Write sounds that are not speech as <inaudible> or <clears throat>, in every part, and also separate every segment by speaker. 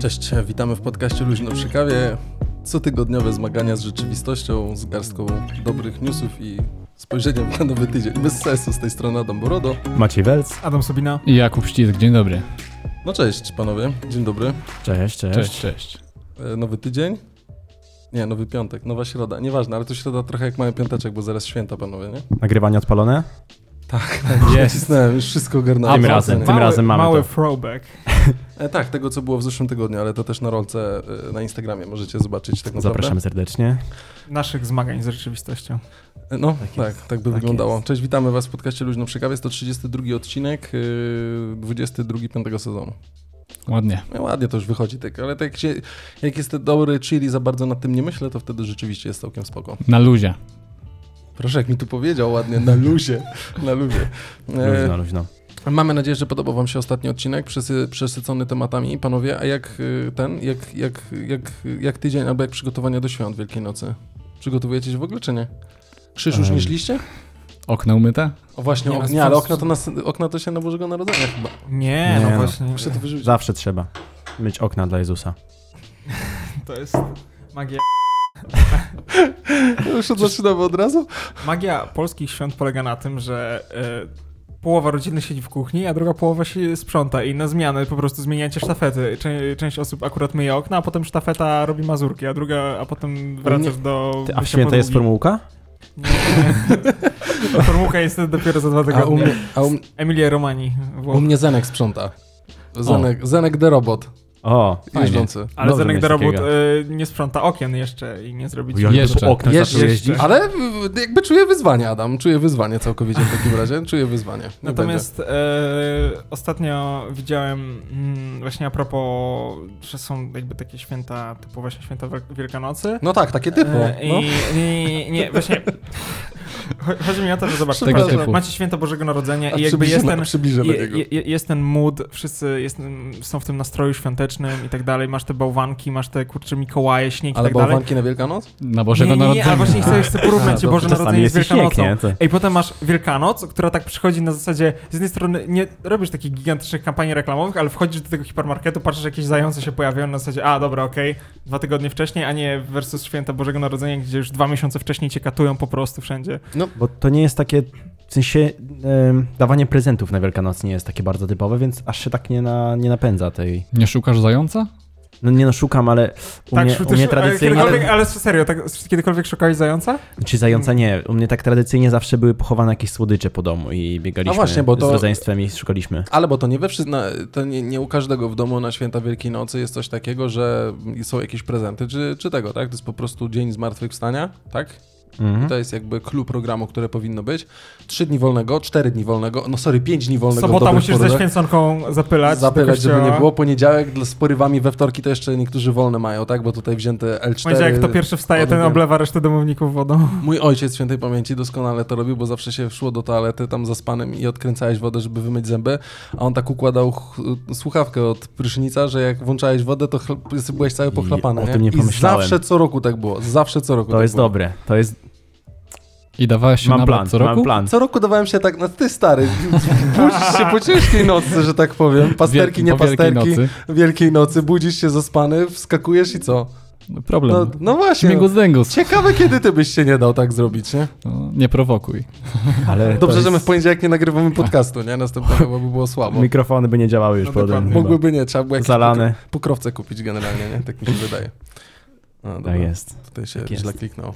Speaker 1: Cześć, witamy w podcaście Luźno przy kawie. Cotygodniowe zmagania z rzeczywistością, z garstką dobrych newsów i spojrzeniem na nowy tydzień. Bez sensu z tej strony Adam Borodo.
Speaker 2: Maciej Welc.
Speaker 3: Adam Sobina.
Speaker 4: Jakub Ścisk, dzień dobry.
Speaker 1: No cześć panowie, dzień dobry.
Speaker 2: Cześć, cześć.
Speaker 4: Cześć, cześć.
Speaker 1: E, Nowy tydzień? Nie, nowy piątek, nowa środa. Nieważne, ale to środa trochę jak mały piąteczek, bo zaraz święta panowie, nie?
Speaker 2: Nagrywanie odpalone?
Speaker 4: Jest.
Speaker 1: Cisnąłem, już wszystko ogarnąłem.
Speaker 2: Tym
Speaker 1: Mocno,
Speaker 2: razem,
Speaker 1: nie?
Speaker 2: tym razem mamy
Speaker 3: Mały
Speaker 2: to.
Speaker 3: throwback.
Speaker 1: E, tak, tego co było w zeszłym tygodniu, ale to też na rolce e, na Instagramie możecie zobaczyć tak naprawdę.
Speaker 2: Zapraszamy serdecznie.
Speaker 3: Naszych zmagań z rzeczywistością.
Speaker 1: No,
Speaker 2: Tak
Speaker 1: tak, tak,
Speaker 2: jest,
Speaker 1: by
Speaker 2: tak
Speaker 1: wyglądało.
Speaker 2: jest.
Speaker 1: Cześć, witamy Was w podcaście Luźno przy kawie, 132 odcinek, yy, 22 piątego sezonu.
Speaker 4: Ładnie.
Speaker 1: No, ładnie to już wychodzi, tak, ale tak jak, się, jak jest ten dobry chill i za bardzo nad tym nie myślę, to wtedy rzeczywiście jest całkiem spoko.
Speaker 4: Na luzie.
Speaker 1: Proszę, jak mi tu powiedział ładnie, na luzie, <laughs> na luzie. E,
Speaker 2: Luźno, luźno.
Speaker 1: Mamy nadzieję, że podobał Wam się ostatni odcinek, przesy, przesycony tematami. Panowie, a jak y, ten, jak, jak, jak, jak tydzień albo jak przygotowania do świąt Wielkiej Nocy? Przygotowujecie się w ogóle, czy nie? Krzyż już
Speaker 2: Em.
Speaker 1: nieśliście?
Speaker 4: Okna umyte?
Speaker 1: O właśnie,
Speaker 3: Nie,
Speaker 1: ok-
Speaker 3: no,
Speaker 1: nie, ale
Speaker 3: to-
Speaker 1: okna to, nas, okna to się na Bożego Narodzenia chyba.
Speaker 3: Nie,
Speaker 2: Nie
Speaker 3: no,
Speaker 2: no.
Speaker 3: właśnie.
Speaker 1: Muszę to wyrzucić.
Speaker 2: Zawsze trzeba myć okna dla Jezusa.
Speaker 3: <laughs> To jest magia.
Speaker 1: <laughs> Już zaczynamy od razu?
Speaker 3: Magia polskich świąt polega na tym, że e, połowa rodziny siedzi w kuchni, a druga połowa się sprząta i na zmianę po prostu zmieniacie sztafety. Czę- część osób akurat myje okna, a potem sztafeta robi mazurki, a druga, a potem wracasz do...
Speaker 2: Ty, a w
Speaker 3: bycia
Speaker 2: święta jest
Speaker 3: podługi.
Speaker 2: formułka?
Speaker 3: Nie. <laughs> Formułka jest dopiero za dwa
Speaker 1: A u
Speaker 3: tygodnie.
Speaker 1: mnie, a u,
Speaker 3: Emilia Romani.
Speaker 1: u
Speaker 3: Włoch.
Speaker 1: mnie Zenek sprząta. Zenek, Zenek the Robot,
Speaker 2: O,
Speaker 4: Fajnie.
Speaker 1: jeżdżący.
Speaker 3: Ale
Speaker 2: Dobrze
Speaker 3: Zenek
Speaker 2: mieć
Speaker 3: do robót
Speaker 2: takiego.
Speaker 3: e, nie sprząta okien jeszcze i nie zrobi ci
Speaker 2: Jezu,
Speaker 4: Jeszcze.
Speaker 2: po oknach
Speaker 1: Jeszcze.
Speaker 2: zaczął jeździć.
Speaker 1: Ale y, jakby czuję wyzwanie, Adam. Czuję wyzwanie całkowicie w takim razie. Czuję wyzwanie. Niech
Speaker 3: Natomiast e, ostatnio widziałem mm, właśnie a propos, że są jakby takie święta, typu właśnie święta Wiel- Wielkanocy.
Speaker 1: będzie. No tak, takie typu.
Speaker 3: E, i,
Speaker 1: No.
Speaker 3: nie, nie, właśnie. cho- Chodzi mi o to, że zobacz,
Speaker 4: Tego
Speaker 3: macie-
Speaker 4: typu.
Speaker 3: macie święto Bożego Narodzenia
Speaker 1: A
Speaker 3: i jakby jest
Speaker 1: przybliżymy-
Speaker 3: ten,
Speaker 1: przybliżymy
Speaker 3: je,
Speaker 1: tego.
Speaker 3: je, je- jest ten mood, wszyscy jest, są w tym nastroju świątecznym i tak dalej, masz te bałwanki, masz te kurcze Mikołaje, śnieg i
Speaker 1: Ale
Speaker 3: tak dalej.
Speaker 1: bałwanki na Wielkanoc?
Speaker 4: Na Bożego
Speaker 3: nie, nie, nie,
Speaker 4: Narodzenia.
Speaker 3: ale
Speaker 4: <laughs>
Speaker 3: właśnie chcę, chcę
Speaker 2: <laughs>
Speaker 3: porównać
Speaker 1: A,
Speaker 3: Boże
Speaker 1: to
Speaker 2: No, Czasami
Speaker 3: Narodzenie z
Speaker 2: jest i śnieg,
Speaker 3: Wielkanocą.
Speaker 2: nie? To-
Speaker 3: I potem masz Wielkanoc, która tak przychodzi na zasadzie, z jednej strony nie robisz takich gigantycznych kampanii reklamowych, ale wchodzisz do tego hipermarketu, patrzysz, jakieś zające się pojawiają na zasadzie, a dobra, okej, dwa tygodnie wcześniej, a nie versus Święta Bożego Narodzenia, gdzie już dwa miesiące wcześniej cię katują po prostu wszędzie.
Speaker 2: Bo to nie jest takie, w sensie em, dawanie prezentów na Wielkanoc nie jest takie bardzo typowe, więc aż się tak nie, na, nie napędza tej.
Speaker 4: Nie szukasz zająca?
Speaker 2: No nie no, szukam, ale u
Speaker 3: tak,
Speaker 2: mnie,
Speaker 3: szu-
Speaker 2: u mnie
Speaker 3: szu-
Speaker 2: tradycyjnie...
Speaker 3: Ale, kiedykolwiek- ale serio, tak, kiedykolwiek szukałeś zająca?
Speaker 2: Czy zająca nie? U mnie tak tradycyjnie zawsze były pochowane jakieś słodycze po domu i biegaliśmy
Speaker 1: No właśnie, bo to-
Speaker 2: z rodzeństwem i szukaliśmy.
Speaker 1: Ale bo to nie we wszy- na, to nie, nie u każdego w domu na święta Wielkiej Nocy jest coś takiego, że są jakieś prezenty, czy, czy tego, tak? To jest po prostu dzień zmartwychwstania, tak? I
Speaker 2: Mhm.
Speaker 1: to jest jakby clue programu, które powinno być. Trzy dni wolnego, cztery dni wolnego, no sorry, pięć dni wolnego. w
Speaker 3: Sobota
Speaker 1: dobrych
Speaker 3: musisz ze
Speaker 1: porywach.
Speaker 3: święconką zapylać. do
Speaker 1: Zapylać, żeby
Speaker 3: kościoła.
Speaker 1: nie było. Poniedziałek dla- z porywami we wtorki to jeszcze niektórzy wolne mają, tak? Bo tutaj wzięte L4.
Speaker 3: Poniedziałek, kto pierwszy wstaje, ten
Speaker 1: Odbiór.
Speaker 3: oblewa resztę domowników wodą.
Speaker 1: Mój ojciec świętej pamięci doskonale to robił, bo zawsze się szło do toalety tam zaspanym i odkręcałeś wodę, żeby wymyć zęby, a on tak układał ch- słuchawkę od prysznica, że jak włączałeś wodę, to chl- byłeś cały
Speaker 2: I
Speaker 1: pochlapany.
Speaker 2: o tym nie
Speaker 1: I
Speaker 2: pomyślałem.
Speaker 1: zawsze co roku tak było. Zawsze co roku
Speaker 2: To
Speaker 1: tak
Speaker 2: jest
Speaker 1: było.
Speaker 2: dobre. To jest.
Speaker 4: I dawałeś się
Speaker 2: Mam
Speaker 4: na
Speaker 2: plan,
Speaker 4: blat co roku?
Speaker 2: mam plan.
Speaker 1: Co roku dawałem się tak, no ty stary, budzisz się po ciężkiej nocy, że tak powiem, pasterki,
Speaker 4: Wielki-
Speaker 1: nie
Speaker 4: po wielkiej
Speaker 1: pasterki,
Speaker 4: nocy.
Speaker 1: wielkiej nocy, budzisz się zaspany, wskakujesz i co?
Speaker 4: No,
Speaker 1: No,
Speaker 4: Problem.
Speaker 1: no właśnie,
Speaker 4: Śmigus dęgus.
Speaker 1: ciekawe kiedy ty byś się nie dał tak zrobić, nie?
Speaker 4: No, nie prowokuj.
Speaker 2: Ale to
Speaker 1: Dobrze,
Speaker 2: jest... Tak.
Speaker 1: że my w poniedziałek nie nagrywamy podcastu, nie? Następnego bo by było słabo.
Speaker 2: Mikrofony by nie działały już
Speaker 3: No
Speaker 2: po
Speaker 3: dokładnie.
Speaker 2: Mógłby...
Speaker 1: Mogłyby nie, trzeba było jakieś
Speaker 2: Zalane.
Speaker 1: pokro- pokrowce kupić generalnie, nie? Tak mi się wydaje. No, dobra,
Speaker 2: Tak jest.
Speaker 1: Tutaj się
Speaker 2: Tak
Speaker 1: źle
Speaker 2: jest.
Speaker 1: kliknął.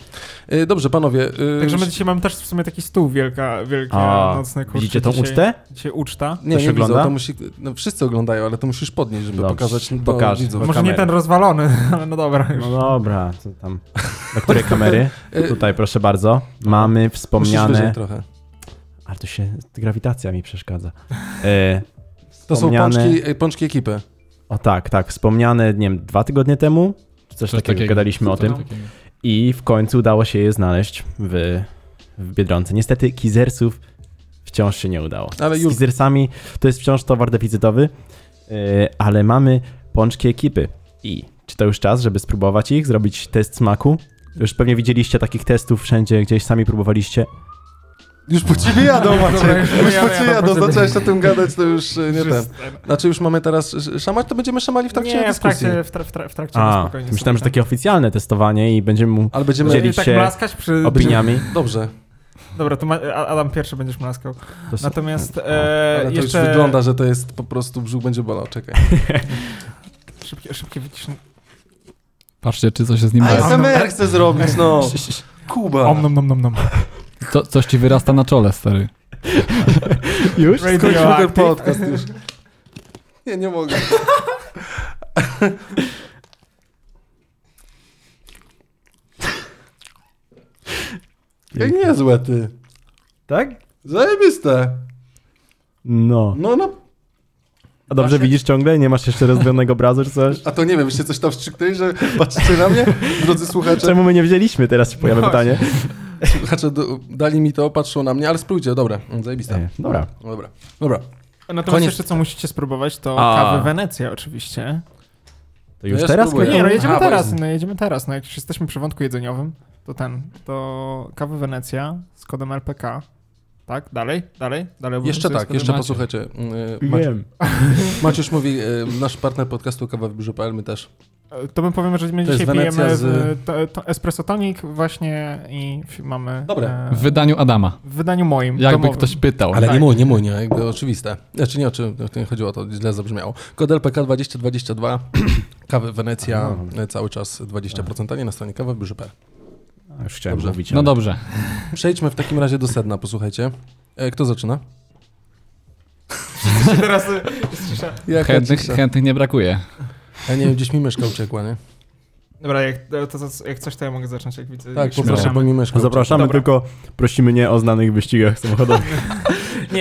Speaker 1: Y, Dobrze, panowie. y,
Speaker 3: Także my dzisiaj mamy też w sumie taki stół wielka, wielka
Speaker 2: A,
Speaker 3: nocny kurczę.
Speaker 2: widzicie tą
Speaker 3: dzisiaj,
Speaker 2: ucztę?
Speaker 3: Dzisiaj uczta.
Speaker 1: nie,
Speaker 2: ktoś
Speaker 1: nie widzą,
Speaker 2: ogląda?
Speaker 1: to musi, no, wszyscy oglądają, ale to musisz podnieść, żeby
Speaker 2: Dobrze,
Speaker 1: pokazać do
Speaker 2: pokażę.
Speaker 1: widzów.
Speaker 2: Do
Speaker 3: Może
Speaker 2: kamery.
Speaker 3: nie ten rozwalony, <laughs> ale no dobra. Już.
Speaker 2: No dobra, co tam. Do
Speaker 1: <laughs>
Speaker 2: której kamery?
Speaker 1: Y, No.
Speaker 2: Tutaj proszę bardzo. Mamy
Speaker 1: Musisz wyżej
Speaker 2: wspomniane.
Speaker 1: trochę.
Speaker 2: Ale tu się. Grawitacja mi przeszkadza. E,
Speaker 1: To są
Speaker 2: wspomniane-
Speaker 1: pączki, y, pączki ekipy.
Speaker 2: O tak, tak. Wspomniane, nie wiem, dwa tygodnie temu. Czy coś, takiego, gadaliśmy o
Speaker 4: Coś
Speaker 2: tym.
Speaker 4: takiego.
Speaker 2: I w końcu udało się je znaleźć w, w Biedronce. Niestety kizersów wciąż się nie udało.
Speaker 1: Ale
Speaker 2: Z
Speaker 1: Jul-
Speaker 2: kizersami to jest wciąż towar deficytowy, yy, ale mamy pączki ekipy. I czy to już czas, żeby spróbować ich, zrobić test smaku? Już pewnie widzieliście takich testów wszędzie, gdzieś sami próbowaliście.
Speaker 1: Już po ciebie jadą,
Speaker 3: No,
Speaker 1: Maciek.
Speaker 3: już
Speaker 1: Już po
Speaker 3: jadę,
Speaker 1: ciebie
Speaker 3: jadę,
Speaker 1: jadą.
Speaker 3: proceder.
Speaker 1: Zacząłeś o tym gadać, to już e, nie
Speaker 3: Już
Speaker 1: ten.
Speaker 3: jest-
Speaker 1: Znaczy już mamy teraz sz- szamać, to będziemy szamali w trakcie
Speaker 3: nie, w
Speaker 1: dyskusji.
Speaker 3: trakcie, w, tra- w, tra- w trakcie na
Speaker 2: A,
Speaker 3: spokojnie.
Speaker 2: myślałem, że
Speaker 3: sobie tak.
Speaker 2: takie oficjalne testowanie i będziemy mu
Speaker 1: Ale będziemy...
Speaker 2: Dzielić
Speaker 3: I tak
Speaker 2: się
Speaker 3: mlaskać przy...
Speaker 2: opiniami.
Speaker 1: Dobrze,
Speaker 3: Dobra, to ma... A- Adam pierwszy będziesz mlaskał.
Speaker 2: dos-
Speaker 3: Natomiast
Speaker 1: ale
Speaker 3: e,
Speaker 1: to
Speaker 3: jeszcze...
Speaker 1: już wygląda, że to jest po prostu brzuch będzie bolał, czekaj.
Speaker 3: Szybkie, szybkie wyciszenie.
Speaker 4: Patrzcie, czy coś się z nim dzieje.
Speaker 1: ASMR chcę zrobić, no. Kuba.
Speaker 3: Om nom nom nom nom.
Speaker 4: Co, coś ci wyrasta na czole, stary.
Speaker 2: Już?
Speaker 1: Skończmy ten
Speaker 3: Radioactive.
Speaker 1: podcast już. <laughs> Nie, nie mogę. Jak niezłe ty.
Speaker 2: Tak?
Speaker 1: Zajebiste.
Speaker 2: No.
Speaker 1: No, no.
Speaker 2: A dobrze widzisz ciągle? Nie masz jeszcze rozbionego obrazu czy
Speaker 3: <laughs> Znaczy-
Speaker 2: coś?
Speaker 1: A to nie wiem, jeszcze coś tam wstrzyknęli, że patrzycie na mnie? Drodzy słuchacze,
Speaker 2: Czemu my nie wzięliśmy? Teraz się pojawia
Speaker 3: No
Speaker 2: pytanie.
Speaker 1: słuchacze do, dali mi to, patrzą na mnie, ale spróbujcie, dobra, mm, zajebiste. No
Speaker 2: E, Dobra.
Speaker 1: Dobra, dobra.
Speaker 3: Natomiast
Speaker 1: Koniec.
Speaker 3: jeszcze co musicie spróbować, to
Speaker 2: A.
Speaker 3: kawy Wenecja oczywiście.
Speaker 2: To już
Speaker 1: Ja
Speaker 2: teraz?
Speaker 1: spróbuję.
Speaker 3: Nie, no jedziemy
Speaker 1: A, bo
Speaker 3: teraz,
Speaker 1: jest-
Speaker 3: no jedziemy teraz. No jak już jesteśmy przy wątku jedzeniowym, to ten, to kawy Wenecja z kodem LPK. Tak? Dalej? Dalej? Dalej?
Speaker 1: Jeszcze
Speaker 3: obowiązuje z
Speaker 1: tak,
Speaker 3: kodem-
Speaker 1: jeszcze
Speaker 4: macie.
Speaker 1: posłuchajcie. mm, Maciu-
Speaker 2: Wiem.
Speaker 1: Maciuś mówi, y, nasz partner podcastu Kawa w Biurze PL, my też.
Speaker 3: E, To bym powiem, że my
Speaker 1: To jest
Speaker 3: dzisiaj
Speaker 1: Wenecja
Speaker 3: pijemy
Speaker 1: z-
Speaker 3: w- to, to espresso tonic właśnie i f- mamy...
Speaker 1: Dobre.
Speaker 3: e,
Speaker 4: W wydaniu Adama.
Speaker 3: w wydaniu moim,
Speaker 4: Jakby
Speaker 3: domowym. <laughs>
Speaker 4: ktoś pytał.
Speaker 1: Ale
Speaker 3: tak.
Speaker 1: nie mój, nie mój, nie, jakby oczywiste. Znaczy nie, o czym to nie chodziło, to źle zabrzmiało. Kod LPK 2022, <clears throat> kawy Wenecja, y, cały czas 20% taniej na stronie kawa w Biurze PL.
Speaker 2: A, Już chciałem
Speaker 1: Dobrze.
Speaker 2: mówić.
Speaker 4: No
Speaker 2: ale-
Speaker 4: dobrze.
Speaker 1: Przejdźmy w takim razie do sedna, posłuchajcie. E, Kto zaczyna?
Speaker 3: Teraz e, cisza.
Speaker 1: Ja
Speaker 4: Chętnych, chętnych nie brakuje.
Speaker 1: Ja nie wiem, gdzieś mi myszka uciekła, nie? Tak,
Speaker 3: Dobra, jak, to, to, jak coś, to ja mogę zacząć, jak widzę.
Speaker 1: Tak,
Speaker 3: jak
Speaker 1: poproszę,
Speaker 3: śmiało.
Speaker 1: bo mi
Speaker 2: No
Speaker 1: myszka uciekła.
Speaker 2: Zapraszamy,
Speaker 3: Dobra.
Speaker 2: tylko prosimy nie o znanych wyścigach samochodowych.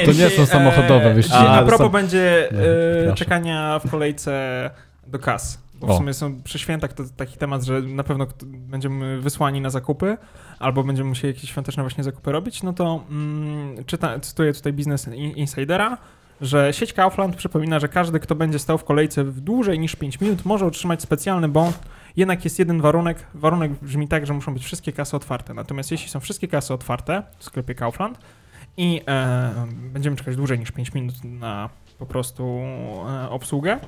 Speaker 4: To nie są samochodowe wyścigi.
Speaker 3: dzisiaj
Speaker 2: A,
Speaker 3: e, A
Speaker 2: to
Speaker 3: propos
Speaker 2: są-
Speaker 3: będzie
Speaker 2: No,
Speaker 3: e,
Speaker 2: przepraszam.
Speaker 3: czekania w kolejce do kas. Bo w
Speaker 4: O.
Speaker 3: sumie są przy świętach to taki temat, że na pewno kt- będziemy wysłani na zakupy, albo będziemy musieli jakieś świąteczne właśnie zakupy robić, no to mm, czyta, cytuję tutaj Business In- Insidera, że sieć Kaufland przypomina, że każdy, kto będzie stał w kolejce w dłużej niż 5 minut, może otrzymać specjalny bon. Jednak jest jeden warunek. Warunek brzmi tak, że muszą być wszystkie kasy otwarte. Natomiast jeśli są wszystkie kasy otwarte w sklepie Kaufland, i e, będziemy czekać dłużej niż 5 minut na po prostu e, obsługę,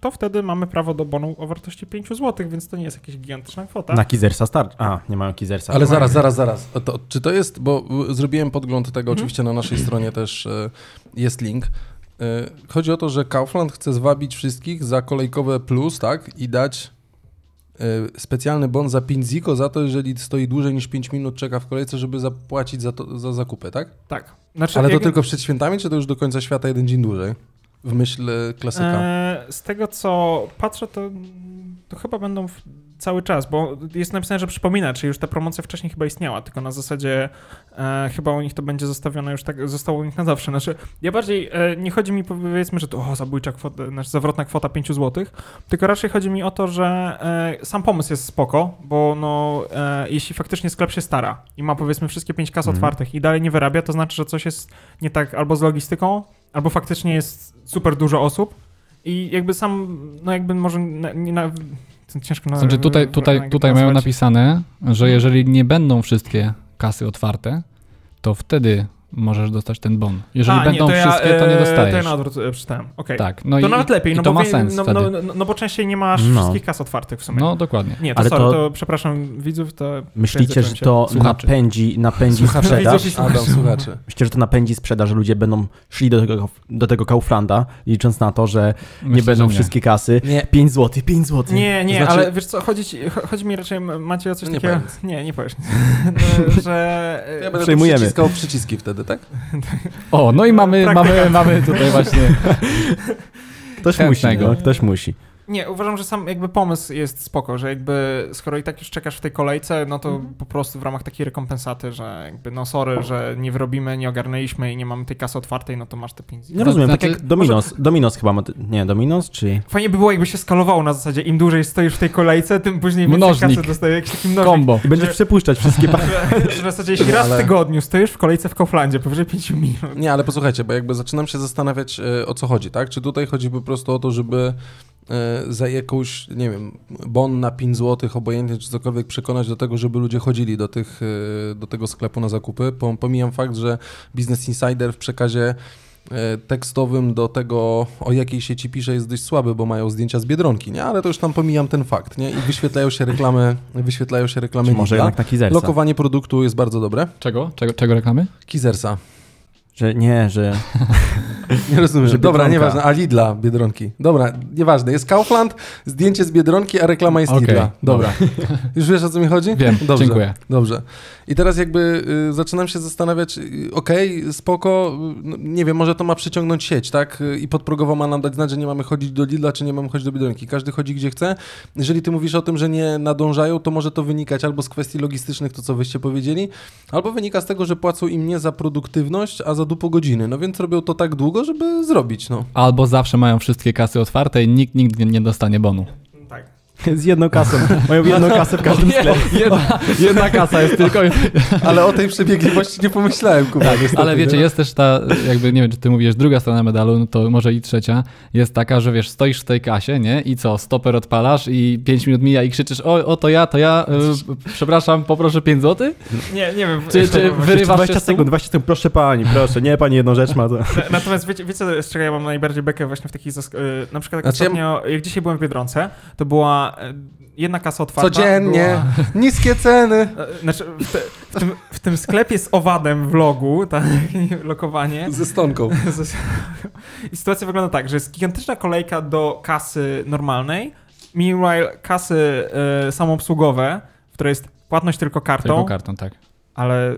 Speaker 3: to wtedy mamy prawo do bonu o wartości 5 zł, więc to nie jest jakaś gigantyczna kwota.
Speaker 2: Na Kizersa starczy. A, nie mają Kizersa.
Speaker 1: Ale zaraz, zaraz, zaraz. O, To, czy to jest, bo y, zrobiłem podgląd tego,
Speaker 3: Mhm.
Speaker 1: oczywiście na naszej stronie też y, jest link. Y, Chodzi o to, że Kaufland chce zwabić wszystkich za kolejkowe plus, tak? I dać y, specjalny bon za 5 ziko za to, jeżeli stoi dłużej niż 5 minut, czeka w kolejce, żeby zapłacić za, to, za zakupy, tak?
Speaker 3: Tak. Znaczy,
Speaker 1: Ale to
Speaker 3: jak-
Speaker 1: tylko przed świętami, czy to już do końca świata jeden dzień dłużej? W myśl y, klasyka.
Speaker 3: E, z tego co patrzę, to, to chyba będą w, cały czas, bo jest napisane, że przypomina, czyli już ta promocja wcześniej chyba istniała, tylko na zasadzie e, chyba u nich to będzie zostawione już tak, zostało u nich na zawsze. Znaczy, ja bardziej, e, nie chodzi mi powiedzmy, że to o, zabójcza kwota, znaczy zawrotna kwota 5 zł, tylko raczej chodzi mi o to, że e, sam pomysł jest spoko, bo no, e, jeśli faktycznie sklep się stara i ma powiedzmy wszystkie 5 kas
Speaker 2: Mhm.
Speaker 3: otwartych i dalej nie wyrabia, to znaczy, że coś jest nie tak albo z logistyką, albo faktycznie jest super dużo osób i jakby sam, no jakby może na, nie na... to Ciężko na,
Speaker 4: Znaczy tutaj, tutaj,
Speaker 3: na-
Speaker 4: tutaj mają
Speaker 3: nazwać.
Speaker 4: napisane,
Speaker 3: No.
Speaker 4: że jeżeli nie będą wszystkie kasy otwarte, to wtedy możesz dostać ten bon. Jeżeli
Speaker 3: A,
Speaker 4: będą
Speaker 3: nie, to ja,
Speaker 4: wszystkie, to nie
Speaker 3: e,
Speaker 4: dostajesz.
Speaker 3: To ja na odwrót e, przeczytałem. Okej.
Speaker 4: Tak, no
Speaker 3: to
Speaker 4: i,
Speaker 3: nawet lepiej,
Speaker 4: i
Speaker 3: no,
Speaker 4: to
Speaker 3: bo
Speaker 4: ma
Speaker 3: wie-
Speaker 4: sens
Speaker 3: no,
Speaker 4: wtedy.
Speaker 3: no, no, no bo częściej nie masz
Speaker 2: No.
Speaker 3: wszystkich kas otwartych w sumie.
Speaker 4: No dokładnie.
Speaker 3: Nie, to
Speaker 2: Ale
Speaker 3: sorry,
Speaker 2: to-
Speaker 3: to... przepraszam widzów, to...
Speaker 2: Myślicie, że
Speaker 3: przejęzyczyłem się.
Speaker 2: to
Speaker 4: Słuchaczy.
Speaker 2: napędzi, napędzi <laughs>
Speaker 3: Słuchacze.
Speaker 2: sprzedaż?
Speaker 3: Widzę, że-
Speaker 1: tak? Adam, słuchacze.
Speaker 2: Myślicie, że to napędzi sprzedaż, że ludzie będą szli do tego, do tego Kauflanda, licząc na to, że
Speaker 4: Myślę,
Speaker 2: nie będą
Speaker 4: że
Speaker 2: wszystkie kasy.
Speaker 1: Nie.
Speaker 2: 5 zł, 5 zł.
Speaker 3: Nie, nie,
Speaker 1: Znaczy-
Speaker 3: ale wiesz co, chodzi, ci- cho- chodzi mi raczej, macie o coś
Speaker 1: No nie
Speaker 3: takiego...
Speaker 1: powiem nic.
Speaker 3: nie, nie powiesz. No, że...
Speaker 1: Ja będę tu
Speaker 2: Przejmujemy.
Speaker 1: przyciskał przyciski wtedy, tak?
Speaker 4: O, no i mamy,
Speaker 3: Praktyka.
Speaker 4: mamy, mamy
Speaker 3: <laughs>
Speaker 4: tutaj właśnie.
Speaker 2: Ktoś musi,
Speaker 4: Chętnego.
Speaker 2: no, ktoś musi.
Speaker 3: Nie, uważam, że sam jakby pomysł jest spoko, że jakby skoro i tak już czekasz w tej kolejce, no to
Speaker 4: Mhm.
Speaker 3: po prostu w ramach takiej rekompensaty, że jakby no sorry, że nie wyrobimy, nie ogarnęliśmy i nie mamy tej kasy otwartej, no to masz te 5
Speaker 2: Nie rozumiem,
Speaker 4: znaczy-
Speaker 2: tak jak Dominos. Dominos chyba ma... Nie, Dominos czy...
Speaker 3: Fajnie by było, jakby się skalowało na zasadzie, im dłużej stoisz w tej kolejce, tym później więcej
Speaker 4: Mnożnik.
Speaker 3: kasy dostaje jakiś taki mnożnik.
Speaker 4: Kombo.
Speaker 2: I będziesz przepuszczać wszystkie... pa-
Speaker 3: <laughs> Że- że W zasadzie, jeśli raz
Speaker 1: Ale-
Speaker 3: w tygodniu stoisz w kolejce w Kauflandzie powyżej 5 minut,
Speaker 1: Nie, ale posłuchajcie, bo jakby zaczynam się zastanawiać, e, o co chodzi, tak? Czy tutaj chodzi po prostu o to, żeby e, za jakąś, nie wiem, bon na 5 zł, obojętnie czy cokolwiek, przekonać do tego, żeby ludzie chodzili do, tych, e, do tego sklepu na zakupy. Pom- Pomijam fakt, że Business Insider w przekazie e, tekstowym do tego, o jakiej sieci pisze, jest dość słaby, bo mają zdjęcia z Biedronki, nie? Ale to już tam pomijam ten fakt, nie? I wyświetlają się reklamy, wyświetlają się reklamy
Speaker 2: Czy może
Speaker 1: Lidla.
Speaker 2: jednak taki zerca?
Speaker 1: Lokowanie produktu jest bardzo dobre.
Speaker 4: Czego? Czego, czego reklamy?
Speaker 1: Kizersa.
Speaker 2: Że nie, że
Speaker 1: Nie rozumiem.
Speaker 2: Że
Speaker 1: Dobra,
Speaker 2: Biedronka.
Speaker 1: nieważne. A Lidla, Biedronki. Dobra, nieważne. Jest Kaufland, zdjęcie z Biedronki, a reklama jest
Speaker 4: Okej,
Speaker 1: Lidla. Dobra. Już wiesz, o co mi chodzi?
Speaker 4: Wiem,
Speaker 1: Dobrze.
Speaker 4: dziękuję.
Speaker 1: Dobrze. I teraz jakby y, zaczynam się zastanawiać, y, okej, spoko, y, no, nie wiem, może to ma przyciągnąć sieć, tak? Y, I podprogowo ma nam dać znać, że nie mamy chodzić do Lidla, czy nie mamy chodzić do Biedronki. Każdy chodzi gdzie chce. Jeżeli ty mówisz o tym, że nie nadążają, to może to wynikać albo z kwestii logistycznych, to co wyście powiedzieli, albo wynika z tego, że płacą im nie za produktywność, a za dupo godziny. No więc robią to tak długo, żeby zrobić,
Speaker 4: <laughs>
Speaker 1: no.
Speaker 4: Albo zawsze mają wszystkie kasy otwarte i nikt nigdy nie dostanie bonu.
Speaker 3: Tak.
Speaker 2: z jedną kasą. Mają jedną kasę w każdym sklepie.
Speaker 3: <laughs>
Speaker 4: Jedna, jedna kasa jest tylko.
Speaker 1: Ale o tej przebiegliwości nie pomyślałem, Kuba. niestety,
Speaker 4: Tak, <laughs>
Speaker 1: no.
Speaker 4: Ale wiecie,
Speaker 1: nie?
Speaker 4: jest też ta, jakby nie wiem, czy ty mówisz, druga strona medalu, no to może i trzecia, jest taka, że wiesz, stoisz w tej kasie, nie? I co, stoper odpalasz i 5 minut mija i krzyczysz, o, o to ja, to ja, y, przepraszam, poproszę 5 zł?
Speaker 3: Nie, nie wiem.
Speaker 4: Czy- czy
Speaker 3: Właśnie-
Speaker 4: wyrywasz
Speaker 2: 20
Speaker 4: się z tym?
Speaker 2: sekund, 20 sekund, proszę pani, proszę, nie pani jedną rzecz ma to.
Speaker 3: Na- Natomiast wiecie, wiecie, z czego ja mam najbardziej bekę właśnie w takich zask- y, Na przykład tak
Speaker 1: Znaczy ja-
Speaker 3: ostatnio, jak dzisiaj byłem w Biedronce, to była y, jedna kasa otwarta.
Speaker 1: Codziennie, niskie ceny.
Speaker 3: Była, y, znaczy, w, te, w, tym, w tym sklepie z owadem w logu, tak, <laughs> lokowanie.
Speaker 1: Ze stonką.
Speaker 3: Ze- I sytuacja wygląda tak, że jest gigantyczna kolejka do kasy normalnej, meanwhile kasy y, samoobsługowe, w której jest płatność tylko kartą,
Speaker 4: Tylko kartą, tak.
Speaker 3: ale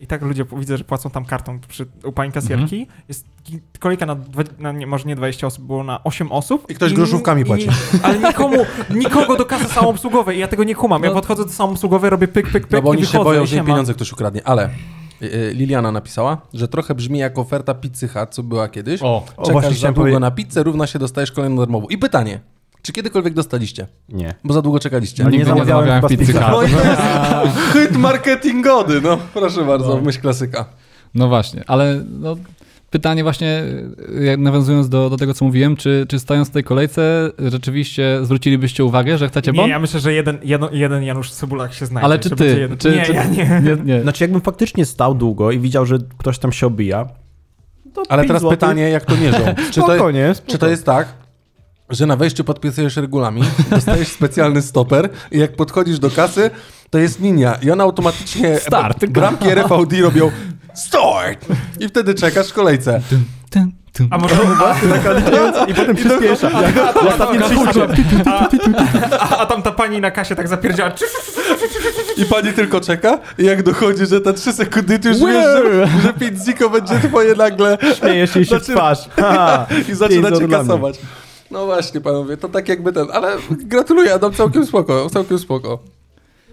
Speaker 3: i tak ludzie p- widzę, że płacą tam kartą przy, u pani kasjerki. Jest gi- kolejka na, dwa, na nie, może nie 20 osób, było na 8 osób.
Speaker 1: I ktoś groszówkami płaci.
Speaker 3: ale nikomu, nikogo do kasy samoobsługowej i ja tego nie kumam. Ja
Speaker 1: No.
Speaker 3: podchodzę do samoobsługowej, robię pyk, pyk, pyk
Speaker 1: No bo
Speaker 3: i
Speaker 1: oni
Speaker 3: wychodzę
Speaker 1: się boją,
Speaker 3: i
Speaker 1: że im
Speaker 3: siema.
Speaker 1: pieniądze ktoś ukradnie, ale y, y, Liliana napisała, że trochę brzmi jak oferta pizzy Hut, co była kiedyś.
Speaker 4: O,
Speaker 2: O, właśnie
Speaker 1: Czekasz za
Speaker 2: chciałem
Speaker 1: długo
Speaker 2: powiedzieć-
Speaker 1: na pizzę, równa się dostajesz kolejną darmową. I pytanie, czy kiedykolwiek dostaliście?
Speaker 2: Nie.
Speaker 1: Bo za długo czekaliście.
Speaker 2: Ale
Speaker 4: nigdy
Speaker 2: No nie
Speaker 4: nie
Speaker 2: zamawiałem
Speaker 4: zamawiałem
Speaker 2: chyba z
Speaker 4: pizzy
Speaker 2: Pizza
Speaker 4: Hut.
Speaker 1: No i to jest <laughs> hit marketingody, no proszę bardzo, myśl klasyka.
Speaker 4: No właśnie, ale no, pytanie właśnie, y, jak nawiązując do, do tego, co mówiłem, czy, czy stojąc w tej kolejce rzeczywiście zwrócilibyście uwagę, że chcecie
Speaker 3: Nie,
Speaker 4: bon?
Speaker 3: ja myślę, że jeden, jeden, jeden Janusz Cybulak się znajdzie.
Speaker 4: Ale czy
Speaker 3: że
Speaker 4: ty?
Speaker 3: będzie Jeden...
Speaker 4: Czy-
Speaker 3: nie,
Speaker 4: czy-
Speaker 3: ja nie.
Speaker 4: nie,
Speaker 2: <laughs>
Speaker 4: nie.
Speaker 2: Znaczy jakbym faktycznie stał długo i widział, że ktoś tam się obija, to
Speaker 1: Ale
Speaker 2: pięć
Speaker 1: teraz
Speaker 2: złotych.
Speaker 1: pytanie, jak to mierzą? Czy
Speaker 2: Spoko,
Speaker 1: to,
Speaker 2: nie?
Speaker 1: czy to jest tak, że na wejściu podpisujesz regulamin, <laughs> dostajesz specjalny stoper i jak podchodzisz do kasy, to jest linia i ona automatycznie...
Speaker 4: Start.
Speaker 1: Bramki RFID robią start! I wtedy czekasz w kolejce.
Speaker 4: Tyn, tyn.
Speaker 3: A
Speaker 2: <laughs>
Speaker 3: może
Speaker 2: I Znaczy, potem przyspiesza. Jak ostatni <laughs>
Speaker 3: a, a, a tam ta pani na kasie tak zapierdziała. Czy,
Speaker 1: I pani tylko czeka i jak dochodzi, że te trzy sekundy, ty już
Speaker 2: Wow.
Speaker 1: wiesz, że, że pięć ziko będzie twoje nagle
Speaker 2: śmiejesz jej się w
Speaker 1: Znaczy-
Speaker 2: twarz. <laughs> Ha,
Speaker 1: i zaczyna
Speaker 2: pięć
Speaker 1: cię
Speaker 2: dla mnie.
Speaker 1: kasować. No właśnie, panowie, to tak jakby ten, ale gratuluję, Adam, całkiem spoko, całkiem spoko.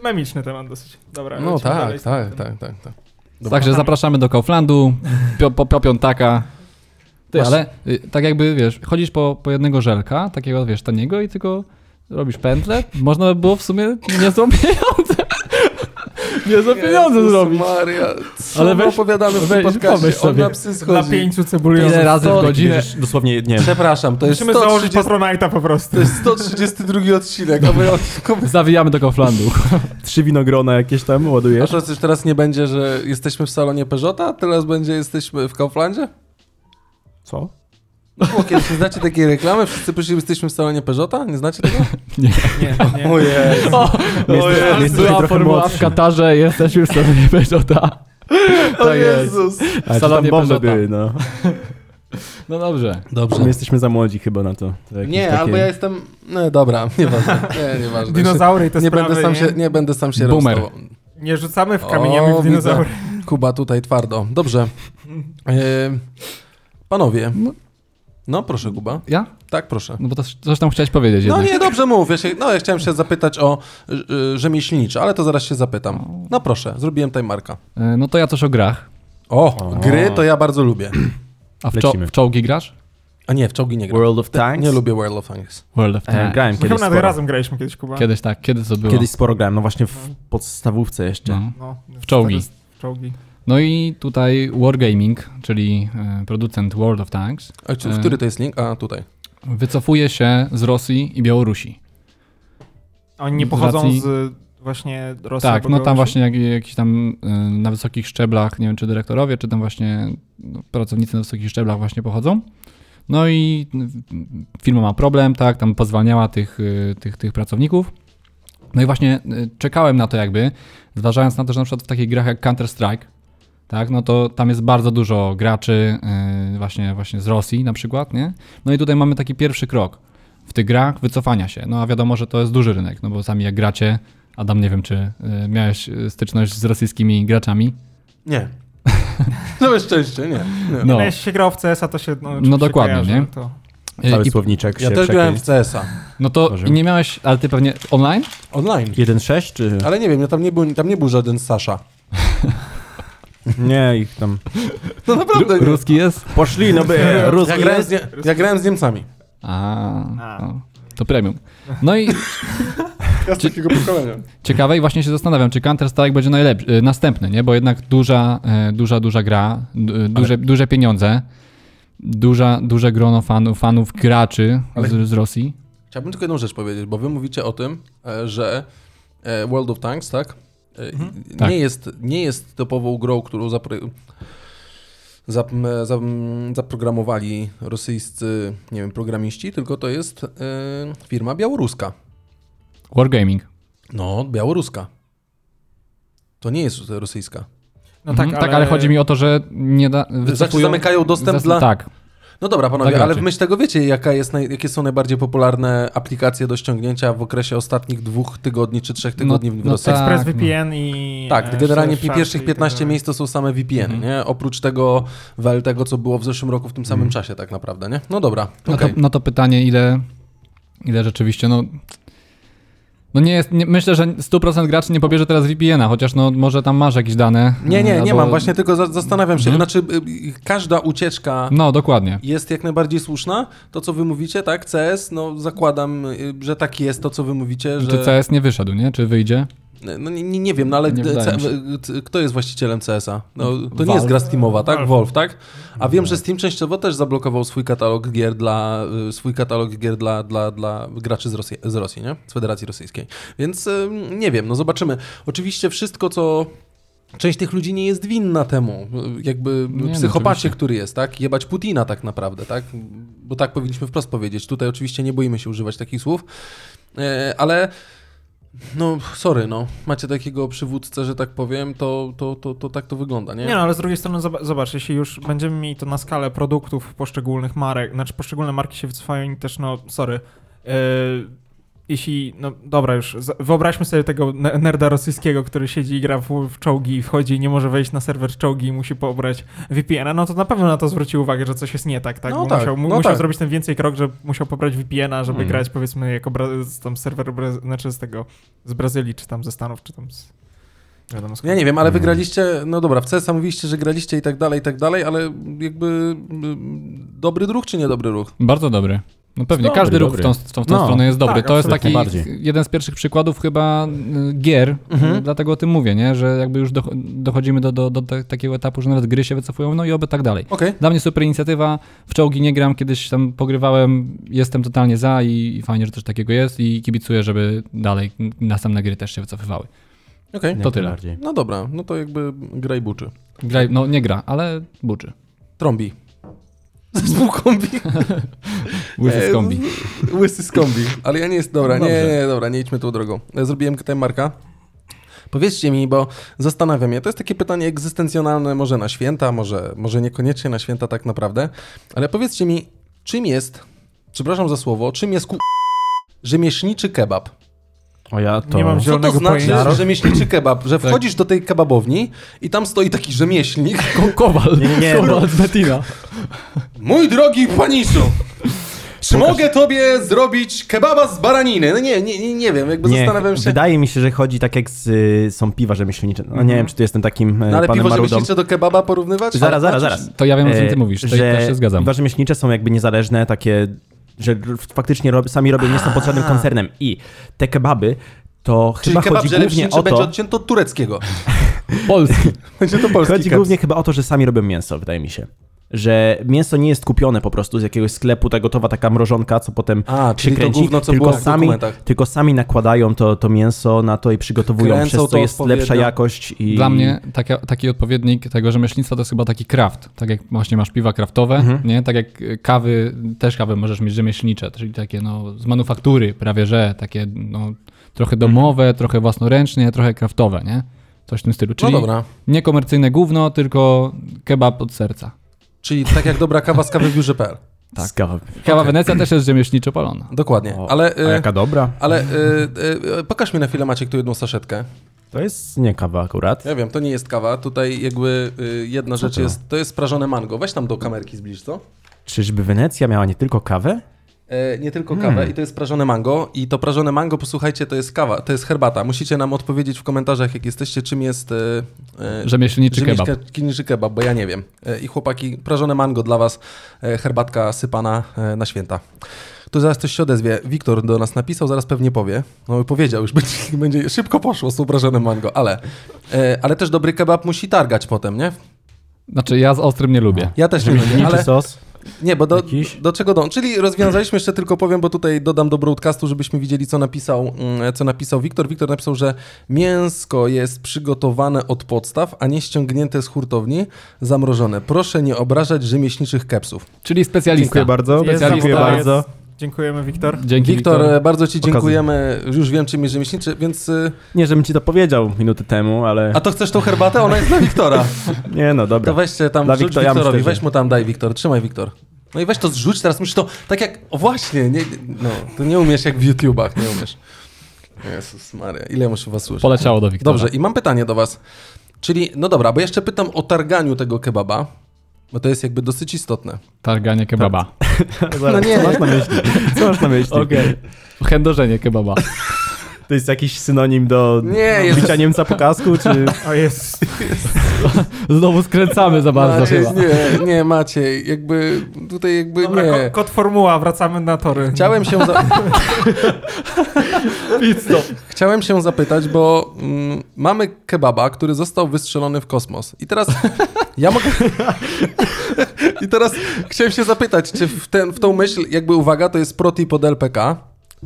Speaker 3: Memiczny temat dosyć. Dobra,
Speaker 1: No
Speaker 3: lecimy
Speaker 1: tak,
Speaker 3: dalej z
Speaker 1: tak,
Speaker 3: tematem.
Speaker 1: tak, tak, tak.
Speaker 4: Także zapraszamy do Kauflandu, pio, po, po piątaka. Ty,
Speaker 1: Masz-
Speaker 4: ale y, tak jakby, wiesz, chodzisz po, po jednego żelka, takiego, wiesz, taniego i tylko robisz pętlę. Można by było w sumie niezłą pieniądze. Niezłe pieniądze
Speaker 1: Jezus
Speaker 4: zrobić.
Speaker 1: Maria, co
Speaker 4: Ale
Speaker 1: Ale
Speaker 4: weź-
Speaker 1: opowiadamy w
Speaker 4: weź-
Speaker 1: tym podcaście?
Speaker 4: pomyśl
Speaker 1: On
Speaker 4: sobie.
Speaker 1: na psy
Speaker 3: Dla
Speaker 1: schodzi.
Speaker 3: pięciu cebuliozów.
Speaker 4: Ile razy w
Speaker 1: sorry,
Speaker 4: godzinę?
Speaker 2: Bierzesz Dosłownie, nie wiem,
Speaker 1: Przepraszam, to jest,
Speaker 3: Musimy założyć
Speaker 1: 130,
Speaker 3: Patronite'a po prostu.
Speaker 1: to <laughs> jest 132 odcinek, a my od...
Speaker 4: Zawijamy do Kauflandu.
Speaker 2: trzy winogrona jakieś tam
Speaker 1: A
Speaker 2: ładujesz.
Speaker 1: to coś teraz nie będzie, że jesteśmy w salonie Peugeota, a teraz będzie jesteśmy w Kauflandzie?
Speaker 2: Co?
Speaker 1: No było kiedyś, nie znacie takiej reklamy? Wszyscy prosili, jesteśmy w salonie Peugeota? Nie znacie tego?
Speaker 3: Nie, nie.
Speaker 1: Ojej.
Speaker 4: O,
Speaker 2: jesteś-
Speaker 4: Jezu,
Speaker 2: jesteś
Speaker 4: była
Speaker 2: trochę
Speaker 4: formuła
Speaker 2: młodszy.
Speaker 4: w Katarze, jesteśmy w salonie Peugeota.
Speaker 1: O Tak
Speaker 4: To tak. jest.
Speaker 1: Jezus.
Speaker 2: A czy tam
Speaker 4: salonie
Speaker 2: bomby
Speaker 4: Peugeota.
Speaker 2: były, no.
Speaker 4: No dobrze.
Speaker 1: Dobrze.
Speaker 2: My jesteśmy za młodzi chyba na to. To jakieś
Speaker 1: Nie,
Speaker 2: takie-
Speaker 1: albo ja jestem... No dobra, nieważne. Nie, nieważne.
Speaker 3: Dinozaury i te
Speaker 1: nie
Speaker 3: sprawy,
Speaker 1: będę sam
Speaker 3: nie?
Speaker 1: się, nie będę sam się
Speaker 4: Boomer.
Speaker 1: rozstawał.
Speaker 3: Nie rzucamy w
Speaker 1: O,
Speaker 3: kamieniami w
Speaker 1: widzę.
Speaker 3: dinozaury.
Speaker 1: Kuba tutaj twardo. Dobrze. E, panowie.
Speaker 4: No.
Speaker 1: No proszę Kuba.
Speaker 4: Ja?
Speaker 1: Tak, proszę.
Speaker 4: No bo to, coś tam chciałeś powiedzieć
Speaker 1: No
Speaker 4: jednak.
Speaker 1: nie, dobrze mów. Ja się, no ja chciałem się zapytać o y, y, rzemieślnicze, ale to zaraz się zapytam. No proszę, zrobiłem time marka.
Speaker 4: E, No to ja też o grach.
Speaker 1: O, gry to ja bardzo lubię.
Speaker 4: A w, czo-
Speaker 2: Lecimy.
Speaker 4: w czołgi grasz?
Speaker 1: A nie, w czołgi nie gram.
Speaker 2: World of Tanks?
Speaker 1: Nie lubię World of Tanks.
Speaker 4: World of
Speaker 2: E, grałem
Speaker 3: Chyba
Speaker 2: kiedyś
Speaker 3: nawet
Speaker 2: sporo.
Speaker 3: razem graliśmy kiedyś, Kuba.
Speaker 4: Kiedyś tak, kiedy to było?
Speaker 2: Kiedyś sporo grałem, no właśnie w podstawówce jeszcze.
Speaker 4: No.
Speaker 3: No, w
Speaker 4: czołgi.
Speaker 3: W czołgi.
Speaker 4: no i tutaj Wargaming, czyli e, producent World of Tanks.
Speaker 1: A czy,
Speaker 4: E.
Speaker 1: który to jest link? A, tutaj.
Speaker 4: wycofuje się z Rosji i Białorusi.
Speaker 3: Oni nie
Speaker 4: Z
Speaker 3: pochodzą
Speaker 4: racji-
Speaker 3: z właśnie Rosji.
Speaker 4: tak,
Speaker 3: albo
Speaker 4: no tam
Speaker 3: Białorusi?
Speaker 4: właśnie jak, jakiś tam y, na wysokich szczeblach, nie wiem czy dyrektorowie, czy tam właśnie no, pracownicy na wysokich szczeblach właśnie pochodzą. No i y, firma ma problem, tak, tam pozwalniała tych, y, tych, tych pracowników. No i właśnie y, czekałem na to jakby, zważając na to, że na przykład w takich grach jak Counter-Strike, tak, no to tam jest bardzo dużo graczy y, właśnie, właśnie z Rosji na przykład, nie? No i tutaj mamy taki pierwszy krok w tych grach wycofania się. No a wiadomo, że to jest duży rynek, no bo sami jak gracie, Adam, nie wiem, czy y, miałeś y, styczność z rosyjskimi graczami?
Speaker 2: <laughs>
Speaker 1: Nie. Całe szczęście, nie. nie.
Speaker 4: No,
Speaker 3: No. Jak się grał w CS-a, to się. No, oczywiście
Speaker 4: dokładnie,
Speaker 3: kojarzy,
Speaker 4: nie?
Speaker 3: To. no
Speaker 2: Cały
Speaker 4: Y, i,
Speaker 2: słowniczek
Speaker 1: Ja
Speaker 2: się
Speaker 1: też grałem w
Speaker 2: przekleństw.
Speaker 1: CS-a.
Speaker 4: no to
Speaker 2: Boże.
Speaker 4: i nie miałeś, ale ty pewnie online?
Speaker 1: Online.
Speaker 2: 1.6 czy...
Speaker 1: Ale nie wiem, ja tam nie był, tam nie był żaden Sasza.
Speaker 2: Nie, ich
Speaker 1: <laughs>
Speaker 2: tam...
Speaker 1: No naprawdę. nie.
Speaker 4: Ruski jest?
Speaker 2: Poszli, no by,
Speaker 1: ja,
Speaker 2: ruski
Speaker 1: grałem z,
Speaker 2: jest.
Speaker 1: nie, ja grałem z Niemcami.
Speaker 4: A,
Speaker 3: A.
Speaker 4: no, to premium. No i
Speaker 1: Ja z takiego pokolenia.
Speaker 4: ciekawe i właśnie się zastanawiam, czy Counter-Strike będzie najlepszy, y, następny, nie? Bo jednak duża, y, duża, duża gra, du- y, duże, duże pieniądze, duża, duże grono fanów, fanów graczy
Speaker 1: Ale-
Speaker 4: z, z Rosji.
Speaker 1: <clears throat> Chciałbym tylko jedną rzecz powiedzieć, bo wy mówicie o tym, e, że e, World of Tanks, tak? E, Nie,
Speaker 4: Tak.
Speaker 1: Jest, nie jest typową grą, którą zapro... zap, m, zap, m, zaprogramowali rosyjscy, nie wiem, programiści, tylko to jest e, firma białoruska.
Speaker 4: Wargaming.
Speaker 1: No, białoruska. To nie jest rosyjska.
Speaker 3: No
Speaker 4: Mhm, tak, ale... chodzi mi o to, że nie da... wycofują-
Speaker 1: zamykają dostęp dla-
Speaker 4: Tak,
Speaker 1: No dobra, panowie,
Speaker 4: Tak
Speaker 1: ale w
Speaker 4: raczej.
Speaker 1: myśl tego wiecie, jaka jest naj, jakie są najbardziej popularne aplikacje do ściągnięcia w okresie ostatnich dwóch tygodni czy trzech tygodni w
Speaker 4: no
Speaker 1: Rosji?
Speaker 4: tak.
Speaker 3: Express VPN i.
Speaker 1: Tak,
Speaker 3: e,
Speaker 1: generalnie
Speaker 3: Shadow
Speaker 1: pierwszych
Speaker 3: Shark i
Speaker 1: 15
Speaker 3: tak
Speaker 1: miejsc to są same VPN,
Speaker 4: Mhm.
Speaker 1: nie? Oprócz tego wel tego, co było w zeszłym roku w tym samym czasie tak naprawdę, nie? No dobra,
Speaker 4: No,
Speaker 1: okej.
Speaker 4: to, no to pytanie, ile, ile rzeczywiście, no... No nie jest, nie, myślę, że 100% graczy nie pobierze teraz VPN-a, chociaż no może tam masz jakieś dane.
Speaker 1: Nie, nie, nie
Speaker 4: albo-
Speaker 1: mam, właśnie tylko za- zastanawiam się,
Speaker 4: Mhm.
Speaker 1: znaczy y, y, każda ucieczka
Speaker 4: No, dokładnie.
Speaker 1: jest jak najbardziej słuszna, to co wy mówicie, tak, CS, no zakładam, y, że tak jest to, co wy mówicie,
Speaker 4: Czy
Speaker 1: że...
Speaker 4: CS nie wyszedł, nie? Czy wyjdzie?
Speaker 1: No nie, nie nie wiem, no ale
Speaker 4: Nie
Speaker 1: gdy-
Speaker 4: wydaje
Speaker 1: C-
Speaker 4: mi się.
Speaker 1: y, c- kto jest właścicielem CS-a? No, to nie
Speaker 4: Valve. No.
Speaker 1: jest gra Steamowa, tak?
Speaker 3: Valve.
Speaker 1: Valve, tak? A wiem, że Steam częściowo też zablokował swój katalog gier dla, y, swój katalog gier dla, dla, dla graczy z Rosji, z Rosji, nie? Z Federacji Rosyjskiej. Więc y, nie wiem, no zobaczymy. Oczywiście wszystko, co... Część tych ludzi nie jest winna temu, y, jakby
Speaker 4: Nie, no
Speaker 1: psychopacie,
Speaker 4: oczywiście.
Speaker 1: który jest, tak? Jebać Putina tak naprawdę, tak? Bo tak powinniśmy wprost powiedzieć. Tutaj oczywiście nie boimy się używać takich słów, E, ale no, sorry, no. Macie takiego przywódcę, że tak powiem, to, to, to, to tak to wygląda, nie?
Speaker 3: Nie no, ale z drugiej strony zoba- zobacz, jeśli już będziemy mieli to na skalę produktów poszczególnych marek, znaczy poszczególne marki się wycofają i też, no, sorry. Yy, jeśli, no dobra już, za- wyobraźmy sobie tego ne- nerda rosyjskiego, który siedzi i gra w, w czołgi i wchodzi i nie może wejść na serwer czołgi i musi pobrać VPN-a, no to na pewno na to zwróci uwagę, że coś jest nie tak, tak?
Speaker 1: No
Speaker 3: Bo
Speaker 1: tak,
Speaker 3: musiał, mu-
Speaker 1: no
Speaker 3: musiał
Speaker 1: tak.
Speaker 3: zrobić ten więcej krok, że musiał pobrać VPN-a, żeby
Speaker 4: Mm.
Speaker 3: grać powiedzmy jako bra- z tam serweru, Bra- znaczy z tego, z Brazylii, czy tam ze Stanów, czy tam z... Wiadomo, skąd.
Speaker 1: Ja nie wiem, ale wygraliście, no dobra, w CS mówiliście, że graliście i tak dalej, i tak dalej, ale jakby mm, dobry ruch czy niedobry ruch?
Speaker 4: Bardzo dobry. No pewnie,
Speaker 2: Dobry,
Speaker 4: każdy ruch w
Speaker 2: dobry.
Speaker 4: tą, w tą, w tą
Speaker 2: No,
Speaker 4: stronę jest dobry.
Speaker 3: tak,
Speaker 4: to jest taki
Speaker 2: absolutnie. Najbardziej.
Speaker 4: jeden z pierwszych przykładów chyba y, gier,
Speaker 1: Mhm.
Speaker 4: y, dlatego o tym mówię, nie? że jakby już doch- dochodzimy do, do, do te- takiego etapu, że nawet gry się wycofują, no i oby tak dalej.
Speaker 1: Okej.
Speaker 4: Dla mnie super inicjatywa, w czołgi nie gram, kiedyś tam pogrywałem, jestem totalnie za i, i fajnie, że coś takiego jest i kibicuję, żeby dalej n- następne gry też się wycofywały.
Speaker 1: Okej.
Speaker 2: Jak
Speaker 4: To tyle.
Speaker 2: najbardziej.
Speaker 1: No dobra, no to jakby graj buczy.
Speaker 4: Graj, no nie gra, ale buczy.
Speaker 1: Trombi. <laughs> Zespół kombi.
Speaker 4: Łysy
Speaker 1: E,
Speaker 4: z kombi.
Speaker 1: Łysy z kombi. Ale ja nie jest. Dobra, nie,
Speaker 4: Dobrze.
Speaker 1: nie, dobra, nie idźmy tą drogą. Ja Zrobiłem tutaj Marka. Powiedzcie mi, bo zastanawiam się, to jest takie pytanie egzystencjonalne, może na święta, może, może niekoniecznie na święta tak naprawdę, ale powiedzcie mi, czym jest, przepraszam za słowo, czym jest ku... rzemieślniczy kebab?
Speaker 2: O ja to...
Speaker 3: Nie
Speaker 1: Co
Speaker 3: mam
Speaker 1: to
Speaker 3: Zielonego
Speaker 1: znaczy
Speaker 3: pojęcia.
Speaker 1: rzemieślniczy kebab? Że
Speaker 4: Tak.
Speaker 1: wchodzisz do tej kebabowni i tam stoi taki rzemieślnik.
Speaker 4: Kowal.
Speaker 2: <laughs> Nie, nie, <laughs> nie.
Speaker 4: Kowal z Betina.
Speaker 1: Mój drogi panisu! Czy mogę tobie zrobić kebaba z baraniny? No nie, nie, nie, nie wiem, jakby
Speaker 2: Nie,
Speaker 1: zastanawiam się.
Speaker 2: Wydaje mi się, że chodzi tak jak z, y, są piwa rzemieślnicze. No nie wiem, czy tu jestem takim
Speaker 1: Mhm. No
Speaker 2: e,
Speaker 1: ale
Speaker 2: panem
Speaker 1: piwo
Speaker 2: marudą.
Speaker 1: rzemieślnicze do kebaba porównywać?
Speaker 2: Zaraz, zaraz,
Speaker 1: Znaczy,
Speaker 2: zaraz.
Speaker 4: To ja wiem, o czym ty
Speaker 2: E,
Speaker 4: mówisz, to ja się zgadzam.
Speaker 2: Piwa rzemieślnicze są jakby niezależne, takie, że r- faktycznie rob, sami robią, nie są pod żadnym koncernem. I te kebaby to
Speaker 1: Czyli
Speaker 2: chyba
Speaker 1: kebab
Speaker 2: chodzi głównie
Speaker 1: rzemieślniczy
Speaker 2: o
Speaker 1: będzie
Speaker 2: to...
Speaker 1: odcięty od
Speaker 2: <laughs>
Speaker 1: tureckiego.
Speaker 4: Polski.
Speaker 1: Będzie to polski
Speaker 2: Chodzi
Speaker 1: kebab.
Speaker 2: głównie chyba o to, że sami robią mięso, wydaje mi się. że mięso nie jest kupione po prostu z jakiegoś sklepu, ta gotowa taka mrożonka, co potem
Speaker 1: A,
Speaker 2: się
Speaker 1: czyli to
Speaker 2: kręci,
Speaker 1: gówno, co
Speaker 2: tylko,
Speaker 1: było w
Speaker 2: sami,
Speaker 1: dokumentach. No
Speaker 2: tylko sami nakładają to, to mięso na to i przygotowują,
Speaker 1: Kręcą
Speaker 2: przez
Speaker 1: to
Speaker 2: to jest lepsza
Speaker 1: odpowiednio.
Speaker 2: jakość. I...
Speaker 4: Dla mnie taka, taki odpowiednik tego rzemieślnictwa to jest chyba taki kraft. Tak jak właśnie masz piwa kraftowe,
Speaker 1: Mhm.
Speaker 4: nie? Tak jak e, kawy, też kawy możesz mieć rzemieślnicze, czyli takie no, z manufaktury prawie, że takie no, trochę domowe, trochę własnoręcznie, trochę kraftowe, nie? Coś w tym stylu.
Speaker 1: Mhm. No
Speaker 4: Czyli
Speaker 1: dobra.
Speaker 4: nie komercyjne gówno, tylko kebab od serca.
Speaker 1: Czyli tak jak dobra kawa z kawy w biurze.pl.
Speaker 4: tak.
Speaker 2: Skawa.
Speaker 4: Kawa Wenecja też jest rzemieślniczo palona.
Speaker 1: Dokładnie.
Speaker 2: O,
Speaker 1: Ale,
Speaker 2: A
Speaker 1: y,
Speaker 2: jaka dobra.
Speaker 1: ale y, y, y, pokaż mi na chwilę, Maciek, tu jedną saszetkę.
Speaker 2: To jest nie kawa akurat.
Speaker 1: Ja wiem, to nie jest kawa. Tutaj jakby y, jedna rzecz
Speaker 2: to?
Speaker 1: jest, to jest sprażone mango. Weź tam do kamerki zbliż, co?
Speaker 2: Czyżby Wenecja miała nie tylko kawę?
Speaker 1: E, nie tylko kawę i to jest prażone mango i to prażone mango, posłuchajcie, to jest kawa, to jest herbata. Musicie nam odpowiedzieć w komentarzach, jak jesteście, czym jest e, e,
Speaker 4: Rzemieślniczy
Speaker 1: rzemieślniczy
Speaker 4: kebab.
Speaker 1: kiniczy kebab, bo ja nie wiem. E, I chłopaki, prażone mango dla was, e, herbatka sypana e, na święta. Tu zaraz ktoś się odezwie. Wiktor do nas napisał, zaraz pewnie powie. No powiedział już, <laughs> będzie, będzie szybko poszło z uprażonym mango, ale, e, ale też dobry kebab musi targać potem, nie?
Speaker 4: Znaczy ja z ostrym nie lubię.
Speaker 1: Ja też nie lubię,
Speaker 2: Niczy
Speaker 1: ale...
Speaker 2: sos?
Speaker 1: Nie, bo do,
Speaker 2: Jakiś?
Speaker 1: do czego dążę? Czyli rozwiązaliśmy jeszcze tylko powiem, bo tutaj dodam do broadcastu, żebyśmy widzieli, co napisał, mm, co napisał Wiktor. Wiktor napisał, że mięsko jest przygotowane od podstaw, a nie ściągnięte z hurtowni, zamrożone. Proszę nie obrażać rzemieślniczych kepsów.
Speaker 4: Czyli specjalista.
Speaker 2: Dziękuję bardzo.
Speaker 4: Jest
Speaker 2: Dziękuję
Speaker 4: zawodowiec.
Speaker 2: bardzo.
Speaker 3: Dziękujemy, Wiktor.
Speaker 4: Dzięki
Speaker 1: Wiktor, e,
Speaker 4: Wiktor.
Speaker 1: bardzo Ci dziękujemy. Już wiem, czym jest rzemieślniczy, więc... y,
Speaker 2: Nie, żebym ci to powiedział minuty temu, ale
Speaker 1: A to chcesz tą herbatę? Ona jest
Speaker 4: <laughs>
Speaker 1: dla Wiktora.
Speaker 2: nie no, dobra.
Speaker 1: To weźcie tam,
Speaker 2: Dla
Speaker 1: wrzuć
Speaker 2: Wiktora, ja
Speaker 1: Wiktorowi.
Speaker 2: myślę, że-
Speaker 1: Weź mu tam, daj Wiktor. Trzymaj Wiktor. No i weź to zrzuć, teraz musisz to, tak jak, o właśnie, nie, no, to nie umiesz jak w YouTubach, nie umiesz. Jezus Maria, ile muszę was słyszeć.
Speaker 4: Poleciało do Wiktora.
Speaker 1: Dobrze, i mam pytanie do was. Czyli, no dobra, bo jeszcze pytam o targaniu tego kebaba, bo to jest jakby dosyć istotne.
Speaker 4: Targanie kebaba.
Speaker 2: <laughs> Zaraz,
Speaker 1: no nie.
Speaker 2: Co masz na myśli? Co masz na myśli?
Speaker 4: <laughs> Chędożenie kebaba.
Speaker 2: To jest jakiś synonim do
Speaker 1: Nie, jest-
Speaker 2: bicia Niemca po kasku, czy...
Speaker 3: O jest.
Speaker 4: Znowu skręcamy za bardzo
Speaker 1: Maciej,
Speaker 4: chyba.
Speaker 1: No, nie, nie, Maciej, jakby, tutaj jakby
Speaker 3: <laughs> Dobra, ko-
Speaker 1: nie.
Speaker 3: kod formuła, wracamy na
Speaker 1: <laughs>
Speaker 3: tory.
Speaker 1: Chciałem się, za... Chciałem się zapytać, bo mm, mamy kebaba, który został wystrzelony w kosmos. I teraz ja mogę. <laughs> I teraz chciałem się zapytać, czy w, ten, w tą myśl, jakby uwaga, to jest proti pod LPK.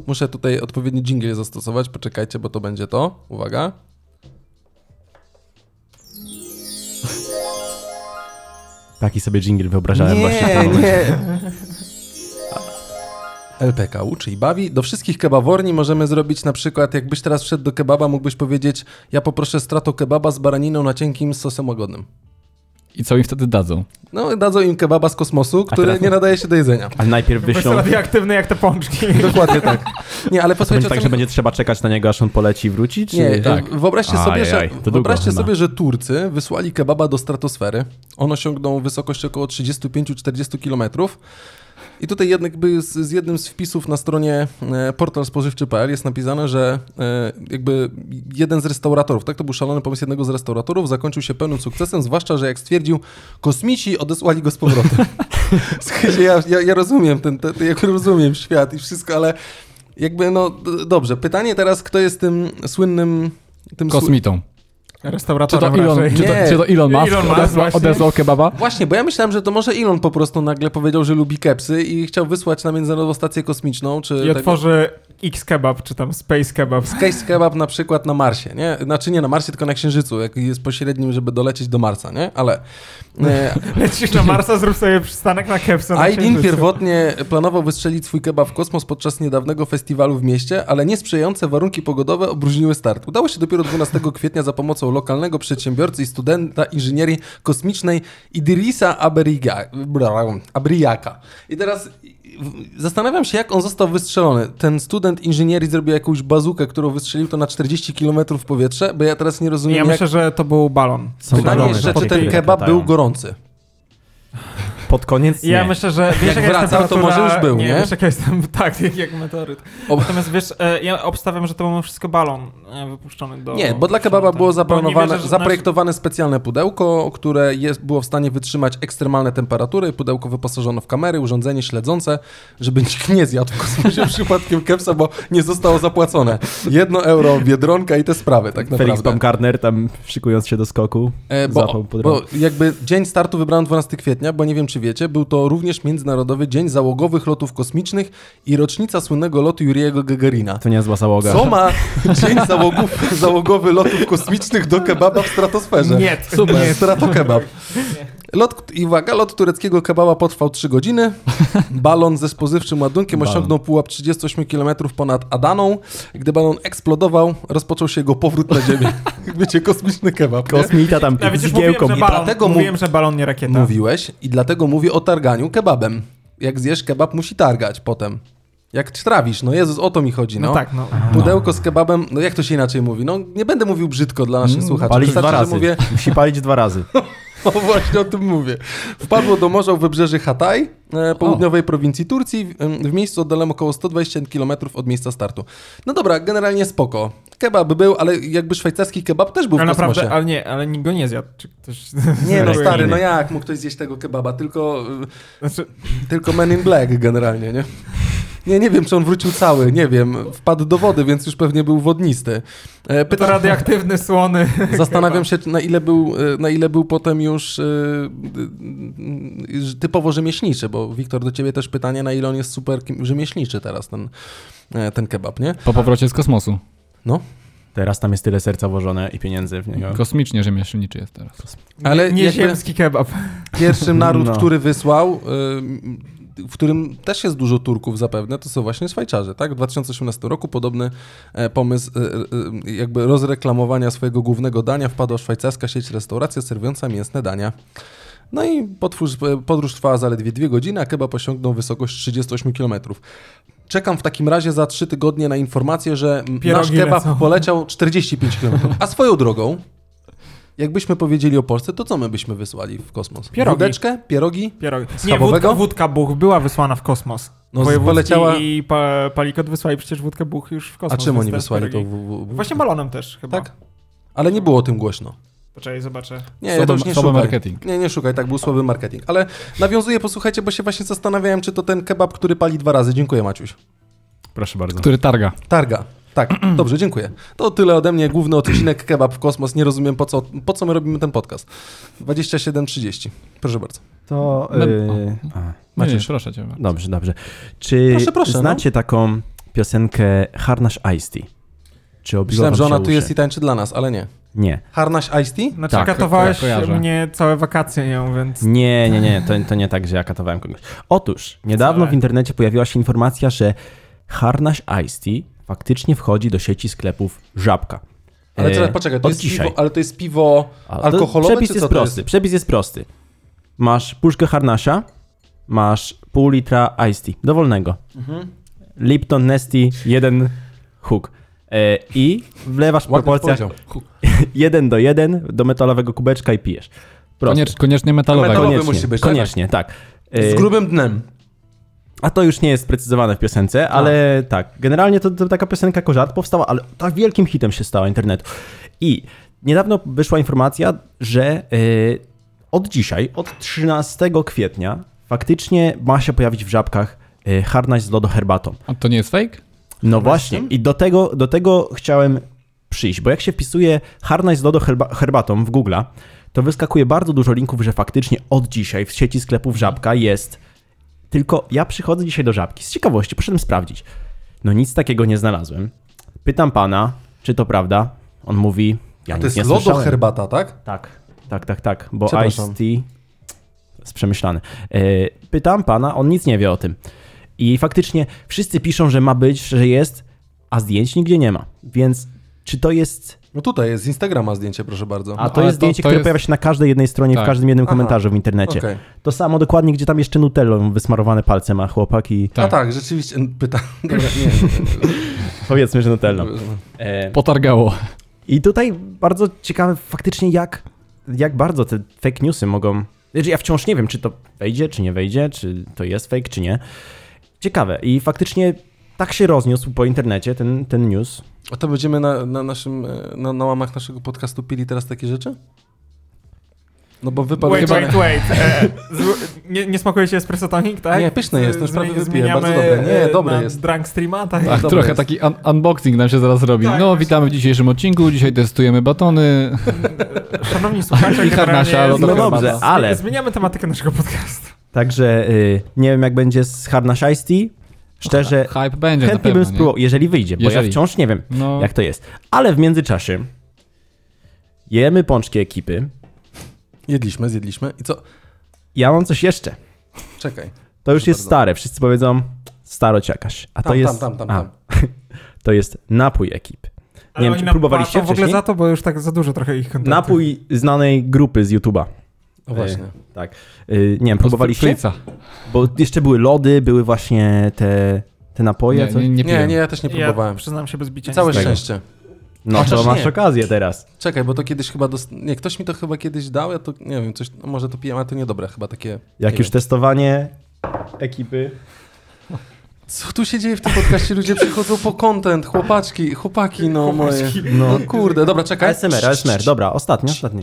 Speaker 1: Muszę tutaj odpowiedni jingle zastosować, poczekajcie, bo to będzie to. Uwaga.
Speaker 2: Taki sobie dżingiel wyobrażałem właśnie w tym momencie.
Speaker 1: nie. LPK uczy i bawi. Do wszystkich kebaworni możemy zrobić na przykład, jakbyś teraz wszedł do kebaba, mógłbyś powiedzieć, ja poproszę strato kebaba z baraniną na cienkim z sosem łagodnym.
Speaker 4: I co im wtedy dadzą?
Speaker 1: No, dadzą im kebaba z kosmosu, który
Speaker 2: teraz-
Speaker 1: nie nadaje się do
Speaker 2: <laughs>
Speaker 1: jedzenia.
Speaker 2: Ale najpierw
Speaker 3: Jest
Speaker 2: wyślą...
Speaker 3: radioaktywny jak te
Speaker 1: <laughs>
Speaker 3: pączki.
Speaker 1: Dokładnie tak. Nie, ale
Speaker 2: To
Speaker 1: posłuchajcie,
Speaker 2: będzie
Speaker 1: o
Speaker 2: tak, że
Speaker 1: co mi-
Speaker 2: będzie trzeba czekać na niego, aż on poleci i wróci, czy...
Speaker 1: nie,
Speaker 4: tak.
Speaker 1: e, wyobraźcie sobie,
Speaker 2: Ajaj,
Speaker 1: że,
Speaker 2: to długo
Speaker 1: wyobraźcie
Speaker 2: chyba.
Speaker 1: sobie, że Turcy wysłali kebaba do stratosfery. On osiągnął wysokość około 35-40 km. I tutaj jednak by z, z jednym z wpisów na stronie e, portalspożywczy.pl jest napisane, że e, jakby jeden z restauratorów, tak to był szalony pomysł jednego z restauratorów, zakończył się pełnym sukcesem, zwłaszcza, że jak stwierdził, kosmici odesłali go z powrotem. Słuchajcie, ja, ja, ja rozumiem ten, ten, ten, jak rozumiem świat i wszystko, ale jakby no d- dobrze. Pytanie teraz, kto jest tym słynnym... Tym sły-
Speaker 4: Kosmitą. Czy to
Speaker 3: Restauratorem
Speaker 4: Elon,
Speaker 3: raczej.
Speaker 4: czy to,
Speaker 1: Nie.
Speaker 4: czy to Elon Musk,
Speaker 3: Elon Musk
Speaker 4: odezwał,
Speaker 3: właśnie.
Speaker 4: odezwał kebaba?
Speaker 1: Właśnie, bo ja myślałem, że to może Elon po prostu nagle powiedział, że lubi kepsy i chciał wysłać na Międzynarodową Stację Kosmiczną, czy...
Speaker 3: I
Speaker 1: tego-
Speaker 3: otworzy X-Kebab, czy tam Space Kebab. <laughs>
Speaker 1: Case kebab na przykład na Marsie, nie? Znaczy nie na Marsie, tylko na Księżycu, jak jest pośrednim, żeby dolecieć do Marsa, nie? Ale e,
Speaker 3: Lecisz na Marsa, zrób sobie przystanek na kebsa. No, na
Speaker 1: Aydin
Speaker 3: Księżycu.
Speaker 1: pierwotnie planował wystrzelić swój kebab w kosmos podczas niedawnego festiwalu w mieście, ale niesprzyjające warunki pogodowe obróżniły start. Udało się dopiero 12
Speaker 3: <laughs>
Speaker 1: kwietnia za pomocą lokalnego przedsiębiorcy i studenta inżynierii kosmicznej Idrisa Aberiga, bra- Abriaka. I teraz w- zastanawiam się, jak on został wystrzelony. Ten student inżynierii zrobił jakąś bazukę, którą wystrzelił to na 40 km w powietrze, bo ja teraz nie rozumiem,
Speaker 3: Ja
Speaker 1: jak...
Speaker 3: myślę, że to był balon.
Speaker 2: Są
Speaker 1: Pytanie
Speaker 2: balony
Speaker 1: jeszcze,
Speaker 2: takie,
Speaker 1: czy ten
Speaker 2: które
Speaker 1: kebab
Speaker 2: latają.
Speaker 1: był gorący.
Speaker 2: Pod koniec nie.
Speaker 3: Ja myślę, że
Speaker 1: Jak
Speaker 3: wiesz, jaka jest
Speaker 1: wracał, to
Speaker 3: temperatura-
Speaker 1: może już był, nie?
Speaker 3: Wiesz, jaka jest tam, <laughs> tak, jak, jak meteoryt.
Speaker 1: Ob-
Speaker 3: Natomiast wiesz, e, ja obstawiam, że to był wszystko balon e, wypuszczony do...
Speaker 1: Nie, bo dla kebaba było zaplanowane,
Speaker 3: wierzę, że
Speaker 1: zaprojektowane specjalne pudełko, które jest, było w stanie wytrzymać ekstremalne temperatury. Pudełko wyposażono w kamery, urządzenie śledzące, żeby nikt nie zjadł <laughs> w kosmosie przypadkiem kepsa, bo nie zostało zapłacone. Jedno euro, biedronka i te sprawy, tak
Speaker 2: Felix
Speaker 1: naprawdę.
Speaker 2: Baumgartner tam szykując się do skoku,
Speaker 1: E,
Speaker 2: zapał
Speaker 1: bo,
Speaker 2: pod
Speaker 1: bo
Speaker 2: rąk.
Speaker 1: jakby dzień startu wybrano 12 kwietnia, bo nie wiem, czy czy wiecie, był to również Międzynarodowy Dzień Załogowych Lotów Kosmicznych i rocznica słynnego lotu Juriego Gagarina.
Speaker 2: To nie zła załoga.
Speaker 1: Co ma Dzień załogów, Załogowy Lotów Kosmicznych do kebaba w stratosferze?
Speaker 3: Nie,
Speaker 1: Super,
Speaker 3: nie.
Speaker 1: strato kebab. Lot, I uwaga, lot tureckiego kebaba potrwał 3 godziny. Balon ze spozywczym ładunkiem
Speaker 4: Balon.
Speaker 1: osiągnął pułap 38 km ponad Adaną. Gdy balon eksplodował, rozpoczął się jego powrót na Ziemię. <laughs> Wiecie, kosmiczny kebab. nie?
Speaker 2: Kosmita tam
Speaker 3: <laughs> Nawet
Speaker 2: z
Speaker 3: już mówiłem,
Speaker 2: giełką.
Speaker 3: że
Speaker 1: I
Speaker 3: balon,
Speaker 1: dlatego mu-
Speaker 3: mówiłem, że balon nie rakieta.
Speaker 1: Mówiłeś i dlatego mówię o targaniu kebabem. Jak zjesz kebab, musi targać potem. Jak trawisz, no Jezus, o to mi chodzi, no.
Speaker 3: No tak, no.
Speaker 1: Pudełko z kebabem, no jak to się inaczej mówi? No nie będę mówił brzydko dla
Speaker 3: Mm,
Speaker 1: naszych słuchaczy.
Speaker 2: Palić dwa
Speaker 1: że
Speaker 2: razy.
Speaker 1: mówię, <laughs>
Speaker 2: Musi palić dwa razy.
Speaker 1: o właśnie o tym mówię. Wpadło do morza u wybrzeży Hatay, e, południowej prowincji Turcji, w, em, w miejscu oddalonym około 120 km od miejsca startu. No dobra, generalnie spoko. Kebab był, ale jakby szwajcarski kebab też był
Speaker 3: Ale
Speaker 1: w kosmosie.
Speaker 3: naprawdę, ale nie, ale nikt go nie zjadł. Czy ktoś...
Speaker 1: Nie
Speaker 3: <laughs>
Speaker 1: no stary, no
Speaker 3: ja...
Speaker 1: jak mógł ktoś zjeść tego kebaba? Tylko,
Speaker 3: Znaczy,
Speaker 1: y, tylko Men in Black generalnie, nie? Nie, nie wiem, czy on wrócił cały, nie wiem. Wpadł do wody, więc już pewnie był wodnisty. E,
Speaker 3: to
Speaker 1: Pytam,
Speaker 3: radioaktywny, słony.
Speaker 1: <laughs> Zastanawiam się, na ile był, e, na ile był potem już e, e, typowo rzemieślniczy, bo Wiktor, do ciebie też pytanie, na ile on jest super kim- rzemieślniczy teraz, ten, e, ten kebab, nie?
Speaker 4: Po powrocie z kosmosu.
Speaker 1: No,
Speaker 2: Teraz tam jest tyle serca włożone i pieniędzy w niego.
Speaker 4: Kosmicznie rzemieślniczy jest teraz.
Speaker 1: Ale
Speaker 3: Ale nie
Speaker 1: jakby-
Speaker 3: ziemski kebab.
Speaker 1: pierwszym naród,
Speaker 2: No.
Speaker 1: który wysłał, y, w którym też jest dużo Turków zapewne, to są właśnie Szwajcarzy, tak? W 2018 roku podobny e, pomysł e, e, jakby rozreklamowania swojego głównego dania wpadła szwajcarska sieć restauracja serwująca mięsne dania. No i podróż, podróż trwała zaledwie dwie godziny, a kebab osiągnął wysokość 38 km. Czekam w takim razie za trzy tygodnie na informację, że m, nasz
Speaker 3: Pierogi
Speaker 1: kebab
Speaker 3: lecą.
Speaker 1: poleciał 45 km. A swoją drogą, jakbyśmy powiedzieli o Polsce, to co my byśmy wysłali w kosmos?
Speaker 3: Pierogi.
Speaker 1: Wódeczkę, pierogi?
Speaker 3: Pierogi. Nie,
Speaker 1: Schabowego?
Speaker 3: wódka, wódka Buch była wysłana w kosmos.
Speaker 1: No, z-
Speaker 3: Wojewódzki
Speaker 1: poleciała-
Speaker 3: i pa, Palikot wysłali przecież wódkę Buch już w
Speaker 1: A
Speaker 3: kosmos.
Speaker 1: czym
Speaker 3: więc
Speaker 1: oni
Speaker 3: te
Speaker 1: wysłali to?
Speaker 3: pierogi.
Speaker 1: W, w, w...
Speaker 3: Właśnie balonem też chyba.
Speaker 1: Tak? Ale nie było o tym głośno.
Speaker 3: Poczekaj, zobaczę.
Speaker 1: Nie,
Speaker 4: Słaby-
Speaker 1: to już nie
Speaker 4: słaby
Speaker 1: szukaj.
Speaker 4: marketing.
Speaker 1: Nie, nie szukaj, tak był słaby marketing. Ale nawiązuję, posłuchajcie, bo się właśnie zastanawiałem, czy to ten kebab, który pali dwa razy. Dziękuję, Maciuś.
Speaker 2: Proszę bardzo.
Speaker 4: Który targa.
Speaker 1: Targa. Tak, <clears throat> dobrze, dziękuję. To tyle ode mnie, główny odcinek <clears throat> Kebab w Kosmos. Nie rozumiem, po co, po co my robimy ten podcast. 27.30. Proszę bardzo.
Speaker 2: To...
Speaker 4: No,
Speaker 2: Yy... a.
Speaker 4: Nie, nie,
Speaker 1: Maciuś.
Speaker 4: proszę cię. bardzo.
Speaker 2: Dobrze, dobrze. Czy
Speaker 1: Proszę, proszę, no.
Speaker 2: znacie taką piosenkę Harnasz Ice Tea? Czy obiło
Speaker 1: Myślałem,
Speaker 2: wam
Speaker 1: że
Speaker 2: się
Speaker 1: ona tu
Speaker 2: uszy?
Speaker 1: jest i tańczy dla nas, ale nie.
Speaker 2: Nie.
Speaker 1: Harnaś Ice Tea?
Speaker 3: Znaczy,
Speaker 4: Tak,
Speaker 3: katowałeś
Speaker 4: ko- kojarzę.
Speaker 3: mnie całe wakacje nią, więc...
Speaker 2: Nie, nie, nie, to, to nie tak, że ja katowałem kogoś. Otóż, niedawno
Speaker 3: Wcale.
Speaker 2: w internecie pojawiła się informacja, że Harnasz Ice Tea faktycznie wchodzi do sieci sklepów Żabka.
Speaker 1: Ale
Speaker 2: E,
Speaker 1: teraz poczekaj, to
Speaker 2: od
Speaker 1: jest
Speaker 2: dzisiaj.
Speaker 1: piwo, ale to jest piwo
Speaker 2: A to
Speaker 1: alkoholowe,
Speaker 2: przepis
Speaker 1: czy co to
Speaker 2: jest prosty. Przepis jest prosty. Masz puszkę harnasza, masz pół litra iced tea, dowolnego.
Speaker 1: Mhm.
Speaker 2: Lipton Nesty, jeden hook. E, I wlewasz w
Speaker 1: Ładnie
Speaker 2: proporcjach
Speaker 1: powiedział.
Speaker 2: <laughs> jeden do jeden do metalowego kubeczka i pijesz. Proste.
Speaker 4: Koniecz, koniecznie metalowego.
Speaker 1: Metalowe
Speaker 2: Koniecznie,
Speaker 1: musi być, tak?
Speaker 2: koniecznie, tak. E,
Speaker 1: Z grubym dnem.
Speaker 2: a to już nie jest sprecyzowane w piosence, ale tak. Generalnie to, to taka piosenka jako żart powstała, ale tak wielkim hitem się stała internetu. I niedawno wyszła informacja, że y, od dzisiaj, od 13 kwietnia, faktycznie ma się pojawić w żabkach y, harnaś z lodo herbatą.
Speaker 4: A to nie jest fake?
Speaker 2: No właśnie, i do tego, do tego chciałem przyjść, bo jak się wpisuje harnaś z lodo herba, herbatą w Google, to wyskakuje bardzo dużo linków, że faktycznie od dzisiaj w sieci sklepów Żabka jest. Tylko ja przychodzę dzisiaj do Żabki z ciekawości, poszedłem sprawdzić. No nic takiego nie znalazłem. Pytam pana, czy to prawda? On mówi, ja
Speaker 1: To
Speaker 2: nic
Speaker 1: jest
Speaker 2: nie
Speaker 1: lodo
Speaker 2: słyszałem.
Speaker 1: herbata, tak?
Speaker 2: Tak, tak, tak, tak, bo
Speaker 1: Przepraszam.
Speaker 2: Ice Tea jest przemyślany. E, Pytam pana, on nic nie wie o tym. I faktycznie wszyscy piszą, że ma być, że jest, a zdjęć nigdzie nie ma. Więc czy to jest.
Speaker 1: No tutaj jest z Instagrama zdjęcie, proszę bardzo.
Speaker 2: A to
Speaker 4: No, ale
Speaker 2: jest
Speaker 4: to-
Speaker 2: zdjęcie,
Speaker 4: to
Speaker 2: które
Speaker 4: jest-
Speaker 2: pojawia się na każdej jednej stronie,
Speaker 4: Tak.
Speaker 2: w każdym jednym
Speaker 1: Aha.
Speaker 2: komentarzu w internecie.
Speaker 1: Okej.
Speaker 2: To samo dokładnie, gdzie tam jeszcze Nutellą wysmarowane palce ma chłopak i
Speaker 1: A tak, rzeczywiście, pytam. <laughs> Dobra, nie, nie,
Speaker 2: powiedzmy, że Nutellą.
Speaker 1: nie.
Speaker 2: E,
Speaker 4: Potargało.
Speaker 2: I tutaj bardzo ciekawe faktycznie, jak, jak bardzo te fake newsy mogą. Znaczy, ja wciąż nie wiem, czy to wejdzie, czy nie wejdzie, czy to jest fake, czy nie. Ciekawe. I faktycznie tak się rozniósł po internecie ten, ten news.
Speaker 1: A to będziemy na, na naszym, e, na, na łamach naszego podcastu pili teraz takie rzeczy? No bo wypadł
Speaker 3: Wait,
Speaker 1: chyba...
Speaker 3: wait, wait. E, zł- nie, nie smakuje się espresso tonic, tak?
Speaker 1: Nie, pyszne jest,
Speaker 3: Z-
Speaker 1: już prawie
Speaker 3: zmie-
Speaker 1: wypiłem, bardzo
Speaker 3: zmieniamy,
Speaker 1: dobre. Nie,
Speaker 3: e,
Speaker 1: dobre
Speaker 3: na
Speaker 1: jest.
Speaker 3: Drunk streama, tak?
Speaker 4: Tak,
Speaker 1: Dobre
Speaker 4: trochę
Speaker 1: jest.
Speaker 4: taki un unboxing nam się zaraz robi.
Speaker 3: Tak,
Speaker 4: no,
Speaker 3: właśnie.
Speaker 4: witamy w dzisiejszym odcinku. Dzisiaj testujemy
Speaker 2: <laughs>
Speaker 4: batony.
Speaker 1: Tak.
Speaker 3: Szanowni słuchacze,
Speaker 4: I harnasia,
Speaker 3: generalnie
Speaker 4: lodowe
Speaker 3: zmi-
Speaker 2: No dobrze,
Speaker 4: herbata.
Speaker 2: ale
Speaker 3: Zmieniamy tematykę naszego podcastu.
Speaker 2: Także y, nie wiem, jak będzie z Harnasiajsti. Szczerze,
Speaker 4: Hype będzie na
Speaker 2: chętnie
Speaker 4: pewno,
Speaker 2: bym
Speaker 4: nie?
Speaker 2: spróbował, jeżeli wyjdzie, bo
Speaker 4: Jeżeli.
Speaker 2: ja wciąż nie wiem,
Speaker 4: No,
Speaker 2: jak to jest. Ale w międzyczasie jemy pączki ekipy.
Speaker 1: Jedliśmy, zjedliśmy i co?
Speaker 2: Ja mam coś jeszcze.
Speaker 1: Czekaj.
Speaker 2: To już
Speaker 1: Proszę
Speaker 2: jest
Speaker 1: bardzo.
Speaker 2: stare. Wszyscy powiedzą staro ciakaś. A
Speaker 1: Tam,
Speaker 2: to jest.
Speaker 1: tam, tam, tam,
Speaker 2: a,
Speaker 1: tam.
Speaker 2: <laughs> To jest napój ekip.
Speaker 3: Ale
Speaker 2: wiem,
Speaker 3: oni
Speaker 2: czy
Speaker 3: nam
Speaker 2: próbowaliście
Speaker 3: płacą w ogóle
Speaker 2: wcześniej?
Speaker 3: za to, bo już tak za dużo trochę ich kontaktów.
Speaker 2: Napój znanej grupy z YouTube'a.
Speaker 1: O No właśnie.
Speaker 2: Tak. Y, nie wiem, próbowaliście?
Speaker 4: Ostryczyca.
Speaker 2: Bo jeszcze były lody, były właśnie te, te napoje.
Speaker 4: Nie,
Speaker 2: co?
Speaker 4: nie, nie,
Speaker 1: Nie,
Speaker 4: piłem.
Speaker 1: nie, ja też nie
Speaker 3: Ja
Speaker 1: próbowałem.
Speaker 3: przyznam się bez bicia.
Speaker 1: Całe
Speaker 3: nic.
Speaker 2: tego.
Speaker 1: szczęście.
Speaker 2: No
Speaker 1: Chociaż
Speaker 2: to masz
Speaker 1: nie.
Speaker 2: okazję teraz.
Speaker 1: Czekaj, bo to kiedyś chyba. Dost... Nie, ktoś mi to chyba kiedyś dał, ja to nie wiem, coś. No może to pijam, ale to niedobre chyba takie.
Speaker 2: Jak
Speaker 1: nie
Speaker 2: już
Speaker 1: wiem.
Speaker 2: testowanie ekipy.
Speaker 1: Co tu się dzieje w tym podcaście? Ludzie przychodzą po content, chłopaczki, chłopaki, no moje.
Speaker 2: No.
Speaker 1: No kurde, dobra, czekaj.
Speaker 2: ASMR, ASMR, dobra, ostatni, ostatni.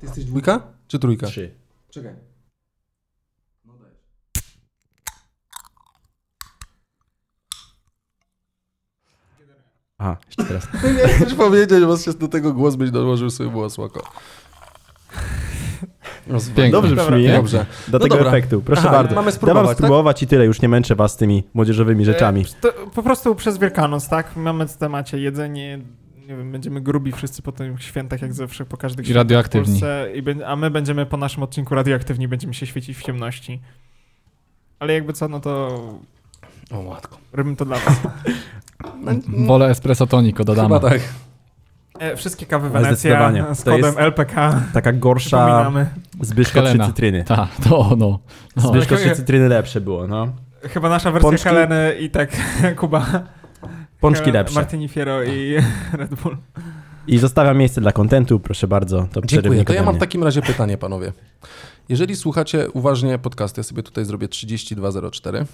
Speaker 1: Ty jesteś dwójka czy trójka?
Speaker 2: Trzy.
Speaker 1: Czekaj.
Speaker 2: Aha, jeszcze
Speaker 1: <laughs>
Speaker 2: teraz.
Speaker 1: Chcesz powiedzieć, bo się do tego głos byś dołożył sobie było słoko.
Speaker 4: Pięknie.
Speaker 2: Dobrze
Speaker 3: Dobra,
Speaker 2: brzmi, nie?
Speaker 1: Dobrze.
Speaker 2: Do
Speaker 1: No
Speaker 2: tego
Speaker 1: dobra.
Speaker 2: efektu, proszę
Speaker 1: Aha,
Speaker 2: bardzo.
Speaker 1: mamy
Speaker 2: Dawam
Speaker 1: spróbować, tak?
Speaker 2: spróbować i tyle, już nie męczę was tymi młodzieżowymi rzeczami.
Speaker 3: To po prostu przez Wielkanoc, tak? Mamy w temacie jedzenie, nie wiem, będziemy grubi wszyscy po tych świętach, jak zawsze, po każdych
Speaker 4: I
Speaker 3: świętach
Speaker 4: radioaktywni.
Speaker 3: w Polsce, i bę- a my będziemy po naszym odcinku radioaktywni, będziemy się świecić w ciemności. Ale jakby co, no to
Speaker 1: O matko.
Speaker 3: robimy to dla was.
Speaker 2: <laughs>
Speaker 4: Wolę espresso tonico dodamy.
Speaker 1: Chyba tak.
Speaker 3: E, wszystkie kawy
Speaker 2: Ale zdecydowanie.
Speaker 3: Wenecja z
Speaker 2: To
Speaker 3: kodem
Speaker 2: jest-
Speaker 3: LPK
Speaker 2: Taka gorsza
Speaker 3: przypominamy.
Speaker 2: Zbyszko trzy
Speaker 4: Helena.
Speaker 2: cytryny.
Speaker 4: Ta, to ono. No.
Speaker 2: Zbyszko
Speaker 3: Ale
Speaker 2: trzy
Speaker 3: ko-
Speaker 2: cytryny lepsze było, no.
Speaker 3: Chyba nasza wersja
Speaker 2: Pączki?
Speaker 3: Heleny i tak <laughs> Kuba.
Speaker 2: Pączki
Speaker 3: Helena,
Speaker 2: lepsze.
Speaker 3: Martini Fiero
Speaker 2: <laughs>
Speaker 3: i Red Bull.
Speaker 2: I zostawiam miejsce dla kontentu, proszę bardzo. To
Speaker 1: Dziękuję.
Speaker 2: przerywnik
Speaker 1: To ja
Speaker 2: ode
Speaker 1: mam w
Speaker 2: mnie.
Speaker 1: takim razie pytanie, panowie. Jeżeli słuchacie uważnie podcast, ja sobie tutaj zrobię 3204.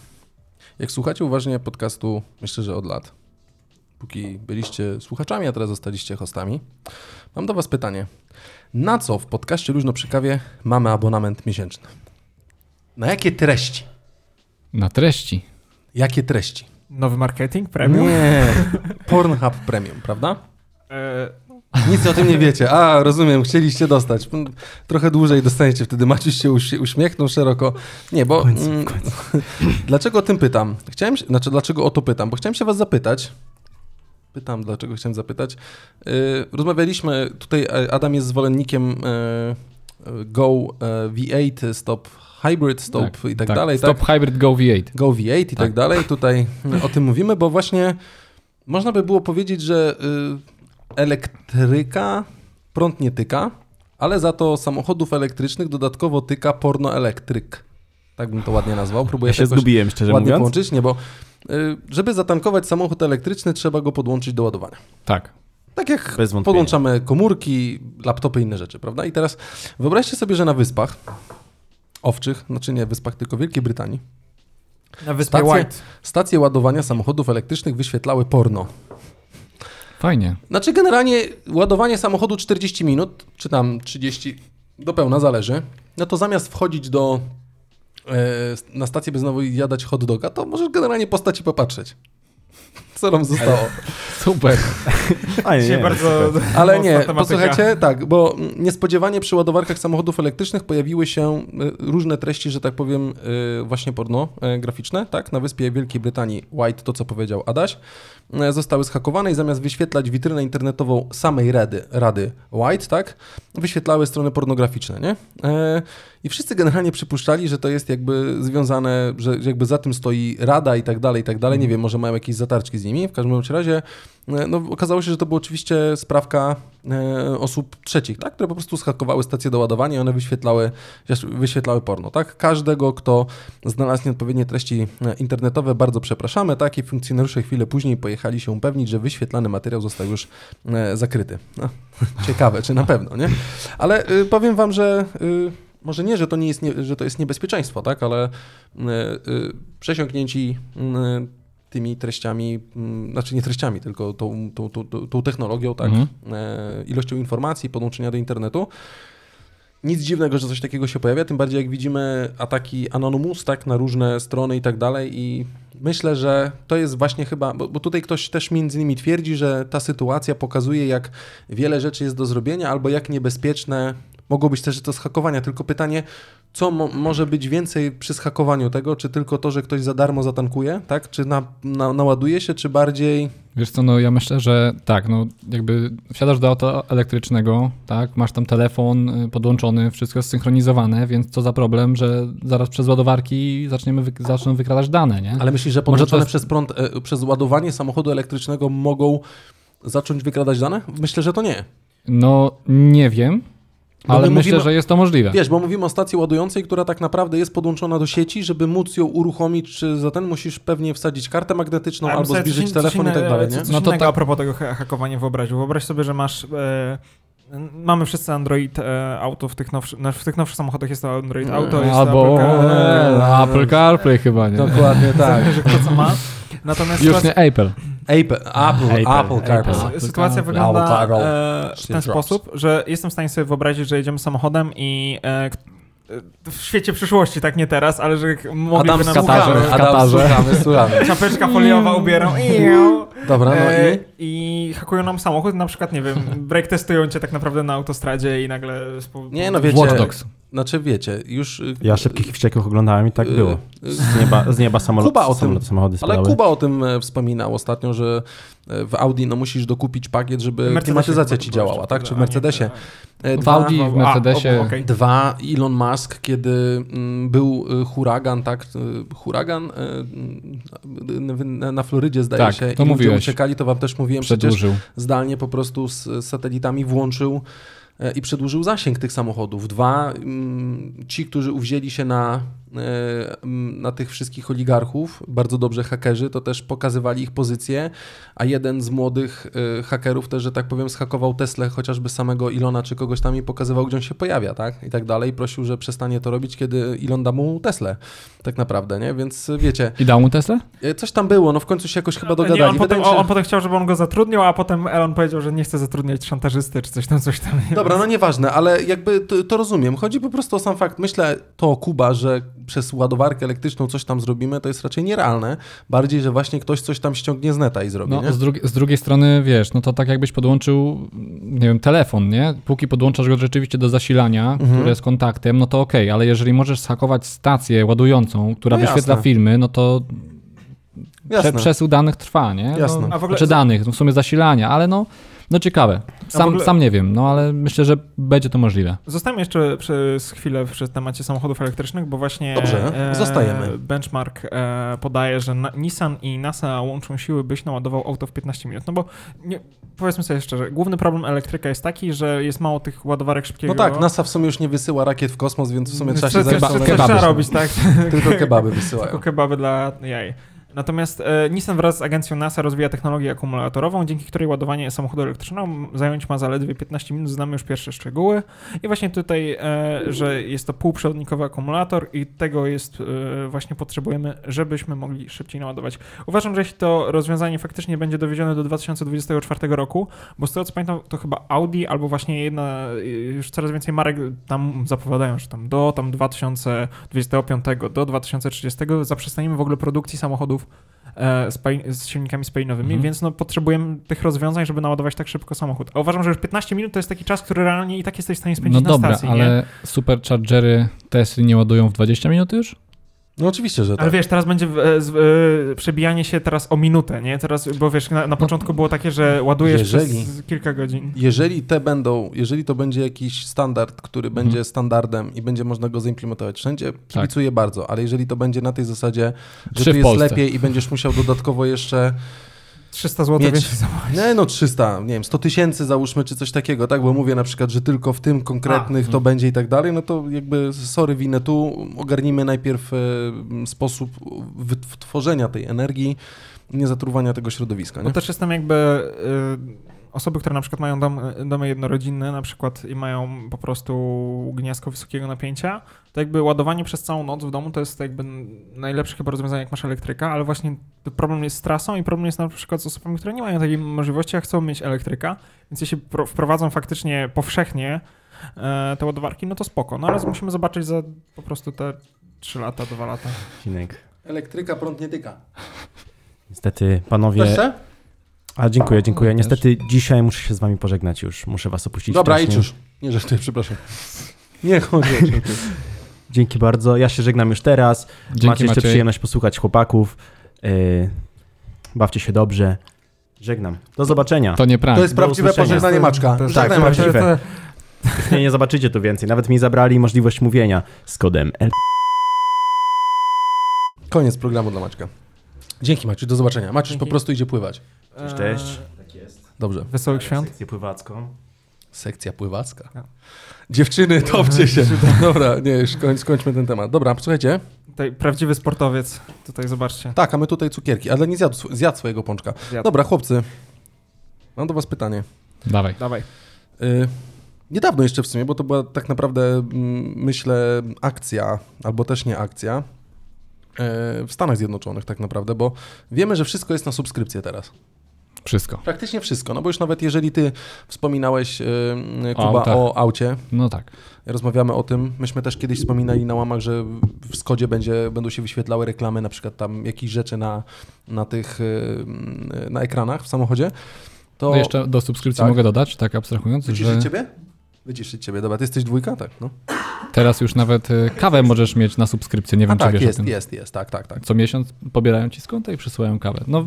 Speaker 1: Jak słuchacie uważnie podcastu, myślę, że od lat, póki byliście słuchaczami, a teraz zostaliście hostami, mam do was pytanie. Na co w podcaście Luźno przy kawie mamy abonament miesięczny? Na jakie treści?
Speaker 4: Na treści.
Speaker 1: Jakie treści?
Speaker 3: Nowy marketing, premium.
Speaker 1: Nie. Pornhub Premium, prawda?
Speaker 3: E,
Speaker 1: Nic o tym nie wiecie. A, rozumiem, chcieliście dostać. Mm, Trochę dłużej dostaniecie, wtedy Maciuś się uśmie- uśmiechnął szeroko. Nie, bo... mm, <laughs> dlaczego o tym pytam? Chciałem, się- znaczy, dlaczego o to pytam? Bo chciałem się was zapytać. Pytam, dlaczego chciałem zapytać. Yy, rozmawialiśmy, tutaj e, Adam jest zwolennikiem e, e, Go e, V8, Stop Hybrid, Stop i tak, dalej.
Speaker 4: Stop Hybrid Go V8.
Speaker 1: Go V8 i tak,
Speaker 4: Tak.
Speaker 1: dalej. Tutaj o tym mówimy, bo właśnie można by było powiedzieć, że y, elektryka prąd nie tyka, ale za to samochodów elektrycznych dodatkowo tyka pornoelektryk. Tak bym to ładnie nazwał. Próbuję
Speaker 2: Ja
Speaker 1: to
Speaker 2: się
Speaker 1: jakoś
Speaker 2: zgubiłem, szczerze
Speaker 1: ładnie
Speaker 2: mówiąc.
Speaker 1: połączyć, nie, bo y, żeby zatankować samochód elektryczny, trzeba go podłączyć do ładowania.
Speaker 4: Tak.
Speaker 1: Tak jak
Speaker 2: Bez wątpienia.
Speaker 1: podłączamy komórki, laptopy i inne rzeczy, prawda? I teraz wyobraźcie sobie, że na wyspach owczych, znaczy nie wyspach, tylko Wielkiej Brytanii,
Speaker 3: na wyspie
Speaker 1: Stacje-
Speaker 3: White.
Speaker 1: Stacje ładowania samochodów elektrycznych wyświetlały porno.
Speaker 4: Fajnie.
Speaker 1: Znaczy, generalnie ładowanie samochodu 40 minut, czy tam 30, do pełna zależy. No to zamiast wchodzić do e, na stację, by znowu jadać hot doga, to możesz generalnie postać i popatrzeć. <laughs> Co nam zostało?
Speaker 4: Super.
Speaker 2: A, nie,
Speaker 3: Dzisiaj
Speaker 2: nie,
Speaker 3: bardzo <laughs>
Speaker 2: super.
Speaker 1: Ale
Speaker 3: mocna
Speaker 1: nie,
Speaker 3: tematyka.
Speaker 1: posłuchajcie, tak, bo mm, niespodziewanie przy ładowarkach samochodów elektrycznych pojawiły się y, różne treści, że tak powiem, y, właśnie porno y, graficzne, tak? Na wyspie Wielkiej Brytanii White, to co powiedział Adaś, y, zostały schakowane i zamiast wyświetlać witrynę internetową samej Rady, Rady White, tak? Wyświetlały strony pornograficzne, nie? Y, I wszyscy generalnie przypuszczali, że to jest jakby związane, że jakby za tym stoi Rada i tak dalej, i tak dalej. Nie wiem, może mają jakieś zatarczki z nimi. W każdym bądź razie E, No, okazało się, że to była oczywiście sprawka e, osób trzecich, tak? które po prostu schakowały stacje do ładowania i one wyświetlały, wyświetlały porno. Tak? Każdego, kto znalazł nieodpowiednie treści e, internetowe, bardzo przepraszamy. Tak? I funkcjonariusze chwilę później pojechali się upewnić, że wyświetlany materiał został już e, zakryty. No, <laughs> ciekawe, czy na pewno, nie? Ale y, powiem wam, że y, może nie, że to, nie jest nie, że to jest niebezpieczeństwo, tak? ale y, y, przesiąknięci y, tymi treściami, mm, znaczy nie treściami, tylko tą, tą, tą, tą- tą technologią, tak,
Speaker 4: Mhm.
Speaker 1: e, ilością informacji, podłączenia do internetu. Nic dziwnego, że coś takiego się pojawia, tym bardziej jak widzimy ataki Anonymous, tak, na różne strony i tak dalej i myślę, że to jest właśnie chyba, bo, bo tutaj ktoś też między innymi twierdzi, że ta sytuacja pokazuje, jak wiele rzeczy jest do zrobienia albo jak niebezpieczne Mogło być też to z hakowania, tylko pytanie, co mo- może być więcej przy schakowaniu tego? Czy tylko to, że ktoś za darmo zatankuje, tak? Czy na, na, naładuje się, czy bardziej...
Speaker 4: Wiesz co, no ja myślę, że tak, no jakby wsiadasz do auta elektrycznego, tak, masz tam telefon y, podłączony, wszystko jest synchronizowane, więc co za problem, że zaraz przez ładowarki zaczniemy wy- zaczną wykradać dane, nie?
Speaker 1: Ale myślisz, że
Speaker 4: to
Speaker 1: podłączone
Speaker 4: jest-
Speaker 1: przez prąd, e, przez ładowanie samochodu elektrycznego mogą zacząć wykradać dane? Myślę, że to nie.
Speaker 4: No nie wiem,
Speaker 1: Bo
Speaker 4: ale
Speaker 1: my
Speaker 4: myślę,
Speaker 1: mówimy-
Speaker 4: że jest to możliwe.
Speaker 1: Wiesz, bo mówimy o stacji ładującej, która tak naprawdę jest podłączona do sieci, żeby móc ją uruchomić, czy za ten musisz pewnie wsadzić kartę magnetyczną
Speaker 3: Ale
Speaker 1: No, albo
Speaker 3: myślę,
Speaker 1: zbliżyć
Speaker 3: coś-
Speaker 1: telefon
Speaker 3: coś
Speaker 1: i tak
Speaker 3: innego-
Speaker 1: dalej, nie?
Speaker 3: Coś
Speaker 4: No
Speaker 3: no
Speaker 4: to
Speaker 3: to innego
Speaker 4: tak.
Speaker 3: a propos tego ha- hakowania wyobraził. Wyobraź sobie, że masz... E, n- Mamy wszyscy Android e, Auto w tych, nowszy, na- w tych nowszych samochodach jest to Android
Speaker 1: Mm.
Speaker 3: Auto, jest to
Speaker 4: Albo
Speaker 3: Apple Car-
Speaker 4: e, Apple CarPlay chyba, nie?
Speaker 1: Dokładnie
Speaker 3: <laughs>
Speaker 1: tak.
Speaker 3: e, że kto co ma. Natomiast
Speaker 4: Już
Speaker 3: sytuacja-
Speaker 4: nie Apple.
Speaker 1: Apple, Apple, Apple, tak. CarPlay.
Speaker 4: Apple
Speaker 3: Sytuacja
Speaker 4: Car-
Speaker 3: wygląda
Speaker 1: Auto,
Speaker 3: e, w
Speaker 1: Shit
Speaker 3: ten
Speaker 1: drops.
Speaker 3: sposób, że jestem w stanie sobie wyobrazić, że jedziemy samochodem i e, k- e, w świecie przyszłości, tak nie teraz, ale że k- mogliby nam
Speaker 4: Katarze,
Speaker 1: słuchamy,
Speaker 4: w
Speaker 1: Adam,
Speaker 4: Katarze.
Speaker 1: słuchamy, słuchamy.
Speaker 3: czapeczka foliowa ubierą
Speaker 4: <laughs>
Speaker 3: Iu.
Speaker 1: Dobra, no
Speaker 3: e,
Speaker 1: i?
Speaker 3: i hakują nam samochód, na
Speaker 1: <laughs>
Speaker 3: przykład, nie wiem, break testują cię tak naprawdę na autostradzie i nagle... spo-
Speaker 1: Nie, no
Speaker 4: Wiecie,
Speaker 1: wiecie,
Speaker 4: Watch Dogs.
Speaker 1: znaczy wiecie, już... y,
Speaker 2: Ja szybkich i wściekłych oglądałem i tak
Speaker 1: y,
Speaker 2: było.
Speaker 1: y,
Speaker 2: Z nieba, z nieba samolot,
Speaker 1: Kuba o tym-
Speaker 2: samolot, samochody
Speaker 1: Ale
Speaker 2: spadały.
Speaker 1: Kuba o tym e, wspominał ostatnio, że e, w Audi no, musisz dokupić pakiet, żeby
Speaker 3: Mercedesie
Speaker 1: klimatyzacja
Speaker 3: chyba
Speaker 1: ci
Speaker 3: to było
Speaker 1: działała,
Speaker 3: jeszcze,
Speaker 1: tak? Czy w
Speaker 3: a nie, tak.
Speaker 1: Mercedesie? E,
Speaker 4: W
Speaker 1: dwa-
Speaker 4: Audi, w
Speaker 3: a,
Speaker 4: Mercedesie.
Speaker 3: o, okej.
Speaker 1: Dwa, Elon Musk, kiedy mm, był y, huragan, tak? y, Huragan y, mm, na, na Florydzie, zdaje
Speaker 4: Tak,
Speaker 1: się.
Speaker 4: to
Speaker 1: i ludzie
Speaker 4: mówiłeś.
Speaker 1: uciekali, to wam też mówiłem przecież.
Speaker 4: Przedłużył.
Speaker 1: Zdalnie po prostu z z satelitami włączył e, i przedłużył zasięg tych samochodów. Dwa, mm, ci, którzy uwzięli się na, e, mm, na tych wszystkich oligarchów, bardzo dobrze hakerzy, to też pokazywali ich pozycję, a jeden z młodych e, hakerów też, że tak powiem, zhakował Teslę chociażby samego Ilona czy kogoś tam i pokazywał, gdzie on się pojawia, tak? I tak dalej. Prosił, że przestanie to robić, kiedy Elon da mu Teslę, tak naprawdę, nie? Więc e, wiecie,
Speaker 4: I dał mu Tesla?
Speaker 1: e, coś tam było, no w końcu się jakoś chyba
Speaker 3: Nie,
Speaker 1: dogadali.
Speaker 3: on,
Speaker 1: Wydaje
Speaker 3: potem,
Speaker 1: mi się-
Speaker 3: on potem chciał, żeby on go zatrudnił, a potem Elon powiedział, że nie chce zatrudniać szantażysty czy coś tam, coś tam.
Speaker 1: Dobra, no nieważne, ale jakby to, to rozumiem. Chodzi po prostu o sam fakt. Myślę to, Kuba, że przez ładowarkę elektryczną coś tam zrobimy, to jest raczej nierealne. Bardziej, że właśnie ktoś coś tam ściągnie z neta i zrobi, nie?
Speaker 4: No, z, drugi- z drugiej strony, wiesz, no to tak jakbyś podłączył, nie wiem, telefon, nie? Póki podłączasz go rzeczywiście do zasilania,
Speaker 1: Mhm.
Speaker 4: które jest kontaktem, no to okej, ale jeżeli możesz zhakować stację ładującą, która
Speaker 1: No
Speaker 4: wyświetla
Speaker 1: jasne.
Speaker 4: filmy, no to prze-
Speaker 1: Jasne.
Speaker 4: przesył danych trwa, nie?
Speaker 1: Jasne.
Speaker 4: No,
Speaker 3: A w ogóle-
Speaker 4: Czy danych, no w sumie zasilania, ale no, no ciekawe. Sam,
Speaker 3: ogóle-
Speaker 4: sam nie wiem, no ale myślę, że będzie to możliwe.
Speaker 3: Zostajemy jeszcze przez chwilę przy temacie samochodów elektrycznych, bo właśnie e,
Speaker 1: Dobrze, zostajemy.
Speaker 3: benchmark e, podaje, że na, Nissan i NASA łączą siły, byś naładował auto w 15 minut. No bo nie, powiedzmy sobie szczerze, główny problem elektryka jest taki, że jest mało tych ładowarek szybkiego.
Speaker 1: No tak, NASA w sumie już nie wysyła rakiet w kosmos, więc w sumie trzeba się
Speaker 3: Coś- coś-
Speaker 1: zająć
Speaker 3: coś
Speaker 1: samemu.
Speaker 3: trzeba robić, tak?
Speaker 1: <laughs> Tylko kebaby
Speaker 3: <laughs> Tylko
Speaker 1: wysyłają.
Speaker 3: kebaby dla jaj. Natomiast e, Nissan wraz z agencją NASA rozwija technologię akumulatorową, dzięki której ładowanie samochodu elektrycznego zająć ma zaledwie 15 minut. Znamy już pierwsze szczegóły. I właśnie tutaj, e, że jest to półprzewodnikowy akumulator i tego jest e, właśnie potrzebujemy, żebyśmy mogli szybciej naładować. Uważam, że jeśli to rozwiązanie faktycznie będzie dowiezione do 2024 roku, bo z tego co pamiętam, to chyba Audi albo właśnie jedna, y, już coraz więcej marek tam zapowiadają, że tam do tam 2025, do 2030 zaprzestaniemy w ogóle produkcji samochodów e, z, pali- z silnikami spalinowymi,
Speaker 4: Mhm.
Speaker 3: więc no, potrzebujemy tych rozwiązań, żeby naładować tak szybko samochód. A uważam, że już 15 minut to jest taki czas, który realnie i tak jesteś w stanie
Speaker 4: No
Speaker 3: spędzić na
Speaker 4: dobra,
Speaker 3: stacji, nie?
Speaker 4: ale superchargery Tesla nie ładują w 20 minut już?
Speaker 1: No oczywiście, że
Speaker 3: Ale
Speaker 1: tak.
Speaker 3: wiesz, teraz będzie e, z- e, przebijanie się teraz o minutę, nie? Teraz, bo wiesz, na,
Speaker 4: No-
Speaker 3: na początku było takie, że ładujesz
Speaker 1: Jeżeli-
Speaker 3: przez kilka godzin.
Speaker 1: Jeżeli te będą, jeżeli to będzie jakiś standard, który
Speaker 4: Mhm.
Speaker 1: będzie standardem i będzie można go zaimplementować wszędzie, kibicuję bardzo, ale jeżeli to będzie na tej zasadzie, że tu
Speaker 4: Trzy Tak. w
Speaker 1: jest
Speaker 4: Polsce.
Speaker 1: lepiej i będziesz musiał dodatkowo jeszcze
Speaker 3: 300 zł
Speaker 1: Mieć-
Speaker 3: więcej za
Speaker 1: Nie, no 300, nie wiem, 100 tysięcy załóżmy, czy coś takiego, tak? Bo mówię na przykład, że tylko w tym konkretnych to będzie i tak dalej, no to jakby sorry, winę tu, ogarnijmy najpierw e, m, sposób wytworzenia tej energii, nie zatruwania tego środowiska,
Speaker 3: No
Speaker 1: nie?
Speaker 3: też jestem jakby y, osoby, które na przykład mają dom, domy jednorodzinne na przykład i mają po prostu gniazdko wysokiego napięcia, to jakby ładowanie przez całą noc w domu to jest jakby najlepsze chyba rozwiązanie, jak masz elektryka, ale właśnie problem jest z trasą i problem jest na przykład z osobami, które nie mają takiej możliwości, a chcą mieć elektryka, więc jeśli pro- wprowadzą faktycznie powszechnie e, te ładowarki, no to spoko, no ale musimy zobaczyć za po prostu te 3 lata, 2 lata.
Speaker 2: Odcinek.
Speaker 1: Elektryka prąd nie tyka.
Speaker 2: Niestety, panowie,
Speaker 1: Jeszcze?
Speaker 2: A dziękuję, dziękuję. Niestety dzisiaj muszę się z wami pożegnać już. Muszę was opuścić.
Speaker 1: Dobra,
Speaker 2: strasznie.
Speaker 1: idź już. Nie żartuję, przepraszam. Nie chodź.
Speaker 2: Dzięki bardzo. Ja się żegnam już teraz.
Speaker 4: Dzięki,
Speaker 2: Macie jeszcze
Speaker 4: Maciej.
Speaker 2: przyjemność posłuchać chłopaków. Yy, bawcie się dobrze. Żegnam. Do zobaczenia.
Speaker 4: To nie prank.
Speaker 1: To jest prawdziwe
Speaker 2: usłyszenia.
Speaker 1: pożegnanie maczka.
Speaker 3: To-
Speaker 1: Żegnaj
Speaker 2: tak,
Speaker 1: maczka.
Speaker 2: prawdziwe.
Speaker 4: Tak.
Speaker 2: Nie, nie zobaczycie tu więcej. Nawet mi zabrali możliwość mówienia z kodem L.
Speaker 1: Koniec programu dla Maćka. Dzięki Maciu, do zobaczenia. Maciuś po
Speaker 3: Dzięki.
Speaker 1: prostu idzie pływać.
Speaker 3: Eee,
Speaker 2: Cześć. Tak jest.
Speaker 1: Dobrze.
Speaker 3: Wesołych świąt.
Speaker 2: Sekcję pływacką.
Speaker 1: Sekcja pływacka.
Speaker 3: No.
Speaker 1: Dziewczyny, topcie się. Dobra, nie, już koń, skończmy ten temat. Dobra, słuchajcie.
Speaker 3: tak. Tutaj prawdziwy sportowiec. Tutaj zobaczcie.
Speaker 1: Tak, a my tutaj cukierki, ale nie zjadł, sw- zjadł swojego pączka.
Speaker 3: Zjadł.
Speaker 1: Tak, Dobra, chłopcy. Mam do was pytanie.
Speaker 4: Dawaj.
Speaker 3: Dawaj.
Speaker 1: Y, niedawno jeszcze w sumie, bo to była tak naprawdę, mm, myślę, akcja, albo też nie akcja, y, w Stanach Zjednoczonych tak naprawdę, bo wiemy, że wszystko jest na subskrypcję teraz.
Speaker 4: Wszystko.
Speaker 1: Praktycznie wszystko, no bo już nawet jeżeli ty wspominałeś, y, y,
Speaker 4: O
Speaker 1: Kuba,
Speaker 4: autach.
Speaker 1: o aucie,
Speaker 4: No tak.
Speaker 1: rozmawiamy o tym, myśmy też kiedyś wspominali na łamach, że w Skodzie będzie, będą się wyświetlały reklamy, na przykład tam jakichś rzeczy na, na tych, y, y, na ekranach w samochodzie, to...
Speaker 4: No jeszcze do subskrypcji
Speaker 1: tak.
Speaker 4: mogę dodać, tak abstrahując,
Speaker 1: Wyciszyć
Speaker 4: że
Speaker 1: ciebie? Wyciszyć ciebie, dobra, ty jesteś dwójka? Tak, no.
Speaker 4: teraz już nawet y, kawę możesz mieć na subskrypcję. Nie wiem,
Speaker 1: A
Speaker 4: czy
Speaker 1: tak,
Speaker 4: wiesz
Speaker 1: jest,
Speaker 4: o tym.
Speaker 1: jest, jest, tak, tak, tak.
Speaker 4: Co miesiąc pobierają ci z konta i przysyłają kawę. No,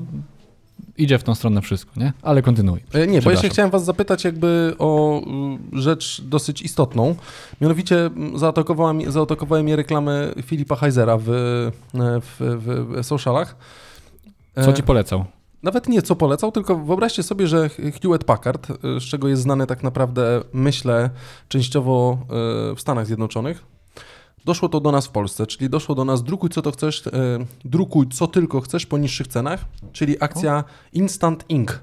Speaker 4: idzie w tą stronę wszystko, nie? Ale kontynuuj.
Speaker 1: E, Nie, bo jeszcze
Speaker 4: Przepraszam.
Speaker 1: chciałem was zapytać jakby o y, rzecz dosyć istotną. Mianowicie m, zaatakowała mi, zaatakowały mnie reklamy Filipa Heisera w, e, w, w, w socialach. E,
Speaker 4: Co ci polecał?
Speaker 1: Nawet nie co polecał, tylko wyobraźcie sobie, że Hewlett Packard, y, z czego jest znany tak naprawdę, myślę, częściowo y, w Stanach Zjednoczonych, doszło to do nas w Polsce, czyli doszło do nas drukuj co to chcesz, y, drukuj co tylko chcesz po niższych cenach, czyli akcja Instant Ink.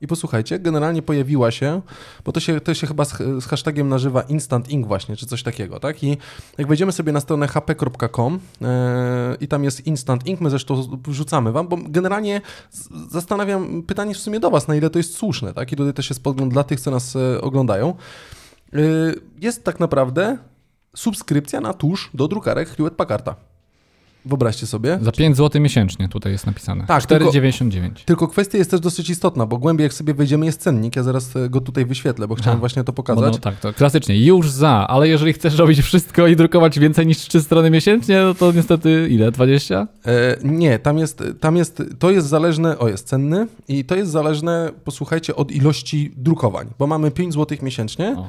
Speaker 1: I posłuchajcie, generalnie pojawiła się, bo to się, to się chyba z, z hashtagiem nażywa Instant Ink właśnie, czy coś takiego, tak? I jak wejdziemy sobie na stronę hp.com yy, i tam jest Instant Ink, my zresztą wrzucamy wam, bo generalnie z- zastanawiam, pytanie w sumie do was, na ile to jest słuszne, tak? I tutaj też jest podgląd dla tych, co nas e, oglądają. Yy, Jest tak naprawdę subskrypcja na tusz do drukarek Hewlett Packarda. Wyobraźcie sobie.
Speaker 4: Za 5 zł miesięcznie tutaj jest napisane.
Speaker 1: Tak,
Speaker 4: 4,99.
Speaker 1: Tylko kwestia jest też dosyć istotna, bo głębiej jak sobie wejdziemy jest cennik, ja zaraz e, go tutaj wyświetlę, bo chciałem
Speaker 4: Aha.
Speaker 1: właśnie to
Speaker 4: No,
Speaker 1: pokazać.
Speaker 4: no tak, to klasycznie. Już za, ale jeżeli chcesz robić wszystko i drukować więcej niż 3 strony miesięcznie, no to niestety ile? 20?
Speaker 1: E, nie, tam jest, tam jest, to jest zależne, o jest cenny i to jest zależne, posłuchajcie, od ilości drukowań, bo mamy 5 zł miesięcznie
Speaker 4: O.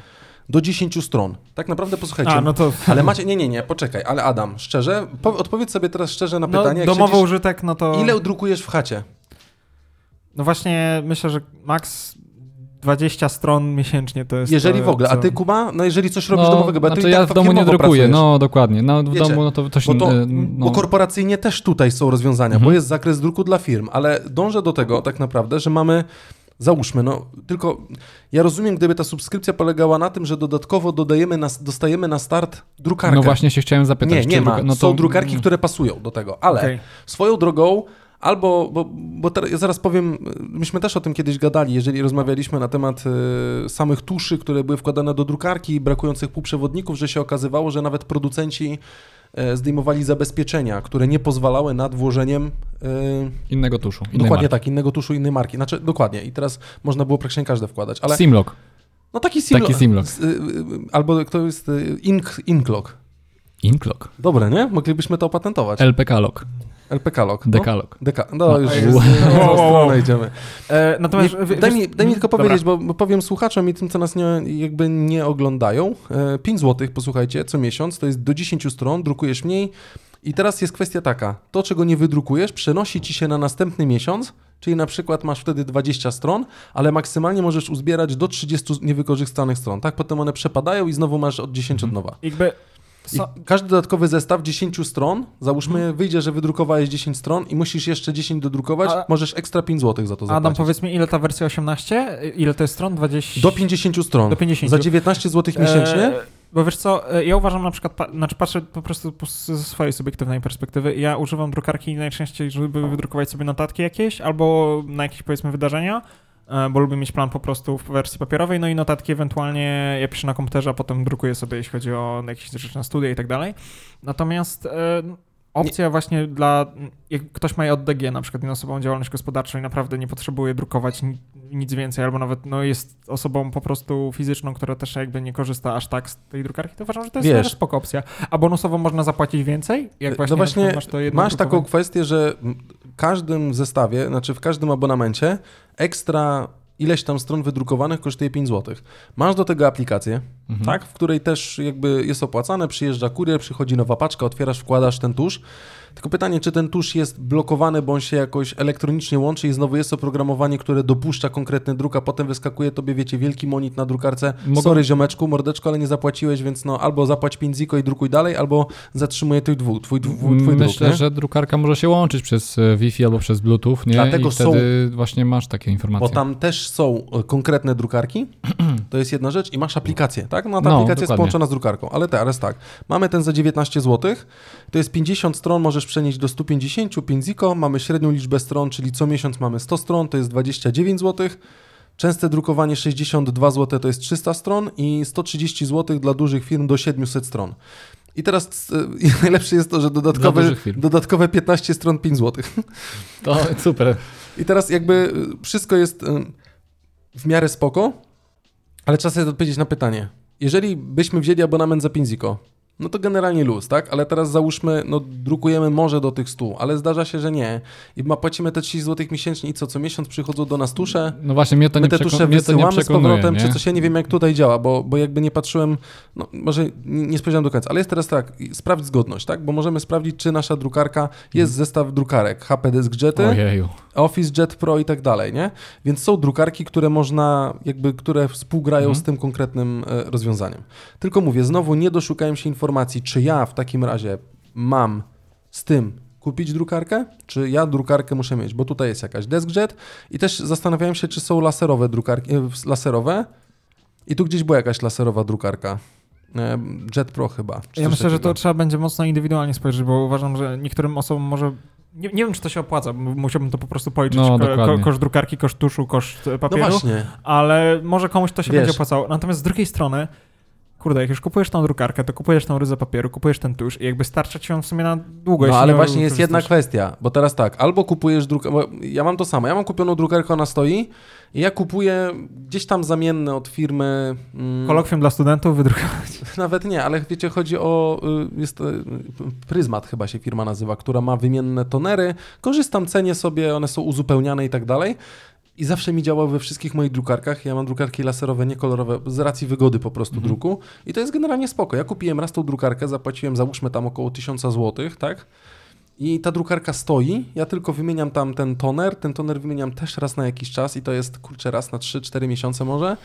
Speaker 1: do 10 stron. Tak naprawdę posłuchajcie.
Speaker 3: A, no to...
Speaker 1: Ale macie, nie, nie, nie, poczekaj, ale Adam, szczerze, po, odpowiedz sobie teraz szczerze na
Speaker 3: No,
Speaker 1: pytanie, jak
Speaker 3: domowy
Speaker 1: siedzisz,
Speaker 3: użytek, no to...
Speaker 1: ile drukujesz w chacie?
Speaker 3: No właśnie myślę, że max 20 stron miesięcznie to jest...
Speaker 1: Jeżeli
Speaker 3: to,
Speaker 1: w ogóle, a
Speaker 3: co-
Speaker 1: ty Kuba, no jeżeli coś robisz domowego, bo ty
Speaker 4: znaczy
Speaker 1: i tak
Speaker 4: ja w domu nie
Speaker 1: firmowo
Speaker 4: drukuję,
Speaker 1: pracujesz.
Speaker 4: no dokładnie. No, w
Speaker 1: Wiecie,
Speaker 4: domu no to, to się...
Speaker 1: Bo, to,
Speaker 4: e, no, Mhm.
Speaker 1: bo korporacyjnie też tutaj są rozwiązania, bo jest zakres druku dla firm, ale dążę do tego tak naprawdę, że mamy, załóżmy, no tylko ja rozumiem, gdyby ta subskrypcja polegała na tym, że dodatkowo dodajemy na, dostajemy na start drukarkę.
Speaker 4: no właśnie się chciałem zapytać.
Speaker 1: Nie,
Speaker 4: czy
Speaker 1: nie ma.
Speaker 4: druka- no
Speaker 1: Są drukarki, które pasują do tego, ale
Speaker 3: Okej.
Speaker 1: swoją drogą albo, bo, bo teraz, ja zaraz powiem, myśmy też o tym kiedyś gadali, jeżeli rozmawialiśmy na temat e, samych tuszy, które były wkładane do drukarki i brakujących półprzewodników, że się okazywało, że nawet producenci e, zdejmowali zabezpieczenia, które nie pozwalały nad włożeniem e,
Speaker 4: Innego tuszu. innej
Speaker 1: dokładnie
Speaker 4: marki.
Speaker 1: tak, innego tuszu, innej marki. Znaczy, dokładnie. I teraz można było praktycznie każde wkładać, ale...
Speaker 4: Simlock.
Speaker 1: no taki simlock.
Speaker 4: taki simlock.
Speaker 1: z- y, y, Albo to jest y, ink, inklock.
Speaker 4: Inklock.
Speaker 1: Dobre, nie? Moglibyśmy to opatentować.
Speaker 4: LPK-log.
Speaker 1: LPK-log. No.
Speaker 4: Dekalog.
Speaker 1: Deka. No, już
Speaker 3: Jezu.
Speaker 1: wow.
Speaker 3: Wow, wow, wow.
Speaker 1: idziemy.
Speaker 3: E, natomiast...
Speaker 1: nie,
Speaker 3: wie-
Speaker 1: daj,
Speaker 3: wiesz-
Speaker 1: mi, daj mi tylko
Speaker 3: Dobra.
Speaker 1: powiedzieć, bo, bo powiem słuchaczom i tym, co nas nie, jakby nie oglądają. E, 5 zł, posłuchajcie, co miesiąc, to jest do 10 stron, drukujesz mniej. I teraz jest kwestia taka, to czego nie wydrukujesz przenosi ci się na następny miesiąc, czyli na przykład masz wtedy 20 stron, ale maksymalnie możesz uzbierać do 30 niewykorzystanych stron, tak? Potem one przepadają i znowu masz od 10 od nowa.
Speaker 3: Jakby...
Speaker 1: I
Speaker 3: So,
Speaker 1: każdy dodatkowy zestaw 10 stron, załóżmy,
Speaker 3: Mhm.
Speaker 1: wyjdzie, że wydrukowałeś 10 stron i musisz jeszcze 10 dodrukować,
Speaker 3: A-
Speaker 1: możesz ekstra 5 zł za to
Speaker 3: Adam,
Speaker 1: zapłacić.
Speaker 3: powiedz mi, ile ta wersja 18? Ile to jest stron? 20?
Speaker 1: do 50 stron.
Speaker 3: Do 50.
Speaker 1: Za 19 zł miesięcznie?
Speaker 3: E, Bo wiesz co, e, ja uważam na przykład, pa, znaczy patrzę po prostu po- ze swojej subiektywnej perspektywy. Ja używam drukarki najczęściej, żeby wydrukować sobie notatki jakieś albo na jakieś powiedzmy wydarzenia, e, bo lubię mieć plan po prostu w wersji papierowej, no i notatki ewentualnie ja piszę na komputerze, a potem drukuję sobie, jeśli chodzi o jakieś rzeczy na studia i tak dalej. Natomiast e, opcja właśnie dla, jak ktoś ma JDG, na przykład jest osobą działalność gospodarczą i naprawdę nie potrzebuje drukować ni- nic więcej, albo nawet no, jest osobą po prostu fizyczną, która też jakby nie korzysta aż tak z tej drukarki, to uważam, że to jest
Speaker 1: Wiesz.
Speaker 3: też spoko opcja. A bonusowo można zapłacić więcej? Jak właśnie,
Speaker 1: no
Speaker 3: na
Speaker 1: właśnie
Speaker 3: przykład masz, to jedno
Speaker 1: masz taką
Speaker 3: drukowanie?
Speaker 1: kwestię, że w każdym zestawie, znaczy w każdym abonamencie ekstra ileś tam stron wydrukowanych kosztuje 5 zł. Masz do tego aplikację,
Speaker 4: Mhm.
Speaker 1: tak, w której też jakby jest opłacane, przyjeżdża kurier, przychodzi nowa paczka, otwierasz, wkładasz ten tusz. Tylko pytanie, czy ten tusz jest blokowany, bo on się jakoś elektronicznie łączy i znowu jest oprogramowanie, które dopuszcza konkretny druk, a potem wyskakuje tobie, wiecie, wielki monit na drukarce.
Speaker 4: Mogą-
Speaker 1: Sorry ziomeczku, mordeczko, ale nie zapłaciłeś, więc no albo zapłać 5 ziko i drukuj dalej, albo zatrzymuję tych dwóch, twój, dwu- twój druk.
Speaker 4: Mm, Myślę,
Speaker 1: nie?
Speaker 4: że drukarka może się łączyć przez e, Wi-Fi albo przez Bluetooth, nie?
Speaker 1: Dlatego
Speaker 4: I wtedy właśnie masz takie informacje.
Speaker 1: Bo tam też są e, konkretne
Speaker 4: <clears throat>
Speaker 1: drukarki, to jest jedna rzecz, i masz aplikację, tak? No a ta
Speaker 4: No,
Speaker 1: aplikacja jest
Speaker 4: dokładnie.
Speaker 1: połączona z drukarką, ale teraz tak, mamy ten za 19 zł, to jest 50 stron, możesz przenieść do 150, 5 ziko, mamy średnią liczbę stron, czyli co miesiąc mamy 100 stron, to jest 29 zł, częste drukowanie 62 zł to jest 300 stron i 130 zł dla dużych firm do 700 stron. I teraz e, <laughs> najlepsze jest to, że dodatkowe,
Speaker 4: dużych firm.
Speaker 1: dodatkowe 15 stron 5 zł.
Speaker 4: To
Speaker 1: <laughs>
Speaker 4: super.
Speaker 1: I teraz jakby y, wszystko jest y, w miarę spoko, ale trzeba sobie odpowiedzieć na pytanie. Jeżeli byśmy wzięli abonament za 5 ziko, no to generalnie luz, tak? Ale teraz załóżmy, no drukujemy może do tych 100, ale zdarza się, że nie. I ma, płacimy te 30 zł miesięcznie i co, co miesiąc przychodzą do nas tusze.
Speaker 4: No właśnie, mnie to
Speaker 1: My
Speaker 4: nie,
Speaker 1: te
Speaker 4: przeko-
Speaker 1: tusze
Speaker 4: mnie to nie
Speaker 1: wysyłamy z
Speaker 4: przekonuje.
Speaker 1: powrotem,
Speaker 4: nie?
Speaker 1: czy coś, ja nie wiem jak tutaj działa, bo, bo jakby nie patrzyłem, no może nie, nie spojrzałem do końca, ale jest teraz tak, i sprawdź zgodność, tak? Bo możemy sprawdzić, czy nasza drukarka, jest
Speaker 4: Mhm.
Speaker 1: zestaw drukarek, HP Disk Jety,
Speaker 4: Ojeju.
Speaker 1: Office Jet Pro i tak dalej, nie? Więc są drukarki, które można, jakby, które współgrają
Speaker 3: Mhm.
Speaker 1: z tym konkretnym e, rozwiązaniem. Tylko mówię, znowu nie doszukałem się informacji, czy ja w takim razie mam z tym kupić drukarkę, czy ja drukarkę muszę mieć, bo tutaj jest jakaś DeskJet i też zastanawiałem się, czy są laserowe drukarki, e, laserowe i tu gdzieś była jakaś laserowa drukarka. E, Jet Pro chyba. czy
Speaker 3: Ja
Speaker 1: coś
Speaker 3: myślę, że
Speaker 1: takiego.
Speaker 3: to trzeba będzie mocno indywidualnie spojrzeć, bo uważam, że niektórym osobom może. Nie, nie wiem, czy to się opłaca, bo musiałbym to po prostu policzyć.
Speaker 4: No,
Speaker 3: ko, ko,
Speaker 4: dokładnie.
Speaker 3: koszt drukarki, koszt tuszu, koszt e,
Speaker 1: No
Speaker 3: papieru.
Speaker 1: właśnie,
Speaker 3: ale może komuś to się
Speaker 1: Wiesz.
Speaker 3: będzie opłacało. Natomiast z drugiej strony, kurde, jak już kupujesz tą drukarkę, to kupujesz tą ryzę papieru, kupujesz ten tusz i jakby starcza ci on w sumie na długo.
Speaker 1: No
Speaker 3: jeśli
Speaker 1: ale
Speaker 3: nie Znaczy,
Speaker 1: właśnie jest jedna
Speaker 3: wykorzystasz.
Speaker 1: kwestia, bo teraz tak, albo kupujesz drukarkę, ja mam to samo, ja mam kupioną drukarkę, ona stoi i ja kupuję gdzieś tam zamienne od firmy, mm,
Speaker 3: Kolokwium dla studentów wydrukować.
Speaker 1: <laughs> nawet nie, ale wiecie, chodzi o, y, jest y, Pryzmat chyba się firma nazywa, która ma wymienne tonery, korzystam, cenię sobie, one są uzupełniane i tak dalej. I zawsze mi działały we wszystkich moich drukarkach. Ja mam drukarki laserowe, niekolorowe, z racji wygody po prostu druku. I to jest generalnie spoko. Ja kupiłem raz tą drukarkę, zapłaciłem załóżmy tam około 1000 zł, tak? I ta drukarka stoi, ja tylko wymieniam tam ten toner, ten toner wymieniam też raz na jakiś czas i to jest, kurczę, raz na 3-4 miesiące może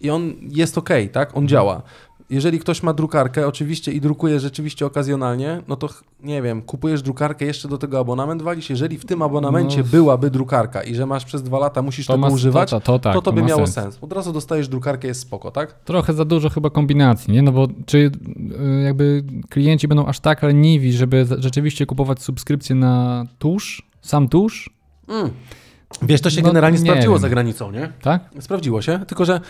Speaker 1: i on jest ok, tak? On działa. Jeżeli ktoś ma drukarkę, oczywiście i drukuje rzeczywiście okazjonalnie, no to ch- nie wiem, kupujesz drukarkę, jeszcze do tego abonament walisz. Jeżeli w tym abonamencie
Speaker 4: No.
Speaker 1: byłaby drukarka i że masz przez dwa lata, musisz
Speaker 4: To
Speaker 1: tego
Speaker 4: ma,
Speaker 1: używać,
Speaker 4: to, to, tak,
Speaker 1: to to by
Speaker 4: ma
Speaker 1: miało
Speaker 4: sens.
Speaker 1: sens. Od razu dostajesz drukarkę, jest spoko, tak?
Speaker 4: Trochę za dużo chyba kombinacji, nie? No bo czy y, jakby klienci będą aż tak leniwi, żeby za- rzeczywiście kupować subskrypcję na tusz, sam tusz,
Speaker 1: Mm. Wiesz, to się
Speaker 4: No,
Speaker 1: generalnie
Speaker 4: nie
Speaker 1: sprawdziło
Speaker 4: wiem.
Speaker 1: za granicą, nie?
Speaker 4: tak?
Speaker 1: Sprawdziło się, tylko że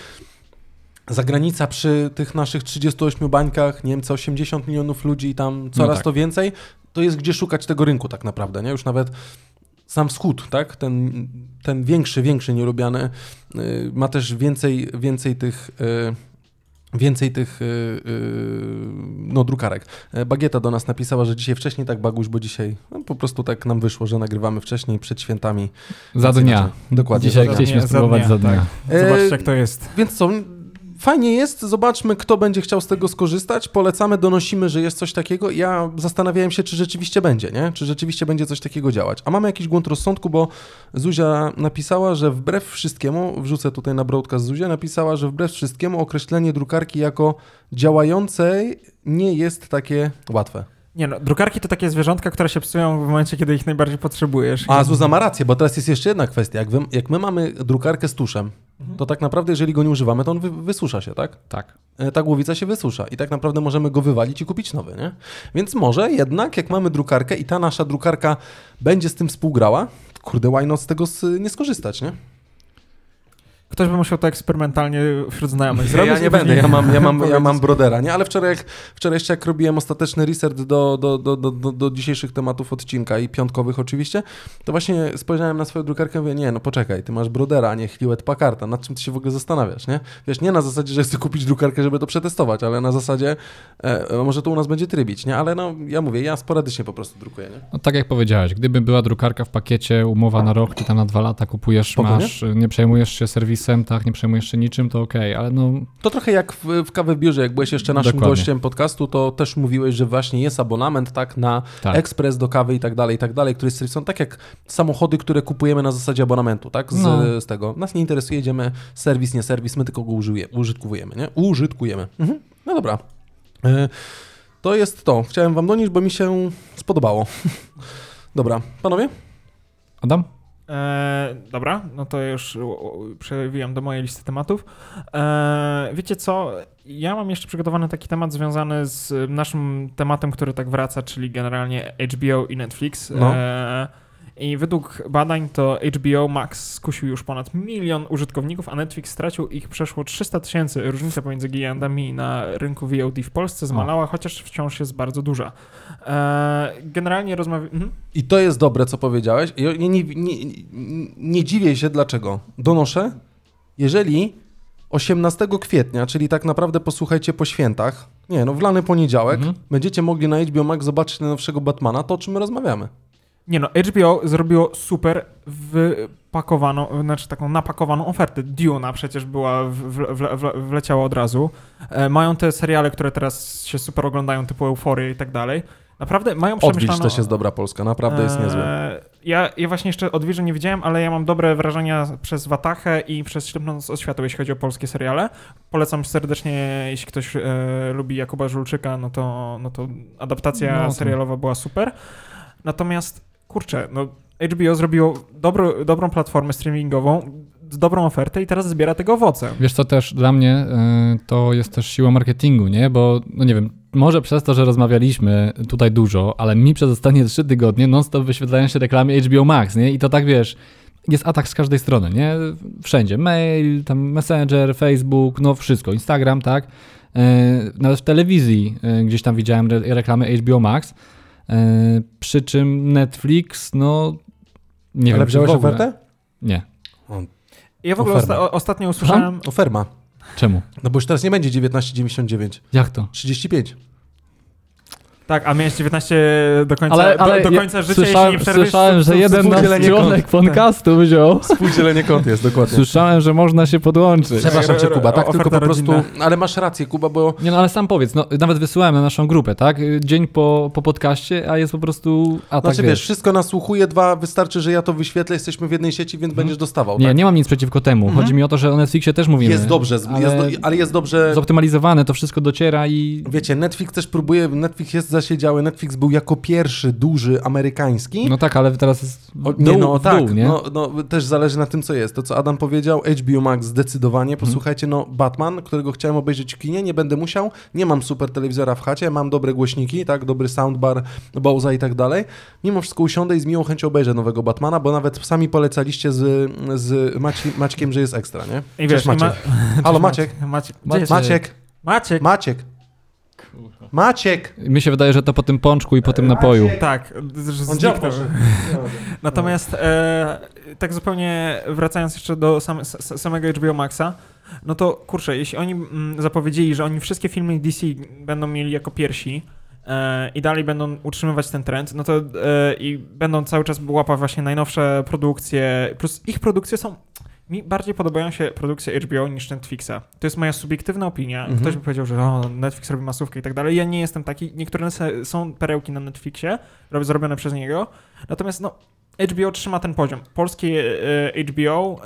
Speaker 1: zagranica przy tych naszych 38 bańkach, Niemcy 80 milionów ludzi i tam coraz
Speaker 4: tak.
Speaker 1: to więcej, to jest gdzie szukać tego rynku tak naprawdę, nie? Już nawet sam wschód, tak? Ten, ten większy, większy nielubiany y, ma też więcej, więcej tych... y, Więcej tych y, y, no, drukarek. E, Bagieta do nas napisała, że dzisiaj wcześniej tak baguś, bo dzisiaj no, po prostu tak nam wyszło, że nagrywamy wcześniej przed świętami.
Speaker 4: Za
Speaker 1: Więc
Speaker 4: dnia.
Speaker 1: inaczej. Dokładnie.
Speaker 4: Dzisiaj
Speaker 3: za
Speaker 4: chcieliśmy
Speaker 3: dnia, za
Speaker 4: spróbować
Speaker 3: dnia,
Speaker 4: za dnia.
Speaker 3: tak.
Speaker 1: E,
Speaker 3: Zobaczcie, jak to jest.
Speaker 1: Więc co, fajnie jest, zobaczmy, kto będzie chciał z tego skorzystać. Polecamy, donosimy, że jest coś takiego. Ja zastanawiałem się, czy rzeczywiście będzie, nie? Czy rzeczywiście będzie coś takiego działać. A mamy jakiś błąd rozsądku, bo Zuzia napisała, że wbrew wszystkiemu, wrzucę tutaj na broadcast Zuzia, napisała, że wbrew wszystkiemu określenie drukarki jako działającej nie jest takie łatwe.
Speaker 3: Nie no, drukarki to takie zwierzątka, które się psują w momencie, kiedy ich najbardziej potrzebujesz.
Speaker 1: A Zuza ma rację, bo teraz jest jeszcze jedna kwestia. Jak, wy, jak my mamy drukarkę z tuszem, to tak naprawdę, jeżeli go nie używamy, to on wy, wysusza się, tak?
Speaker 4: Tak.
Speaker 1: e, ta głowica się wysusza i tak naprawdę możemy go wywalić i kupić nowy, nie? Więc może jednak, jak mamy drukarkę i ta nasza drukarka będzie z tym współgrała, kurde, why not z tego s- nie skorzystać, nie?
Speaker 3: Ktoś by musiał to eksperymentalnie wśród znajomych
Speaker 1: Ja,
Speaker 3: zrobić.
Speaker 1: ja nie
Speaker 3: i
Speaker 1: będę,
Speaker 3: później
Speaker 1: ja
Speaker 3: <laughs>
Speaker 1: mam, ja mam, ja
Speaker 3: powiedzieć.
Speaker 1: mam brodera, nie? Ale wczoraj, jak, wczoraj jeszcze jak robiłem ostateczny research do, do, do, do, do, do dzisiejszych tematów odcinka i piątkowych oczywiście, to właśnie spojrzałem na swoją drukarkę i mówię, nie, no poczekaj, ty masz brodera, a nie Hewlett Packarda, nad czym ty się w ogóle zastanawiasz, nie? Wiesz, nie na zasadzie, że chcę kupić drukarkę, żeby to przetestować, ale na zasadzie, e, e, może to u nas będzie trybić, nie? Ale no, ja mówię, ja sporadycznie po prostu drukuję, nie?
Speaker 4: No tak jak powiedziałeś, gdyby była drukarka w pakiecie, umowa na rok czy tam na dwa lata, kupujesz,
Speaker 1: Spoko,
Speaker 4: masz, nie przejmujesz się serwisem, tak, nie przejmujesz się niczym, to okej, ale no
Speaker 1: To trochę jak w, w kawę biurze, jak byłeś jeszcze naszym
Speaker 4: Dokładnie.
Speaker 1: gościem podcastu, to też mówiłeś, że właśnie jest abonament tak na
Speaker 4: Tak.
Speaker 1: ekspres do kawy i tak dalej, i tak dalej, które są tak jak samochody, które kupujemy na zasadzie abonamentu, tak? Z,
Speaker 4: No.
Speaker 1: z tego. Nas nie interesuje, jedziemy serwis, nie serwis, my tylko go użyje, użytkujemy, nie? Użytkujemy. Mhm. No dobra. E, To jest to. Chciałem wam donieść, bo mi się spodobało. <laughs> Dobra, panowie?
Speaker 4: Adam?
Speaker 3: E, dobra, no to już u- u- przewijam do mojej listy tematów. E, wiecie co? Ja mam jeszcze przygotowany taki temat związany z y, naszym tematem, który tak wraca, czyli generalnie HBO i Netflix.
Speaker 1: No.
Speaker 3: E, I według badań to HBO Max skusił już ponad milion użytkowników, a Netflix stracił ich przeszło 300 tysięcy. Różnica pomiędzy gigantami na rynku VOD w Polsce zmalała, chociaż wciąż jest bardzo duża. E, generalnie rozmawiam. Mhm.
Speaker 1: I to jest dobre, co powiedziałeś. Ja nie, nie, nie, nie dziwię się dlaczego. Donoszę, jeżeli 18 kwietnia, czyli tak naprawdę posłuchajcie po świętach, nie no, w lany poniedziałek,
Speaker 4: Mhm.
Speaker 1: będziecie mogli na HBO Max zobaczyć najnowszego Batmana, to o czym my rozmawiamy.
Speaker 3: Nie no, HBO zrobiło super wypakowaną, znaczy taką napakowaną ofertę. Duna przecież była, w, w, w, w, wleciała od razu. E, mają te seriale, które teraz się super oglądają, typu Euforia i tak dalej. Naprawdę mają
Speaker 1: Odwilż
Speaker 3: przemyślaną...
Speaker 1: też jest dobra Polska, naprawdę jest
Speaker 3: Eee,
Speaker 1: niezły.
Speaker 3: Ja, ja właśnie jeszcze Odwilży nie widziałem, ale ja mam dobre wrażenia przez Watachę i przez Ślepną Noc Oświatu, jeśli chodzi o polskie seriale. Polecam serdecznie, jeśli ktoś e, lubi Jakuba Żulczyka, no to, no to adaptacja
Speaker 4: No to-
Speaker 3: serialowa była super. Natomiast, kurczę, no HBO zrobiło dobro, dobrą platformę streamingową, z dobrą ofertę i teraz zbiera tego owoce.
Speaker 4: Wiesz co też dla mnie y, to jest też siła marketingu, nie? Bo no nie wiem, może przez to, że rozmawialiśmy tutaj dużo, ale mi przez ostatnie trzy tygodnie non stop wyświetlają się reklamy HBO Max, nie? I to tak wiesz, jest atak z każdej strony, nie? Wszędzie. Mail, tam Messenger, Facebook, no wszystko, Instagram, tak? Y, nawet w telewizji y, gdzieś tam widziałem re reklamy HBO Max. Y, przy czym Netflix, no nie wiem,
Speaker 1: Ale
Speaker 4: czy
Speaker 1: wziąłeś
Speaker 4: w ogóle.
Speaker 1: ofertę?
Speaker 4: Nie.
Speaker 3: Ja w ogóle
Speaker 1: Oferta.
Speaker 3: osta- o- ostatnio usłyszałem...
Speaker 1: Oferma.
Speaker 4: Czemu?
Speaker 1: No bo już teraz nie będzie 19,99,
Speaker 4: Jak to?
Speaker 1: 35.
Speaker 3: Tak, a miałeś 19 do końca,
Speaker 4: Ale, ale
Speaker 3: do, do
Speaker 4: ja
Speaker 3: końca życia,
Speaker 4: słyszałem,
Speaker 3: jeśli nie przerwiesz...
Speaker 4: słyszałem, że jeden nasz
Speaker 1: współdzielenie
Speaker 4: członek podcastu
Speaker 3: tak.
Speaker 4: wziął.
Speaker 1: Współdzielenie kont jest, dokładnie.
Speaker 4: Słyszałem, że można się podłączyć.
Speaker 1: Przepraszam cię Kuba, tak?
Speaker 3: Oferta
Speaker 1: Tylko po prostu...
Speaker 3: rodzinna.
Speaker 1: Ale masz rację Kuba, bo
Speaker 4: Nie no, ale sam powiedz, no, nawet wysyłałem na naszą grupę, tak? Y, Dzień po, po podcaście, a tak jest po prostu atak,
Speaker 1: Znaczy wiesz, wszystko nasłuchuje, dwa, wystarczy, że ja to wyświetlę, jesteśmy w jednej sieci, więc będziesz dostawał.
Speaker 4: Mhm. Nie,
Speaker 1: tak? Mhm.
Speaker 4: nie mam nic przeciwko temu. Chodzi mi o to, że o Netflixie też mówimy.
Speaker 1: Jest dobrze, z-
Speaker 4: ale
Speaker 1: jest do, ale jest dobrze.
Speaker 4: zoptymalizowane, to wszystko dociera i...
Speaker 1: Wiecie, Netflix też próbuje, Netflix jest zasiedziały, Netflix był jako pierwszy duży amerykański.
Speaker 4: No tak, ale teraz jest w
Speaker 1: O,
Speaker 4: dół,
Speaker 1: nie, no
Speaker 4: w dół,
Speaker 1: tak,
Speaker 4: nie?
Speaker 1: No, no też zależy na tym, co jest. To, co Adam powiedział, HBO Max zdecydowanie.
Speaker 3: Mhm.
Speaker 1: Posłuchajcie, no Batman, którego chciałem obejrzeć w kinie, nie będę musiał, nie mam super telewizora w chacie, mam dobre głośniki, tak, dobry soundbar, Bowsa i tak dalej. Mimo wszystko usiądę i z miłą chęcią obejrzę nowego Batmana, bo nawet sami polecaliście z, z Maci, Maćkiem, że jest ekstra, nie?
Speaker 3: I wiesz,
Speaker 1: Cześć, Maciek.
Speaker 3: i ma-
Speaker 1: Halo
Speaker 3: Cześć,
Speaker 1: Maciek.
Speaker 3: Maciek. Gdzie
Speaker 4: Maciek.
Speaker 3: jest-
Speaker 1: Maciek,
Speaker 3: Maciek.
Speaker 1: Maciek. Maciek!
Speaker 4: Mi się wydaje, że to po tym pączku i po tym napoju.
Speaker 3: Tak, że zniknął. Natomiast e, tak zupełnie wracając jeszcze do same, s- s- samego HBO Maxa, no to kurczę, jeśli oni mm, zapowiedzieli, że oni wszystkie filmy DC będą mieli jako piersi e, i dalej będą utrzymywać ten trend, no to e, i będą cały czas łapać właśnie najnowsze produkcje, plus ich produkcje są... Mi bardziej podobają się produkcje HBO niż Netflixa. To jest moja subiektywna opinia.
Speaker 1: Mhm.
Speaker 3: Ktoś by powiedział, że o, Netflix robi masówkę i tak dalej. Ja nie jestem taki. Niektóre se- są perełki na Netflixie, rob- zrobione przez niego. Natomiast no, HBO trzyma ten poziom. Polskie e, HBO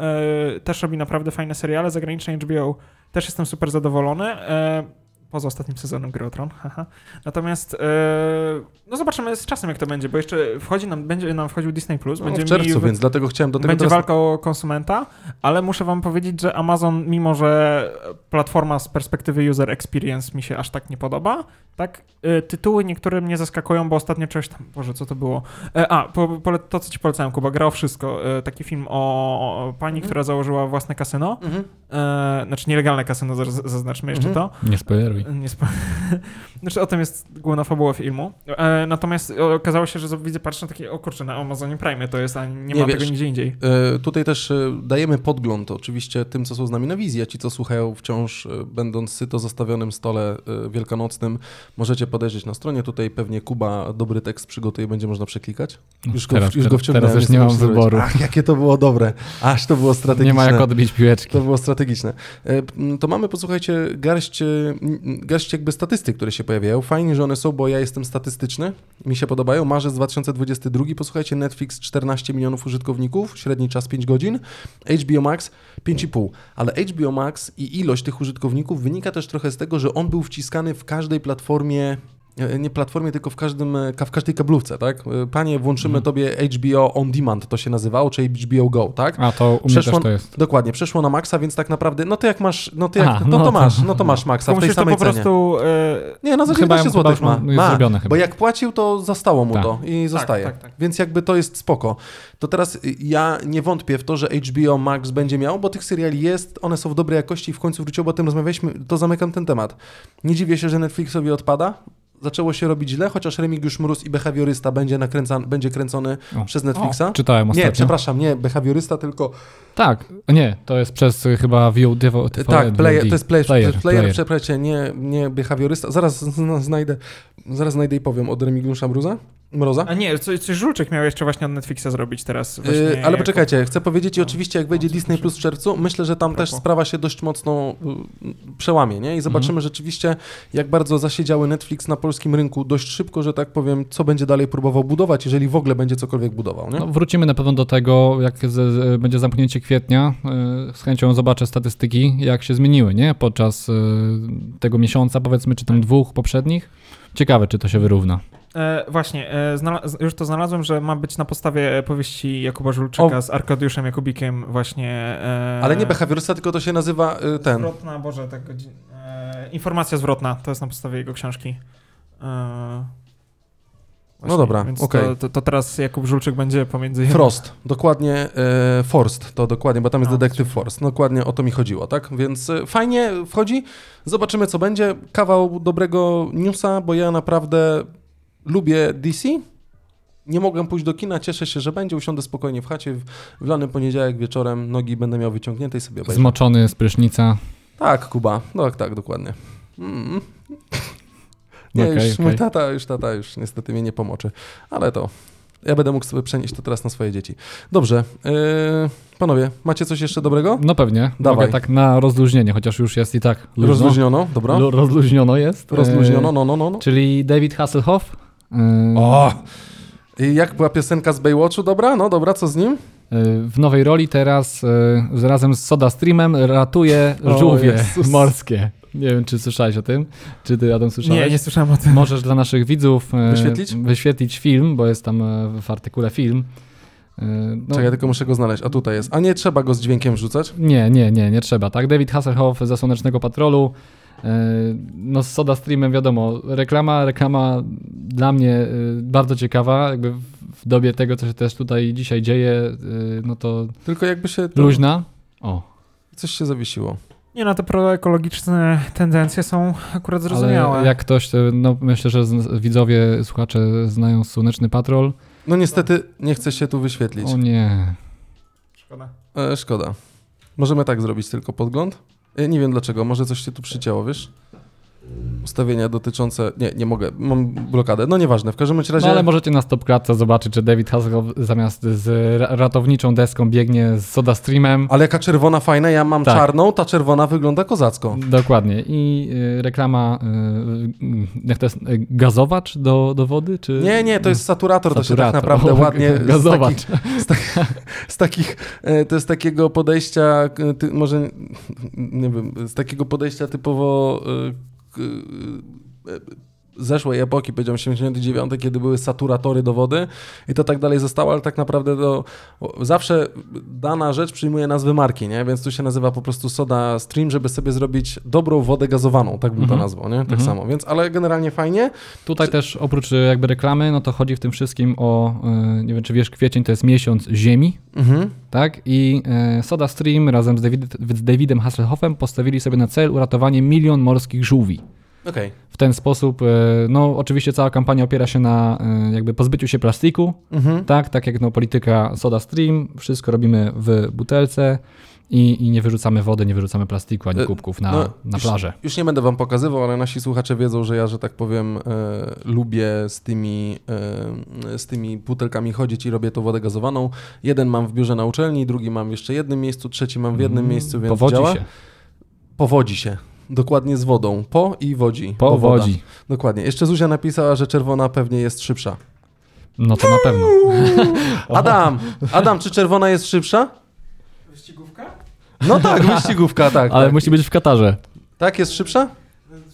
Speaker 3: e, też robi naprawdę fajne seriale, zagraniczne HBO też jestem super zadowolony. E, poza ostatnim sezonem Gry o Tron. <laughs> haha. Natomiast e, no zobaczymy z czasem, jak to będzie, bo jeszcze wchodzi nam, będzie nam wchodził Disney+, Plus,
Speaker 1: No,
Speaker 3: będzie
Speaker 1: w czerwcu,
Speaker 3: mi
Speaker 1: więc dlatego chciałem do tego
Speaker 3: Będzie
Speaker 1: teraz...
Speaker 3: walka o konsumenta, ale muszę wam powiedzieć, że Amazon, mimo że platforma z perspektywy user experience mi się aż tak nie podoba, tak y, tytuły niektóre mnie zaskakują, bo ostatnio czegoś tam, boże, co to było? E, a, po, pole- to co ci polecałem, Kuba, grał wszystko. E, taki film o, o pani, która założyła własne kasyno,
Speaker 1: Mhm.
Speaker 3: e, znaczy nielegalne kasyno, zaz- zaznaczmy jeszcze
Speaker 1: Mhm.
Speaker 3: to.
Speaker 4: Nie spoileruj.
Speaker 3: Nie spo... <laughs> znaczy o tym jest główna fabuła filmu. E, natomiast okazało się, że z- widzę, patrzę takie, o kurczę, na Amazonie Prime to jest, a nie,
Speaker 1: Nie
Speaker 3: ma
Speaker 1: wiesz.
Speaker 3: tego nigdzie indziej.
Speaker 1: E, Tutaj też e, dajemy podgląd oczywiście tym, co są z nami na wizji, a ci, co słuchają wciąż, e, będąc syto zastawionym stole e, wielkanocnym, możecie podejrzeć na stronie. Tutaj pewnie Kuba dobry tekst przygotuje, będzie można przeklikać.
Speaker 4: No,
Speaker 1: Już go,
Speaker 4: teraz-
Speaker 1: już go
Speaker 4: teraz-
Speaker 1: wciągnąłem.
Speaker 4: teraz już
Speaker 1: jestem
Speaker 4: nie mam
Speaker 1: muszę zrobić.
Speaker 4: wyboru.
Speaker 1: Ach, jakie to było dobre. Aż to było strategiczne.
Speaker 4: Nie ma jak odbić piłeczki.
Speaker 1: To było strategiczne. E, p- m, To mamy, posłuchajcie, garść, e, m, garść jakby statystyk, które się pojawiają. Fajnie, że one są, bo ja jestem statystyczny. Mi się podobają. Marzec 2022, posłuchajcie, Netflix 14 milionów użytkowników, średni czas 5 godzin, HBO Max 5,5. Ale HBO Max i ilość tych użytkowników wynika też trochę z tego, że on był wciskany w każdej platformie E, nie platformie, tylko w, każdym, e, ka- w każdej kablówce, tak? E, Panie, włączymy tobie HBO On Demand, to się nazywało, czy HBO Go, tak?
Speaker 4: A to u mnie
Speaker 1: Przeszło-
Speaker 4: też to jest.
Speaker 1: Dokładnie, przeszło na maksa, więc tak naprawdę, no to jak masz, no to, jak,
Speaker 4: Aha,
Speaker 1: no to,
Speaker 4: no to-
Speaker 1: masz, no to masz maksa w tej
Speaker 3: musisz to
Speaker 1: samej
Speaker 3: po
Speaker 1: cenie.
Speaker 3: prostu. e,
Speaker 1: Nie, no za
Speaker 4: Chyba
Speaker 1: 19
Speaker 4: ją-
Speaker 1: zł
Speaker 4: chyba
Speaker 1: ma.
Speaker 4: już jest
Speaker 1: ma
Speaker 4: zrobione chyba.
Speaker 1: Bo jak płacił, to zostało mu
Speaker 4: Tak.
Speaker 1: to i zostaje.
Speaker 3: tak, tak.
Speaker 1: Więc jakby to jest spoko. To teraz y, ja nie wątpię w to, że HBO Max będzie miał, bo tych seriali jest, one są w dobrej jakości i w końcu wróciło, bo o tym rozmawialiśmy, to zamykam ten temat. Nie dziwię się, że Netflixowi odpada. Zaczęło się robić źle, chociaż Remigiusz Mróz i Behawiorysta będzie, nakręcan, będzie kręcony
Speaker 4: O.
Speaker 1: przez Netflixa.
Speaker 4: Czytałem ostatnio.
Speaker 1: nie, przepraszam, nie Behawiorysta, tylko
Speaker 4: Tak, nie, to jest przez y, chyba VOD.
Speaker 1: tak, player, to jest player, player,
Speaker 4: player, player.
Speaker 1: przepraszam, nie, nie behawiorysta. Zaraz zn- znajdę, zaraz znajdę i powiem od Remigiusza Mruza, Mroza.
Speaker 3: A nie, coś, coś żulczyk miał jeszcze właśnie od Netflixa zrobić teraz. Właśnie,
Speaker 1: Yy, ale
Speaker 3: jako-
Speaker 1: poczekajcie, chcę powiedzieć i
Speaker 3: No,
Speaker 1: oczywiście jak wejdzie
Speaker 3: no,
Speaker 1: Disney
Speaker 3: proszę.
Speaker 1: Plus w czerwcu, myślę, że tam też
Speaker 3: Propos.
Speaker 1: sprawa się dość mocno y, przełamie,
Speaker 4: Mhm.
Speaker 1: nie? I zobaczymy rzeczywiście, jak bardzo zasiedziały Netflix na polskim rynku dość szybko, że tak powiem, co będzie dalej próbował budować, jeżeli w ogóle będzie cokolwiek budował, nie?
Speaker 4: No, wrócimy na pewno do tego, jak z, z, będzie zamknięcie kwietnia. Y, Z chęcią zobaczę statystyki, jak się zmieniły, nie? Podczas y, tego miesiąca, powiedzmy, czy
Speaker 1: Tak.
Speaker 4: tam dwóch poprzednich. Ciekawe, czy to się wyrówna.
Speaker 3: E, właśnie, e, znalaz- już to znalazłem, że ma być na podstawie powieści Jakuba Żulczyka
Speaker 1: O.
Speaker 3: z Arkadiuszem Jakubikiem, właśnie. E,
Speaker 1: Ale nie behawiorysta, tylko to się nazywa y, ten.
Speaker 3: Zwrotna, Boże, tak godzin... e, Informacja zwrotna, to jest na podstawie jego książki. E, właśnie,
Speaker 1: No dobra,
Speaker 3: więc
Speaker 1: okej.
Speaker 3: to, to, to teraz Jakub Żulczyk będzie pomiędzy.
Speaker 1: Frost, dokładnie e, Forst, to dokładnie, bo tam jest
Speaker 3: No,
Speaker 1: detektyw Forst. Dokładnie o to mi chodziło, tak? Więc e, fajnie wchodzi. Zobaczymy, co będzie. Kawał dobrego newsa, bo ja naprawdę lubię DC. Nie mogłem pójść do kina, cieszę się, że będzie. Usiądę spokojnie w chacie w, w lany poniedziałek wieczorem. Nogi będę miał wyciągnięte i sobie obejrzę.
Speaker 4: Zmoczony z prysznica.
Speaker 1: tak, Kuba. Tak, tak, dokładnie. Mm. Nie,
Speaker 4: Okej,
Speaker 1: już mój
Speaker 4: okej.
Speaker 1: tata, już tata, już niestety mnie nie pomoże. Ale to, ja będę mógł sobie przenieść to teraz na swoje dzieci. Dobrze, yy, panowie, macie coś jeszcze dobrego?
Speaker 4: No pewnie.
Speaker 1: Dawaj.
Speaker 4: Mogę tak na rozluźnienie, chociaż już jest i tak luźno.
Speaker 1: Rozluźniono, dobra?
Speaker 4: Lu- rozluźniono jest.
Speaker 1: Rozluźniono, no, no, no. no.
Speaker 4: E, Czyli David Hasselhoff. y,
Speaker 1: O! I jak była piosenka z Baywatchu, dobra? No dobra, co z nim?
Speaker 4: Y, w nowej roli teraz y, z- razem z Soda Streamem ratuje
Speaker 1: O
Speaker 4: żółwie
Speaker 1: Jezus.
Speaker 4: morskie. Nie wiem, czy słyszałeś o tym, czy ty Adam słyszałeś?
Speaker 3: Nie, nie słyszałem o tym.
Speaker 4: Możesz dla naszych widzów y,
Speaker 1: Wyświetlić?
Speaker 4: wyświetlić film, bo jest tam y, w artykule film. Y, no,
Speaker 1: Czekaj, ja tylko muszę go znaleźć. A tutaj jest. A nie trzeba go z dźwiękiem rzucać?
Speaker 4: Nie, nie, nie, nie trzeba, tak? David Hasselhoff ze Słonecznego Patrolu. y, No z Soda Streamem wiadomo, reklama, reklama dla mnie y, bardzo ciekawa, jakby w- w dobie tego, co się też tutaj dzisiaj dzieje, y, no to
Speaker 1: Tylko jakby się... To,
Speaker 4: luźna. O,
Speaker 1: Coś się zawiesiło.
Speaker 3: Nie, no te proekologiczne tendencje są akurat zrozumiałe.
Speaker 4: Ale jak ktoś, e, no myślę, że zn- widzowie, słuchacze znają Słoneczny Patrol.
Speaker 1: No niestety nie chce się tu wyświetlić.
Speaker 4: O nie.
Speaker 3: Szkoda.
Speaker 1: E, szkoda. Możemy tak zrobić tylko podgląd? E, nie wiem dlaczego, może coś się tu przycięło, wiesz? Ustawienia dotyczące... Nie, nie mogę, mam blokadę. No nieważne, w każdym bądź razie...
Speaker 4: No ale możecie na stopklatce zobaczyć, że David Hasselhoff zamiast z ra- ratowniczą deską biegnie z Soda Streamem.
Speaker 1: Ale jaka czerwona fajna, ja mam
Speaker 4: Tak.
Speaker 1: czarną, ta czerwona wygląda kozacko.
Speaker 4: Dokładnie. I y, reklama, y, y, jak to jest, y, gazowacz do, do wody? Czy...
Speaker 1: Nie, nie, to jest saturator, to się tak
Speaker 4: Saturator.
Speaker 1: naprawdę
Speaker 4: O,
Speaker 1: ładnie... z
Speaker 4: Gazowacz.
Speaker 1: takich- z takich, e, to jest takiego podejścia, e, ty, może, nie wiem, z takiego podejścia typowo e, y, y, zeszłej epoki, powiedziałem 79, kiedy były saturatory do wody i to tak dalej zostało, ale tak naprawdę to zawsze dana rzecz przyjmuje nazwy marki, nie? Więc tu się nazywa po prostu Soda Stream, żeby sobie zrobić dobrą wodę gazowaną, tak bym to nazwał, nie? Tak samo. Więc, ale generalnie fajnie.
Speaker 4: Tutaj też oprócz e, jakby reklamy, no to chodzi w tym wszystkim o, e, nie wiem czy wiesz, kwiecień to jest miesiąc ziemi,
Speaker 1: Mhm.
Speaker 4: tak? I e, Soda Stream razem z, David, z Davidem Hasselhoffem postawili sobie na cel uratowanie milion morskich żółwi.
Speaker 1: Okej.
Speaker 4: W ten sposób, e, no oczywiście cała kampania opiera się na e, jakby pozbyciu się plastiku,
Speaker 1: Mhm.
Speaker 4: tak? Tak jak no polityka Soda Stream, wszystko robimy w butelce i, i nie wyrzucamy wody, nie wyrzucamy plastiku ani
Speaker 1: E,
Speaker 4: kubków na,
Speaker 1: no,
Speaker 4: na
Speaker 1: już-
Speaker 4: plażę.
Speaker 1: Już nie będę wam pokazywał, ale nasi słuchacze wiedzą, że ja, że tak powiem, e, lubię z tymi, e, z tymi butelkami chodzić i robię tą wodę gazowaną. Jeden mam w biurze na uczelni, drugi mam w jeszcze jednym miejscu, trzeci mam w jednym
Speaker 4: Mm.
Speaker 1: miejscu, więc
Speaker 4: Powodzi
Speaker 1: działa.
Speaker 4: się.
Speaker 1: Powodzi się. Dokładnie z wodą. Po i wodzi.
Speaker 4: Powodzi.
Speaker 1: Powoda. Dokładnie. Jeszcze Zuzia napisała, że czerwona pewnie jest szybsza.
Speaker 4: No to na pewno.
Speaker 1: Tak, Adam! Adam, czy czerwona jest szybsza?
Speaker 3: Wyścigówka?
Speaker 1: No
Speaker 4: <laughs>
Speaker 1: tak, wyścigówka, tak.
Speaker 4: Ale
Speaker 1: tak.
Speaker 4: musi być w Katarze.
Speaker 1: tak, jest szybsza?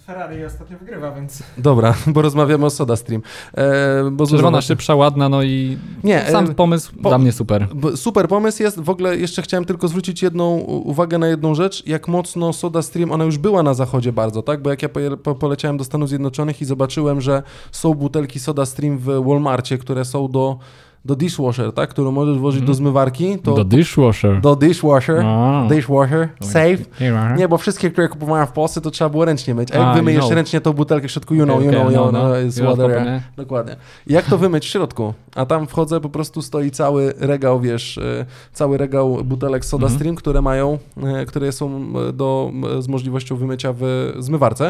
Speaker 3: Ferrari ostatnio wygrywa, więc...
Speaker 1: Dobra, <laughs> bo rozmawiamy o Soda Stream. E, bo Zuzia
Speaker 4: Czerwona,
Speaker 1: właśnie-
Speaker 4: szybsza, ładna, no i
Speaker 1: Nie,
Speaker 4: sam
Speaker 1: e,
Speaker 4: pomysł
Speaker 1: po-
Speaker 4: dla mnie super.
Speaker 1: B- Super pomysł jest. W ogóle jeszcze chciałem tylko zwrócić jedną u- uwagę na jedną rzecz, jak mocno Soda Stream, ona już była na zachodzie bardzo, tak? Bo jak ja poje- po, poleciałem do Stanów Zjednoczonych i zobaczyłem, że są butelki Soda Stream w Walmartie, które są do, do dishwasher, tak? Którą możesz włożyć do zmywarki, to
Speaker 4: Mhm. Do No.
Speaker 1: do,
Speaker 4: dishwasher.
Speaker 1: dishwasher,
Speaker 4: A.
Speaker 1: dishwasher,
Speaker 4: No
Speaker 1: save.
Speaker 4: Nie.
Speaker 1: Nie, bo wszystkie, które kupowałem w Polsce, to trzeba było ręcznie myć. A jak
Speaker 4: A,
Speaker 1: wymyjesz
Speaker 4: you know.
Speaker 1: ręcznie tą butelkę w środku, you know,
Speaker 4: Okej,
Speaker 1: you know,
Speaker 4: okej,
Speaker 1: you
Speaker 4: no,
Speaker 1: know,
Speaker 4: no.
Speaker 1: it's
Speaker 4: You know,
Speaker 1: water.
Speaker 4: popnie.
Speaker 1: Dokładnie. Jak to wymyć w środku? A tam wchodzę, po prostu stoi cały regał, wiesz, e, cały regał butelek Soda
Speaker 4: Mhm.
Speaker 1: Stream, które mają, e, które są e, do, z możliwością wymycia w zmywarce.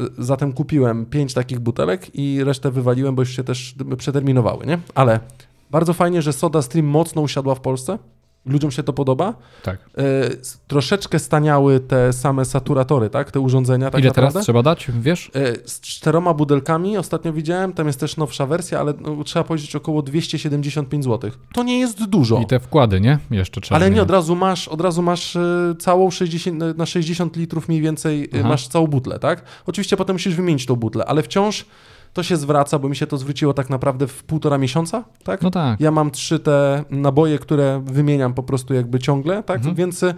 Speaker 1: E, Zatem kupiłem pięć takich butelek i resztę wywaliłem, bo już się też przeterminowały, nie? Ale bardzo fajnie, że Soda Stream mocno usiadła w Polsce. Ludziom się to podoba.
Speaker 4: Tak.
Speaker 1: E, s- troszeczkę staniały te same saturatory, tak? Te urządzenia tak
Speaker 4: Ile teraz
Speaker 1: naprawdę.
Speaker 4: trzeba dać, wiesz?
Speaker 1: E, Z czteroma budelkami ostatnio widziałem, tam jest też nowsza wersja, ale no, trzeba powiedzieć około 275 zł. To nie jest dużo.
Speaker 4: I te wkłady, nie? Jeszcze trzeba.
Speaker 1: Ale nie od
Speaker 4: zmienić.
Speaker 1: razu masz, od razu masz e, całą 60, na- na 60 litrów mniej więcej e,
Speaker 4: Aha.
Speaker 1: masz całą butlę, tak? Oczywiście potem musisz wymienić tą butlę, ale wciąż to się zwraca, bo mi się to zwróciło tak naprawdę w półtora miesiąca, tak?
Speaker 4: No tak.
Speaker 1: Ja mam trzy te naboje, które wymieniam po prostu jakby ciągle, tak?
Speaker 4: Mhm.
Speaker 1: Więc y,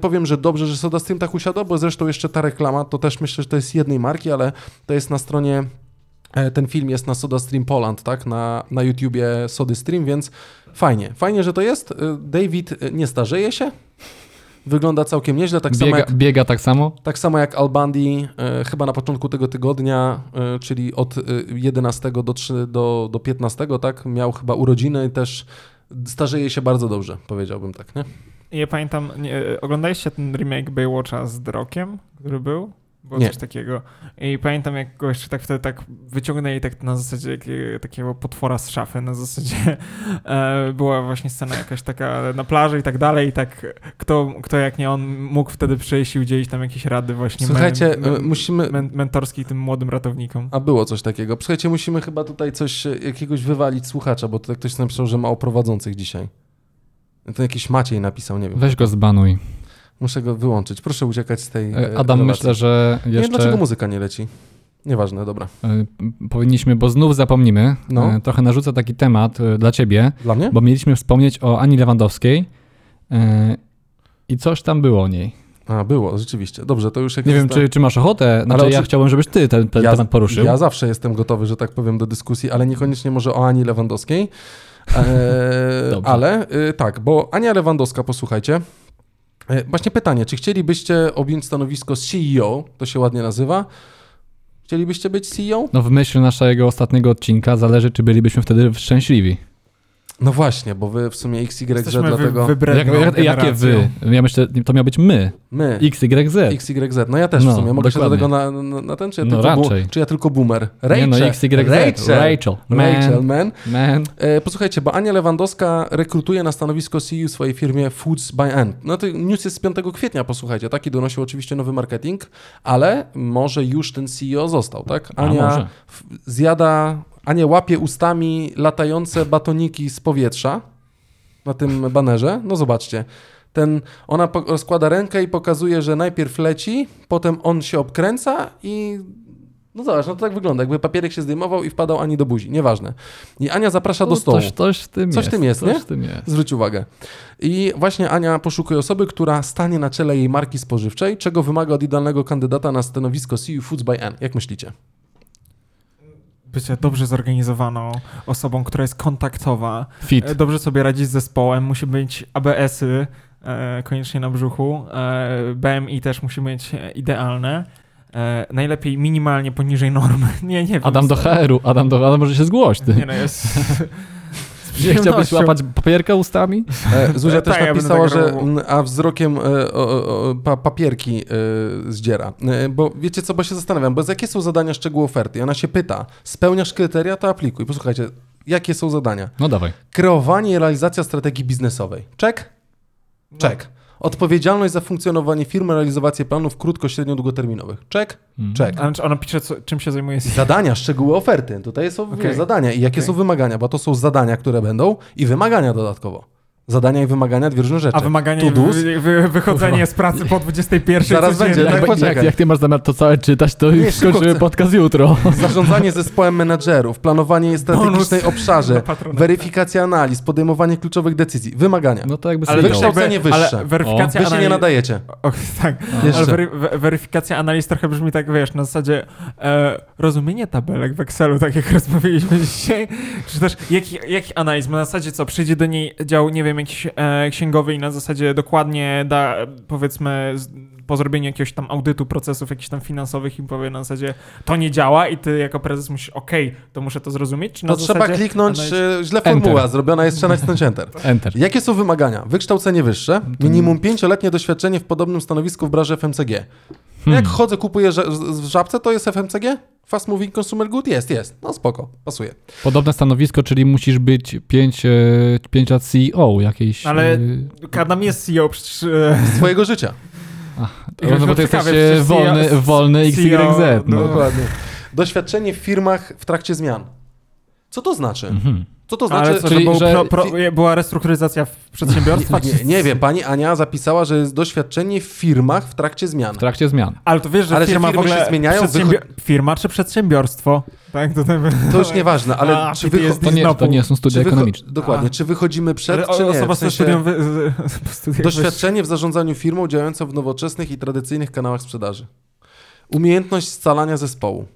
Speaker 1: powiem, że dobrze, że Soda Stream tak usiadła, bo zresztą jeszcze ta reklama, to też myślę, że to jest jednej marki, ale to jest na stronie e, ten film jest na Soda Stream Poland, tak? Na, na YouTubie Sody Stream, więc fajnie. Fajnie, że to jest. Y, David y, nie starzeje się. Wygląda całkiem nieźle, tak samo
Speaker 4: biega,
Speaker 1: jak
Speaker 4: biega tak samo?
Speaker 1: tak samo jak Albandi, e, chyba na początku tego tygodnia, e, czyli od e, 11 do, 3, do, do 15, tak, miał chyba urodziny i też starzeje się bardzo dobrze, powiedziałbym tak, nie?
Speaker 3: Ja pamiętam, nie, e, oglądaliście ten remake Baywatcha z Drokiem, który był? Było
Speaker 1: Nie.
Speaker 3: coś takiego. I pamiętam, jak go jeszcze tak wtedy tak wyciągnęli tak na zasadzie jakie- takiego potwora z szafy, na zasadzie <laughs> e, była właśnie scena jakaś taka na plaży i tak dalej i tak kto, kto jak nie on mógł wtedy przyjść i udzielić tam jakieś rady właśnie
Speaker 1: Słuchajcie,
Speaker 3: men,
Speaker 1: e, musimy...
Speaker 3: men, mentorskiej tym młodym ratownikom.
Speaker 1: A było coś takiego. Słuchajcie, musimy chyba tutaj coś, e, jakiegoś wywalić słuchacza, bo tutaj ktoś napisał, że mało prowadzących dzisiaj. To jakiś Maciej napisał, nie wiem.
Speaker 4: Weź go zbanuj.
Speaker 1: Muszę go wyłączyć. Proszę uciekać z tej
Speaker 4: E,
Speaker 1: e,
Speaker 4: Adam,
Speaker 1: relacji.
Speaker 4: myślę, że
Speaker 1: Nie wiem,
Speaker 4: jeszcze
Speaker 1: dlaczego muzyka nie leci. Nieważne, dobra.
Speaker 4: e, powinniśmy, bo znów zapomnimy,
Speaker 1: No.
Speaker 4: e, trochę narzucę taki temat e, dla ciebie,
Speaker 1: Dla mnie?
Speaker 4: bo mieliśmy wspomnieć o Ani Lewandowskiej e, i coś tam było o niej.
Speaker 1: A, było, rzeczywiście. Dobrze, to już jak
Speaker 4: Nie wiem,
Speaker 1: jest-
Speaker 4: czy, czy masz ochotę, znaczy
Speaker 1: Ale
Speaker 4: ja
Speaker 1: oczy-
Speaker 4: chciałbym, żebyś ty ten, ten
Speaker 1: Ja-
Speaker 4: temat poruszył.
Speaker 1: Ja zawsze jestem gotowy, że tak powiem, do dyskusji, ale niekoniecznie może o Ani Lewandowskiej. E,
Speaker 4: <laughs> Dobrze.
Speaker 1: ale e, tak, bo Ania Lewandowska, posłuchajcie. E, właśnie pytanie, czy chcielibyście objąć stanowisko CEO, to się ładnie nazywa? Chcielibyście być E CEO?
Speaker 4: No w myśl naszego ostatniego odcinka zależy, czy bylibyśmy wtedy szczęśliwi.
Speaker 1: No właśnie, bo wy w sumie XYZ,
Speaker 3: Jesteśmy
Speaker 1: dlatego
Speaker 3: wy, wybredną
Speaker 4: Jak, jak, jakie
Speaker 3: generacją.
Speaker 4: wy? Ja myślę, to miał być my. Y,
Speaker 1: my,
Speaker 4: XYZ.
Speaker 1: XYZ. No ja też w
Speaker 4: No,
Speaker 1: sumie, mogę
Speaker 4: dokładnie.
Speaker 1: się do tego na, na, na ten, czy ja,
Speaker 4: No
Speaker 1: tylko, bu-
Speaker 4: raczej.
Speaker 1: czy ja tylko boomer?
Speaker 4: Nie no, XYZ.
Speaker 1: Rachel,
Speaker 4: Rachel.
Speaker 1: Rachel
Speaker 4: Man.
Speaker 1: man.
Speaker 4: Man.
Speaker 1: E, Posłuchajcie, bo Ania Lewandowska rekrutuje na stanowisko CEO w swojej firmie Foods by End. No to news jest z 5 kwietnia, posłuchajcie, taki donosił oczywiście nowy marketing, ale może już ten CEO został, tak?
Speaker 4: A
Speaker 1: Ania
Speaker 4: może.
Speaker 1: f- zjada, Ania łapie ustami latające batoniki z powietrza na tym banerze. No zobaczcie. Ten, ona po, rozkłada rękę i pokazuje, że najpierw leci, potem on się obkręca i no zobacz, no to tak wygląda, jakby papierek się zdejmował i wpadał Ani do buzi, nieważne. I Ania zaprasza do
Speaker 4: No,
Speaker 1: stołu.
Speaker 4: Coś, coś w tym
Speaker 1: Coś w
Speaker 4: jest.
Speaker 1: tym jest,
Speaker 4: coś
Speaker 1: nie?
Speaker 4: w tym jest.
Speaker 1: Zwróć uwagę. I właśnie Ania poszukuje osoby, która stanie na czele jej marki spożywczej, czego wymaga od idealnego kandydata na stanowisko CU Foods by N. Jak myślicie?
Speaker 3: Bycie dobrze zorganizowaną osobą, która jest kontaktowa,
Speaker 4: Fit.
Speaker 3: e, dobrze sobie radzi z zespołem, musi mieć ABS-y e, koniecznie na brzuchu, e, BMI też musi mieć e, idealne. E, najlepiej minimalnie poniżej normy. <laughs> Nie, nie wiem.
Speaker 4: Adam do HR-u, Adam do... Adam może się zgłoś, ty.
Speaker 1: <laughs>
Speaker 3: Nie no, jest... z
Speaker 4: Nie chciałbyś
Speaker 3: przyjemnością.
Speaker 4: łapać papierka ustami?
Speaker 1: E, Zuzia
Speaker 3: E,
Speaker 1: też
Speaker 3: tak, ja bym
Speaker 1: napisała,
Speaker 3: tak
Speaker 1: że
Speaker 3: robił.
Speaker 1: mm, a wzrokiem e, o, o, o, pa, papierki e, zdziera. E, bo wiecie co, bo się zastanawiam, bo z- jakie są zadania szczegółu oferty? I Ona się pyta, spełniasz kryteria, to aplikuj. Posłuchajcie, jakie są zadania?
Speaker 4: No dawaj.
Speaker 1: Kreowanie i realizacja strategii biznesowej. Czek?
Speaker 3: No.
Speaker 1: Czek. Odpowiedzialność za funkcjonowanie firmy, realizację planów krótko, średnio, długoterminowych. Czek?
Speaker 4: Mhm.
Speaker 1: Czek.
Speaker 3: A znaczy ona pisze, co, czym się zajmuje
Speaker 1: Zadania, szczegóły oferty. Tutaj są wiesz,
Speaker 3: Okej.
Speaker 1: zadania i jakie
Speaker 3: Okej.
Speaker 1: są wymagania, bo to są zadania, które będą i wymagania dodatkowo. Zadania i wymagania, dwie różne rzeczy.
Speaker 3: A wymaganie,
Speaker 1: To dus?
Speaker 3: wy, wy, wychodzenie z pracy po 21
Speaker 1: Zaraz
Speaker 3: codziennie.
Speaker 1: będzie, tak?
Speaker 4: Jak, jak,
Speaker 1: poczekaj.
Speaker 4: jak ty masz zamiar to całe czytać, to
Speaker 1: Nie,
Speaker 4: już
Speaker 1: szybko
Speaker 4: skończymy
Speaker 1: chcę.
Speaker 4: podcast jutro.
Speaker 1: Zarządzanie zespołem menedżerów, planowanie strategicznej
Speaker 3: Bonus.
Speaker 1: obszarze,
Speaker 3: Na tak. patronat.
Speaker 1: weryfikacja analiz, podejmowanie kluczowych decyzji, wymagania.
Speaker 4: No to jakby
Speaker 1: Ale
Speaker 4: sobie
Speaker 1: wiesz,
Speaker 4: dał.
Speaker 1: jak- wykształcenie wyższe.
Speaker 3: Ale weryfikacja
Speaker 1: Wy No. się nie
Speaker 3: analiz...
Speaker 1: nadajecie.
Speaker 3: Och, <laughs> tak.
Speaker 1: No. Jeszcze.
Speaker 3: Ale wery, we- weryfikacja analiz trochę brzmi tak, wiesz, na zasadzie e, rozumienie tabelek w Excelu, tak jak <laughs> rozmawialiśmy dzisiaj, czy też jakich jaki analiz, Bo na zasadzie co, przyjdzie do niej dział, nie wiem, jakiś e, księgowy i na zasadzie dokładnie da, powiedzmy, z, po zrobieniu jakiegoś tam audytu procesów jakichś tam finansowych i powie na zasadzie to nie działa i ty jako prezes musisz, okej, to muszę to zrozumieć, czy na
Speaker 1: To trzeba
Speaker 3: zasadzie
Speaker 1: kliknąć,
Speaker 3: analiz-
Speaker 1: e, źle
Speaker 4: Enter.
Speaker 1: formuła zrobiona jest, trzeba nacisnąć Enter.
Speaker 4: Enter.
Speaker 1: Jakie są wymagania? Wykształcenie wyższe,
Speaker 3: Mm.
Speaker 1: minimum pięcioletnie doświadczenie w podobnym stanowisku w branży FMCG.
Speaker 3: Hmm.
Speaker 1: Jak chodzę, kupuję ża- z- w żabce, to jest FMCG? Fast Moving Consumer Good? Jest, jest. No spoko, pasuje.
Speaker 4: Podobne stanowisko, czyli musisz być 5 pięć lat CEO jakiejś.
Speaker 3: Ale-
Speaker 4: e,
Speaker 3: Kadam jest CEO, przecież... E,
Speaker 1: Twojego
Speaker 3: <laughs>
Speaker 1: życia.
Speaker 4: no, no bo ty jesteś
Speaker 3: ciekawe,
Speaker 4: e,
Speaker 3: przecież
Speaker 4: wolny,
Speaker 3: CEO
Speaker 4: wolny
Speaker 3: E
Speaker 4: XYZ. No.
Speaker 1: Dokładnie. Doświadczenie w firmach w trakcie zmian. Co to znaczy?
Speaker 4: Mhm.
Speaker 1: Co to znaczy?
Speaker 3: Ale co,
Speaker 4: czyli,
Speaker 3: że, było
Speaker 4: że-
Speaker 3: pro, pro, była restrukturyzacja w przedsiębiorstwa?
Speaker 1: nie, nie, nie wiem, pani Ania zapisała, że jest doświadczenie w firmach w trakcie zmian.
Speaker 4: W trakcie zmian.
Speaker 3: Ale to wiesz, że
Speaker 1: Ale że
Speaker 3: firma
Speaker 1: firmy
Speaker 3: w ogóle
Speaker 1: się zmieniają,
Speaker 3: Firma czy przedsiębiorstwo? Tak, to,
Speaker 1: To już nieważne, ale
Speaker 3: A,
Speaker 1: czy,
Speaker 3: PTSD
Speaker 1: wycho-
Speaker 4: To nie, to
Speaker 3: znowu.
Speaker 4: nie są studia
Speaker 1: czy wycho-
Speaker 4: ekonomiczne.
Speaker 1: Dokładnie,
Speaker 3: A.
Speaker 1: czy wychodzimy przed,
Speaker 3: Ale
Speaker 1: czy nie?
Speaker 3: osoba
Speaker 1: W sensie-
Speaker 3: studium, wy, z- po studiach
Speaker 1: Doświadczenie w zarządzaniu firmą działającą w nowoczesnych i tradycyjnych kanałach sprzedaży. Umiejętność scalania zespołu.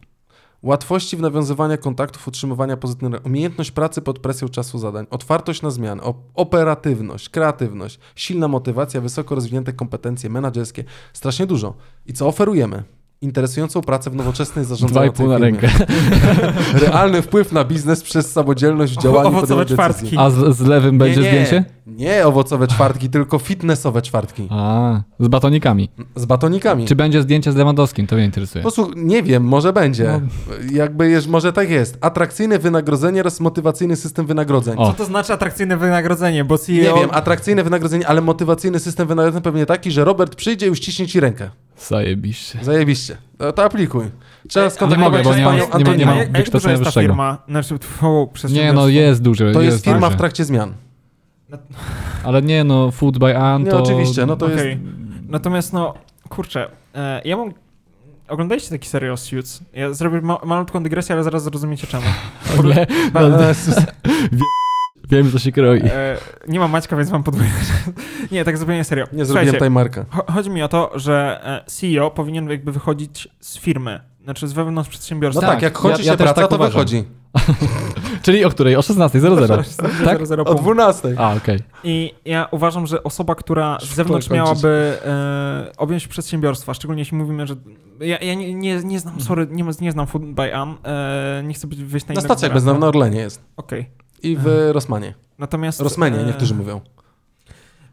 Speaker 1: Łatwości w nawiązywaniu kontaktów, utrzymywania pozytywnych. Umiejętność pracy pod presją czasu zadań. Otwartość na zmiany. Op- operatywność, kreatywność, silna motywacja, wysoko rozwinięte kompetencje menedżerskie. Strasznie dużo. I co oferujemy? Interesującą pracę w nowoczesnej
Speaker 4: Dwa i
Speaker 1: zarządzającej
Speaker 4: pół na
Speaker 1: firmie.
Speaker 4: rękę.
Speaker 1: <laughs> Realny wpływ na biznes przez samodzielność w
Speaker 3: Owo-
Speaker 1: działaniu
Speaker 3: owocowe
Speaker 1: podejmowania decyzji.
Speaker 3: czwartki.
Speaker 4: A z, z lewym będzie
Speaker 1: nie, nie,
Speaker 4: zdjęcie?
Speaker 1: Nie owocowe czwartki, tylko fitnessowe czwartki.
Speaker 4: A, z batonikami.
Speaker 1: Z batonikami.
Speaker 4: Czy będzie zdjęcie z Lewandowskim? To mnie interesuje.
Speaker 1: Posłuch, nie wiem, może
Speaker 4: No.
Speaker 1: będzie. Jakby jest, może tak jest. Atrakcyjne wynagrodzenie oraz motywacyjny system wynagrodzeń.
Speaker 4: O.
Speaker 3: Co to znaczy atrakcyjne wynagrodzenie? Bo E CEO...
Speaker 1: Nie wiem, atrakcyjne wynagrodzenie, ale motywacyjny system wynagrodzeń pewnie taki, że Robert przyjdzie i uściśnie ci rękę.
Speaker 4: Zajebiście.
Speaker 1: Zajebiście. To, to aplikuj. Trzeba
Speaker 4: nie mogę,
Speaker 1: skontaktować
Speaker 4: bo
Speaker 1: się z
Speaker 4: nie mam-
Speaker 1: panią
Speaker 4: nie mam- nie
Speaker 1: Antonią.
Speaker 4: mam-
Speaker 3: A jak- a jak duża
Speaker 4: wykształcenia
Speaker 3: jest ta
Speaker 4: wyższego.
Speaker 3: firma? Znaczy, tfu,
Speaker 4: Nie,
Speaker 3: przedsiębiorstwo.
Speaker 4: no jest duże.
Speaker 1: To jest firma
Speaker 4: duże.
Speaker 1: w trakcie zmian.
Speaker 4: Ale nie, no, Food by An
Speaker 1: Nie,
Speaker 4: to...
Speaker 1: oczywiście, no to
Speaker 3: Okej.
Speaker 1: jest...
Speaker 3: Natomiast no, kurczę, e, ja mam... Oglądaliście taki serial Suits? Ja zrobię ma malutką dygresję, ale zaraz zrozumiecie czemu.
Speaker 1: <laughs>
Speaker 4: w ogóle- no, <laughs> Wiem, co się kroi.
Speaker 3: E, nie mam Maćka, więc mam podwójne. <laughs> nie, tak zupełnie serio.
Speaker 1: Nie zrobiłem
Speaker 3: Słuchajcie,
Speaker 1: tutaj marka.
Speaker 3: Cho- Chodzi mi o to, że e, CEO powinien jakby wychodzić z firmy, znaczy z wewnątrz
Speaker 1: No
Speaker 3: przedsiębiorstwa.
Speaker 1: tak,
Speaker 4: tak,
Speaker 1: jak
Speaker 4: ja-
Speaker 1: kończy
Speaker 4: ja
Speaker 1: się
Speaker 4: też
Speaker 1: praca,
Speaker 4: tak
Speaker 1: to
Speaker 4: uważam.
Speaker 1: wychodzi.
Speaker 4: Czyli o której?
Speaker 1: <laughs>
Speaker 4: O 16.00. tak?
Speaker 3: <laughs> Zero, zero
Speaker 1: O
Speaker 3: punkt.
Speaker 1: 12.
Speaker 4: A, okej.
Speaker 3: I ja uważam, że osoba, która z
Speaker 1: Szybko
Speaker 3: zewnątrz
Speaker 1: kończyć.
Speaker 3: miałaby e, objąć przedsiębiorstwa, szczególnie jeśli mówimy, że ja, ja nie, nie, nie znam, sorry, nie, ma- nie znam Food by Am, e, nie chcę być wyjść na
Speaker 1: Na
Speaker 3: innego
Speaker 1: stacjach
Speaker 3: brata.
Speaker 1: bezdomna na Orlenie jest.
Speaker 3: Okej.
Speaker 1: I w Rosmanie.
Speaker 3: Natomiast...
Speaker 1: Rosmanie,
Speaker 3: e,
Speaker 1: niektórzy mówią.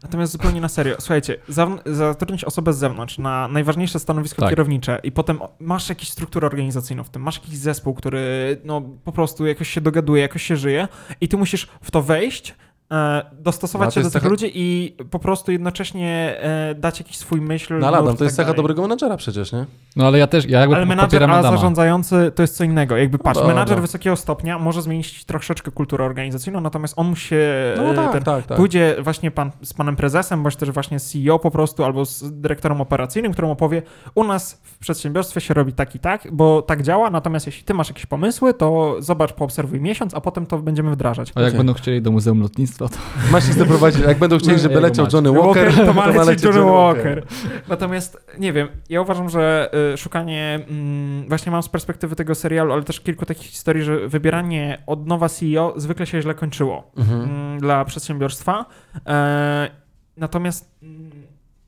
Speaker 3: Natomiast zupełnie na serio. Słuchajcie, zawn- zatrudnić osobę z zewnątrz na najważniejsze stanowisko
Speaker 4: Tak.
Speaker 3: kierownicze i potem o- masz jakąś strukturę organizacyjną w tym, masz jakiś zespół, który no, po prostu jakoś się dogaduje, jakoś się żyje i ty musisz w to wejść, e, e, dostosować
Speaker 1: No, to
Speaker 3: się do
Speaker 1: jest
Speaker 3: tych
Speaker 1: taka-
Speaker 3: ludzi i po prostu jednocześnie e, dać jakiś swój myśl.
Speaker 1: No ale Adam,
Speaker 3: nurt
Speaker 1: to
Speaker 3: i
Speaker 1: jest
Speaker 3: tak
Speaker 1: cecha
Speaker 3: dalej.
Speaker 1: dobrego menadżera przecież, nie?
Speaker 4: No ale ja też, ja jakby
Speaker 3: Ale menadżer,
Speaker 4: popieram
Speaker 3: a
Speaker 4: Adama.
Speaker 3: zarządzający to jest co innego. Jakby patrz,
Speaker 1: Dobra.
Speaker 3: menadżer wysokiego stopnia może zmienić troszeczkę kulturę organizacyjną, natomiast on musi się.
Speaker 1: No
Speaker 3: e,
Speaker 1: tak,
Speaker 3: ten,
Speaker 1: tak, tak.
Speaker 3: Pójdzie właśnie pan, z panem prezesem, bądź też właśnie z CEO po prostu, albo z dyrektorem operacyjnym, któremu opowie, u nas w przedsiębiorstwie się robi tak i tak, bo tak działa, natomiast jeśli ty masz jakieś pomysły, to zobacz, poobserwuj miesiąc, a potem to będziemy wdrażać.
Speaker 4: A jak
Speaker 1: Okej.
Speaker 4: będą chcieli do Muzeum Lotnictwa, to
Speaker 1: Masz ich doprowadzić, jak będą <laughs> chcieli, żeby
Speaker 4: Jego
Speaker 1: leciał
Speaker 4: macie.
Speaker 1: Johnny Walker,
Speaker 3: No to
Speaker 1: <laughs>
Speaker 3: ma lecieć Johnny Walker.
Speaker 1: Walker.
Speaker 3: Natomiast nie wiem, ja uważam, że y, szukanie, mm, właśnie mam z perspektywy tego serialu, ale też kilku takich historii, że wybieranie od nowa CEO zwykle się źle kończyło
Speaker 1: Mhm.
Speaker 3: mm, dla przedsiębiorstwa. E, natomiast mm,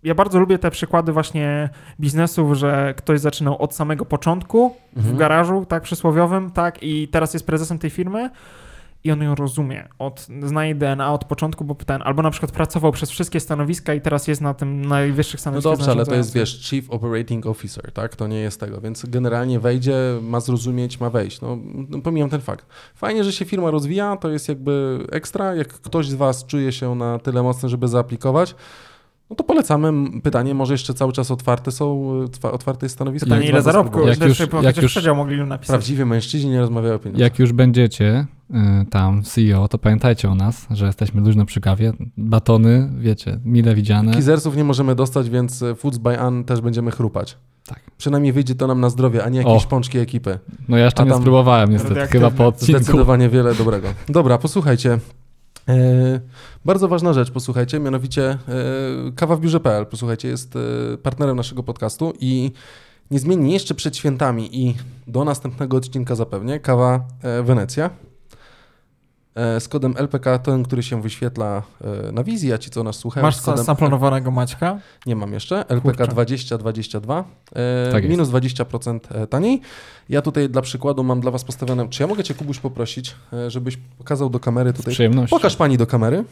Speaker 3: ja bardzo lubię te przykłady właśnie biznesów, że ktoś zaczynał od samego początku w
Speaker 1: Mhm.
Speaker 3: garażu, tak, przysłowiowym, tak, i teraz jest prezesem tej firmy. I on ją rozumie, od, zna jej DNA od początku, bo ten, albo na przykład pracował przez wszystkie stanowiska i teraz jest na tym najwyższych
Speaker 1: No
Speaker 3: stanowiskach.
Speaker 1: dobrze, ale to jest,
Speaker 3: zarządzających.
Speaker 1: wiesz, Chief Operating Officer, tak? To nie jest tego, więc generalnie wejdzie, ma zrozumieć, ma wejść. No, no pomijam ten fakt. Fajnie, że się firma rozwija, to jest jakby ekstra. Jak ktoś z Was czuje się na tyle mocny, żeby zaaplikować, no to polecamy. Pytanie, może jeszcze cały czas otwarte są, e, twa- otwarte jest stanowisko.
Speaker 3: Pytanie,
Speaker 1: więc
Speaker 3: ile
Speaker 1: warto
Speaker 3: zarobku?
Speaker 1: spróbować.
Speaker 4: Jak
Speaker 3: Jak
Speaker 4: już-
Speaker 3: już,
Speaker 4: jak już-
Speaker 3: przedział mogli ją napisać.
Speaker 1: Prawdziwi mężczyźni nie rozmawiają o pieniądzach.
Speaker 4: jak już będziecie y, tam CEO, to pamiętajcie o nas, że jesteśmy luźno przy kawie. Batony, wiecie, mile widziane.
Speaker 1: Kizersów nie możemy dostać, więc e, Foods by An też będziemy chrupać.
Speaker 4: Tak.
Speaker 1: Przynajmniej wyjdzie to nam na zdrowie, a nie jakieś
Speaker 4: O.
Speaker 1: pączki ekipy.
Speaker 4: No ja jeszcze
Speaker 1: A
Speaker 4: nie
Speaker 1: tam-
Speaker 4: spróbowałem niestety,
Speaker 3: Radioaktywne.
Speaker 4: chyba po odcinku.
Speaker 1: Zdecydowanie wiele dobrego. Dobra, posłuchajcie. E, bardzo ważna rzecz, posłuchajcie, mianowicie e, kawa w biurze.pl, posłuchajcie, jest e, partnerem naszego podcastu i niezmiennie jeszcze przed świętami i do następnego odcinka zapewnie kawa e, Wenecja e, z kodem LPK, ten, który się wyświetla e, na wizji, a ci, co nas słuchają,
Speaker 3: Masz
Speaker 1: z kodem
Speaker 3: samplonowanego Maćka?
Speaker 1: nie mam jeszcze. LPK
Speaker 3: Kurczę.
Speaker 1: 2022. E,
Speaker 4: Tak jest.
Speaker 1: minus 20% taniej. Ja tutaj dla przykładu mam dla Was postawione. Czy ja mogę Cię, Kubuś, poprosić, e, żebyś pokazał do kamery
Speaker 4: Z
Speaker 1: tutaj.
Speaker 4: przyjemnością.
Speaker 1: Pokaż Pani do kamery.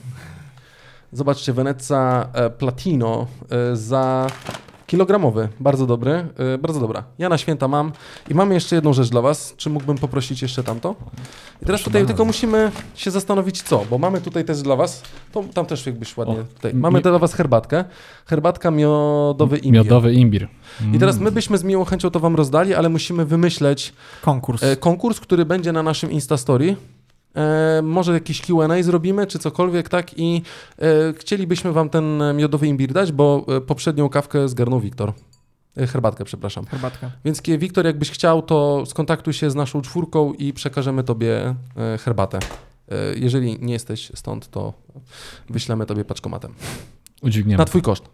Speaker 1: Zobaczcie, Weneca e, Platino e, za kilogramowy. Bardzo dobry. e, Bardzo dobra. Ja na święta mam. I mamy jeszcze jedną rzecz dla Was. Czy mógłbym poprosić jeszcze tamto? I teraz tutaj tylko musimy się zastanowić co, bo mamy tutaj też dla Was, to, tam też jakbyś ładnie
Speaker 4: O,
Speaker 1: tutaj,
Speaker 4: mi-
Speaker 1: mamy dla Was herbatkę, herbatka miodowy imbir.
Speaker 4: Miodowy imbir. Mm,
Speaker 1: I teraz my byśmy z miłą chęcią to Wam rozdali, ale musimy wymyśleć
Speaker 3: Konkurs.
Speaker 1: e, konkurs, który będzie na naszym Instastory. E, może jakieś Q&A zrobimy, czy cokolwiek, tak? I e, chcielibyśmy Wam ten e, miodowy imbir dać, bo e, poprzednią kawkę zgarnął Wiktor. E, herbatkę, przepraszam.
Speaker 3: Herbatka.
Speaker 1: Więc kie- Wiktor, jakbyś chciał, to skontaktuj się z naszą czwórką i przekażemy tobie e, herbatę. E, Jeżeli nie jesteś stąd, to wyślemy tobie paczkomatem.
Speaker 4: Udźwigniemy.
Speaker 1: Na twój koszt.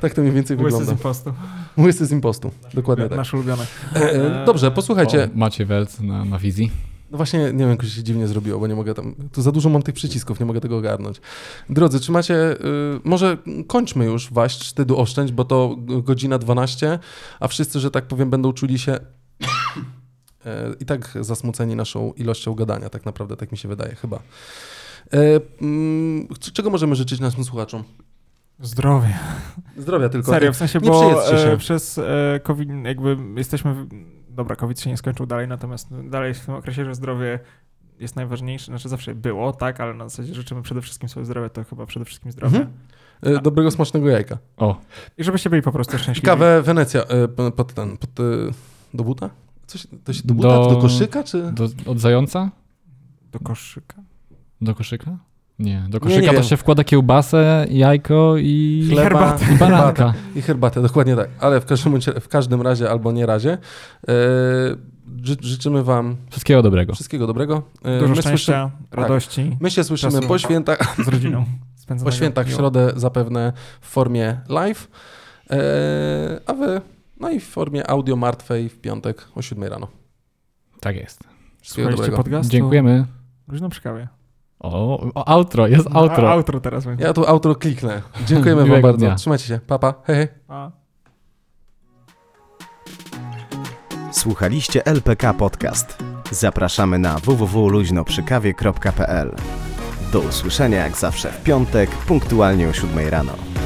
Speaker 1: tak to mniej więcej
Speaker 3: Łysy z
Speaker 1: wygląda.
Speaker 3: impostu.
Speaker 1: Łysy z impostu. Dokładnie tak.
Speaker 3: Nasz ulubiony.
Speaker 1: E, e, Dobrze, posłuchajcie.
Speaker 4: O, Macie Welc na, na wizji.
Speaker 1: No właśnie, nie wiem, jakoś się dziwnie zrobiło, bo nie mogę tam. Tu za dużo mam tych przycisków, nie mogę tego ogarnąć. Drodzy, czy macie. y, może kończmy już waść wstydu oszczędź, bo to g- godzina 12, a wszyscy, że tak powiem, będą czuli się. <coughs> y, I tak zasmuceni naszą ilością gadania, tak naprawdę, tak mi się wydaje, chyba. E, mm, c- czego możemy życzyć naszym słuchaczom?
Speaker 3: Zdrowie.
Speaker 1: Zdrowia tylko.
Speaker 3: Serio, w sensie,
Speaker 1: nie
Speaker 3: bo
Speaker 1: przejedźcie się.
Speaker 3: e, przez e, COVID jakby jesteśmy... W... Dobra, COVID się nie skończył dalej, natomiast no, dalej w tym okresie, że zdrowie jest najważniejsze, znaczy zawsze było, tak, ale na zasadzie życzymy przede wszystkim sobie zdrowia, to chyba przede wszystkim zdrowie.
Speaker 1: Mhm. E, dobrego, smacznego jajka.
Speaker 4: O,
Speaker 3: I żebyście byli po prostu
Speaker 1: I
Speaker 3: szczęśliwi.
Speaker 1: kawę Wenecja e, p- pod ten, pod, e, do buta? Coś, to się do buta,
Speaker 4: Do-
Speaker 1: do, do koszyka, czy?
Speaker 4: do, od zająca?
Speaker 3: Do koszyka.
Speaker 4: Do koszyka? Nie, do koszyka to
Speaker 1: wiem.
Speaker 4: się wkłada kiełbasę, jajko i,
Speaker 1: Chleba,
Speaker 3: herbatę.
Speaker 4: i baranka.
Speaker 1: I herbatę, dokładnie tak. Ale w każdym, bądź- w każdym razie albo nie razie. E, ży, życzymy Wam
Speaker 4: Wszystkiego dobrego.
Speaker 1: wszystkiego dobrego. E,
Speaker 3: Dużo
Speaker 1: my, słyszy,
Speaker 3: szczęścia, radości
Speaker 1: my się słyszymy
Speaker 3: Czasu.
Speaker 1: po świętach,
Speaker 3: z
Speaker 1: <laughs>
Speaker 3: rodziną.
Speaker 1: po
Speaker 3: spędzonego
Speaker 1: świętach w
Speaker 3: miło.
Speaker 1: środę zapewne w formie live, e, a Wy no i w formie audio martwej w piątek o 7 rano.
Speaker 4: Tak jest.
Speaker 1: Wszystkiego
Speaker 3: Słuchaliście
Speaker 1: dobrego.
Speaker 3: podcastu.
Speaker 4: Dziękujemy.
Speaker 3: Luźno przy kawie.
Speaker 4: O, o, outro, jest outro.
Speaker 3: A, outro teraz będzie.
Speaker 1: Ja tu outro
Speaker 3: <laughs>
Speaker 1: kliknę. Dziękujemy Wam
Speaker 4: Miłego
Speaker 1: bardzo.
Speaker 4: dnia.
Speaker 1: Trzymajcie się. Papa. Pa. Hej, hej.
Speaker 3: A.
Speaker 5: Słuchaliście LPK Podcast. Zapraszamy na www.luźnoprzykawie.pl. Do usłyszenia jak zawsze w piątek, punktualnie o 7 rano.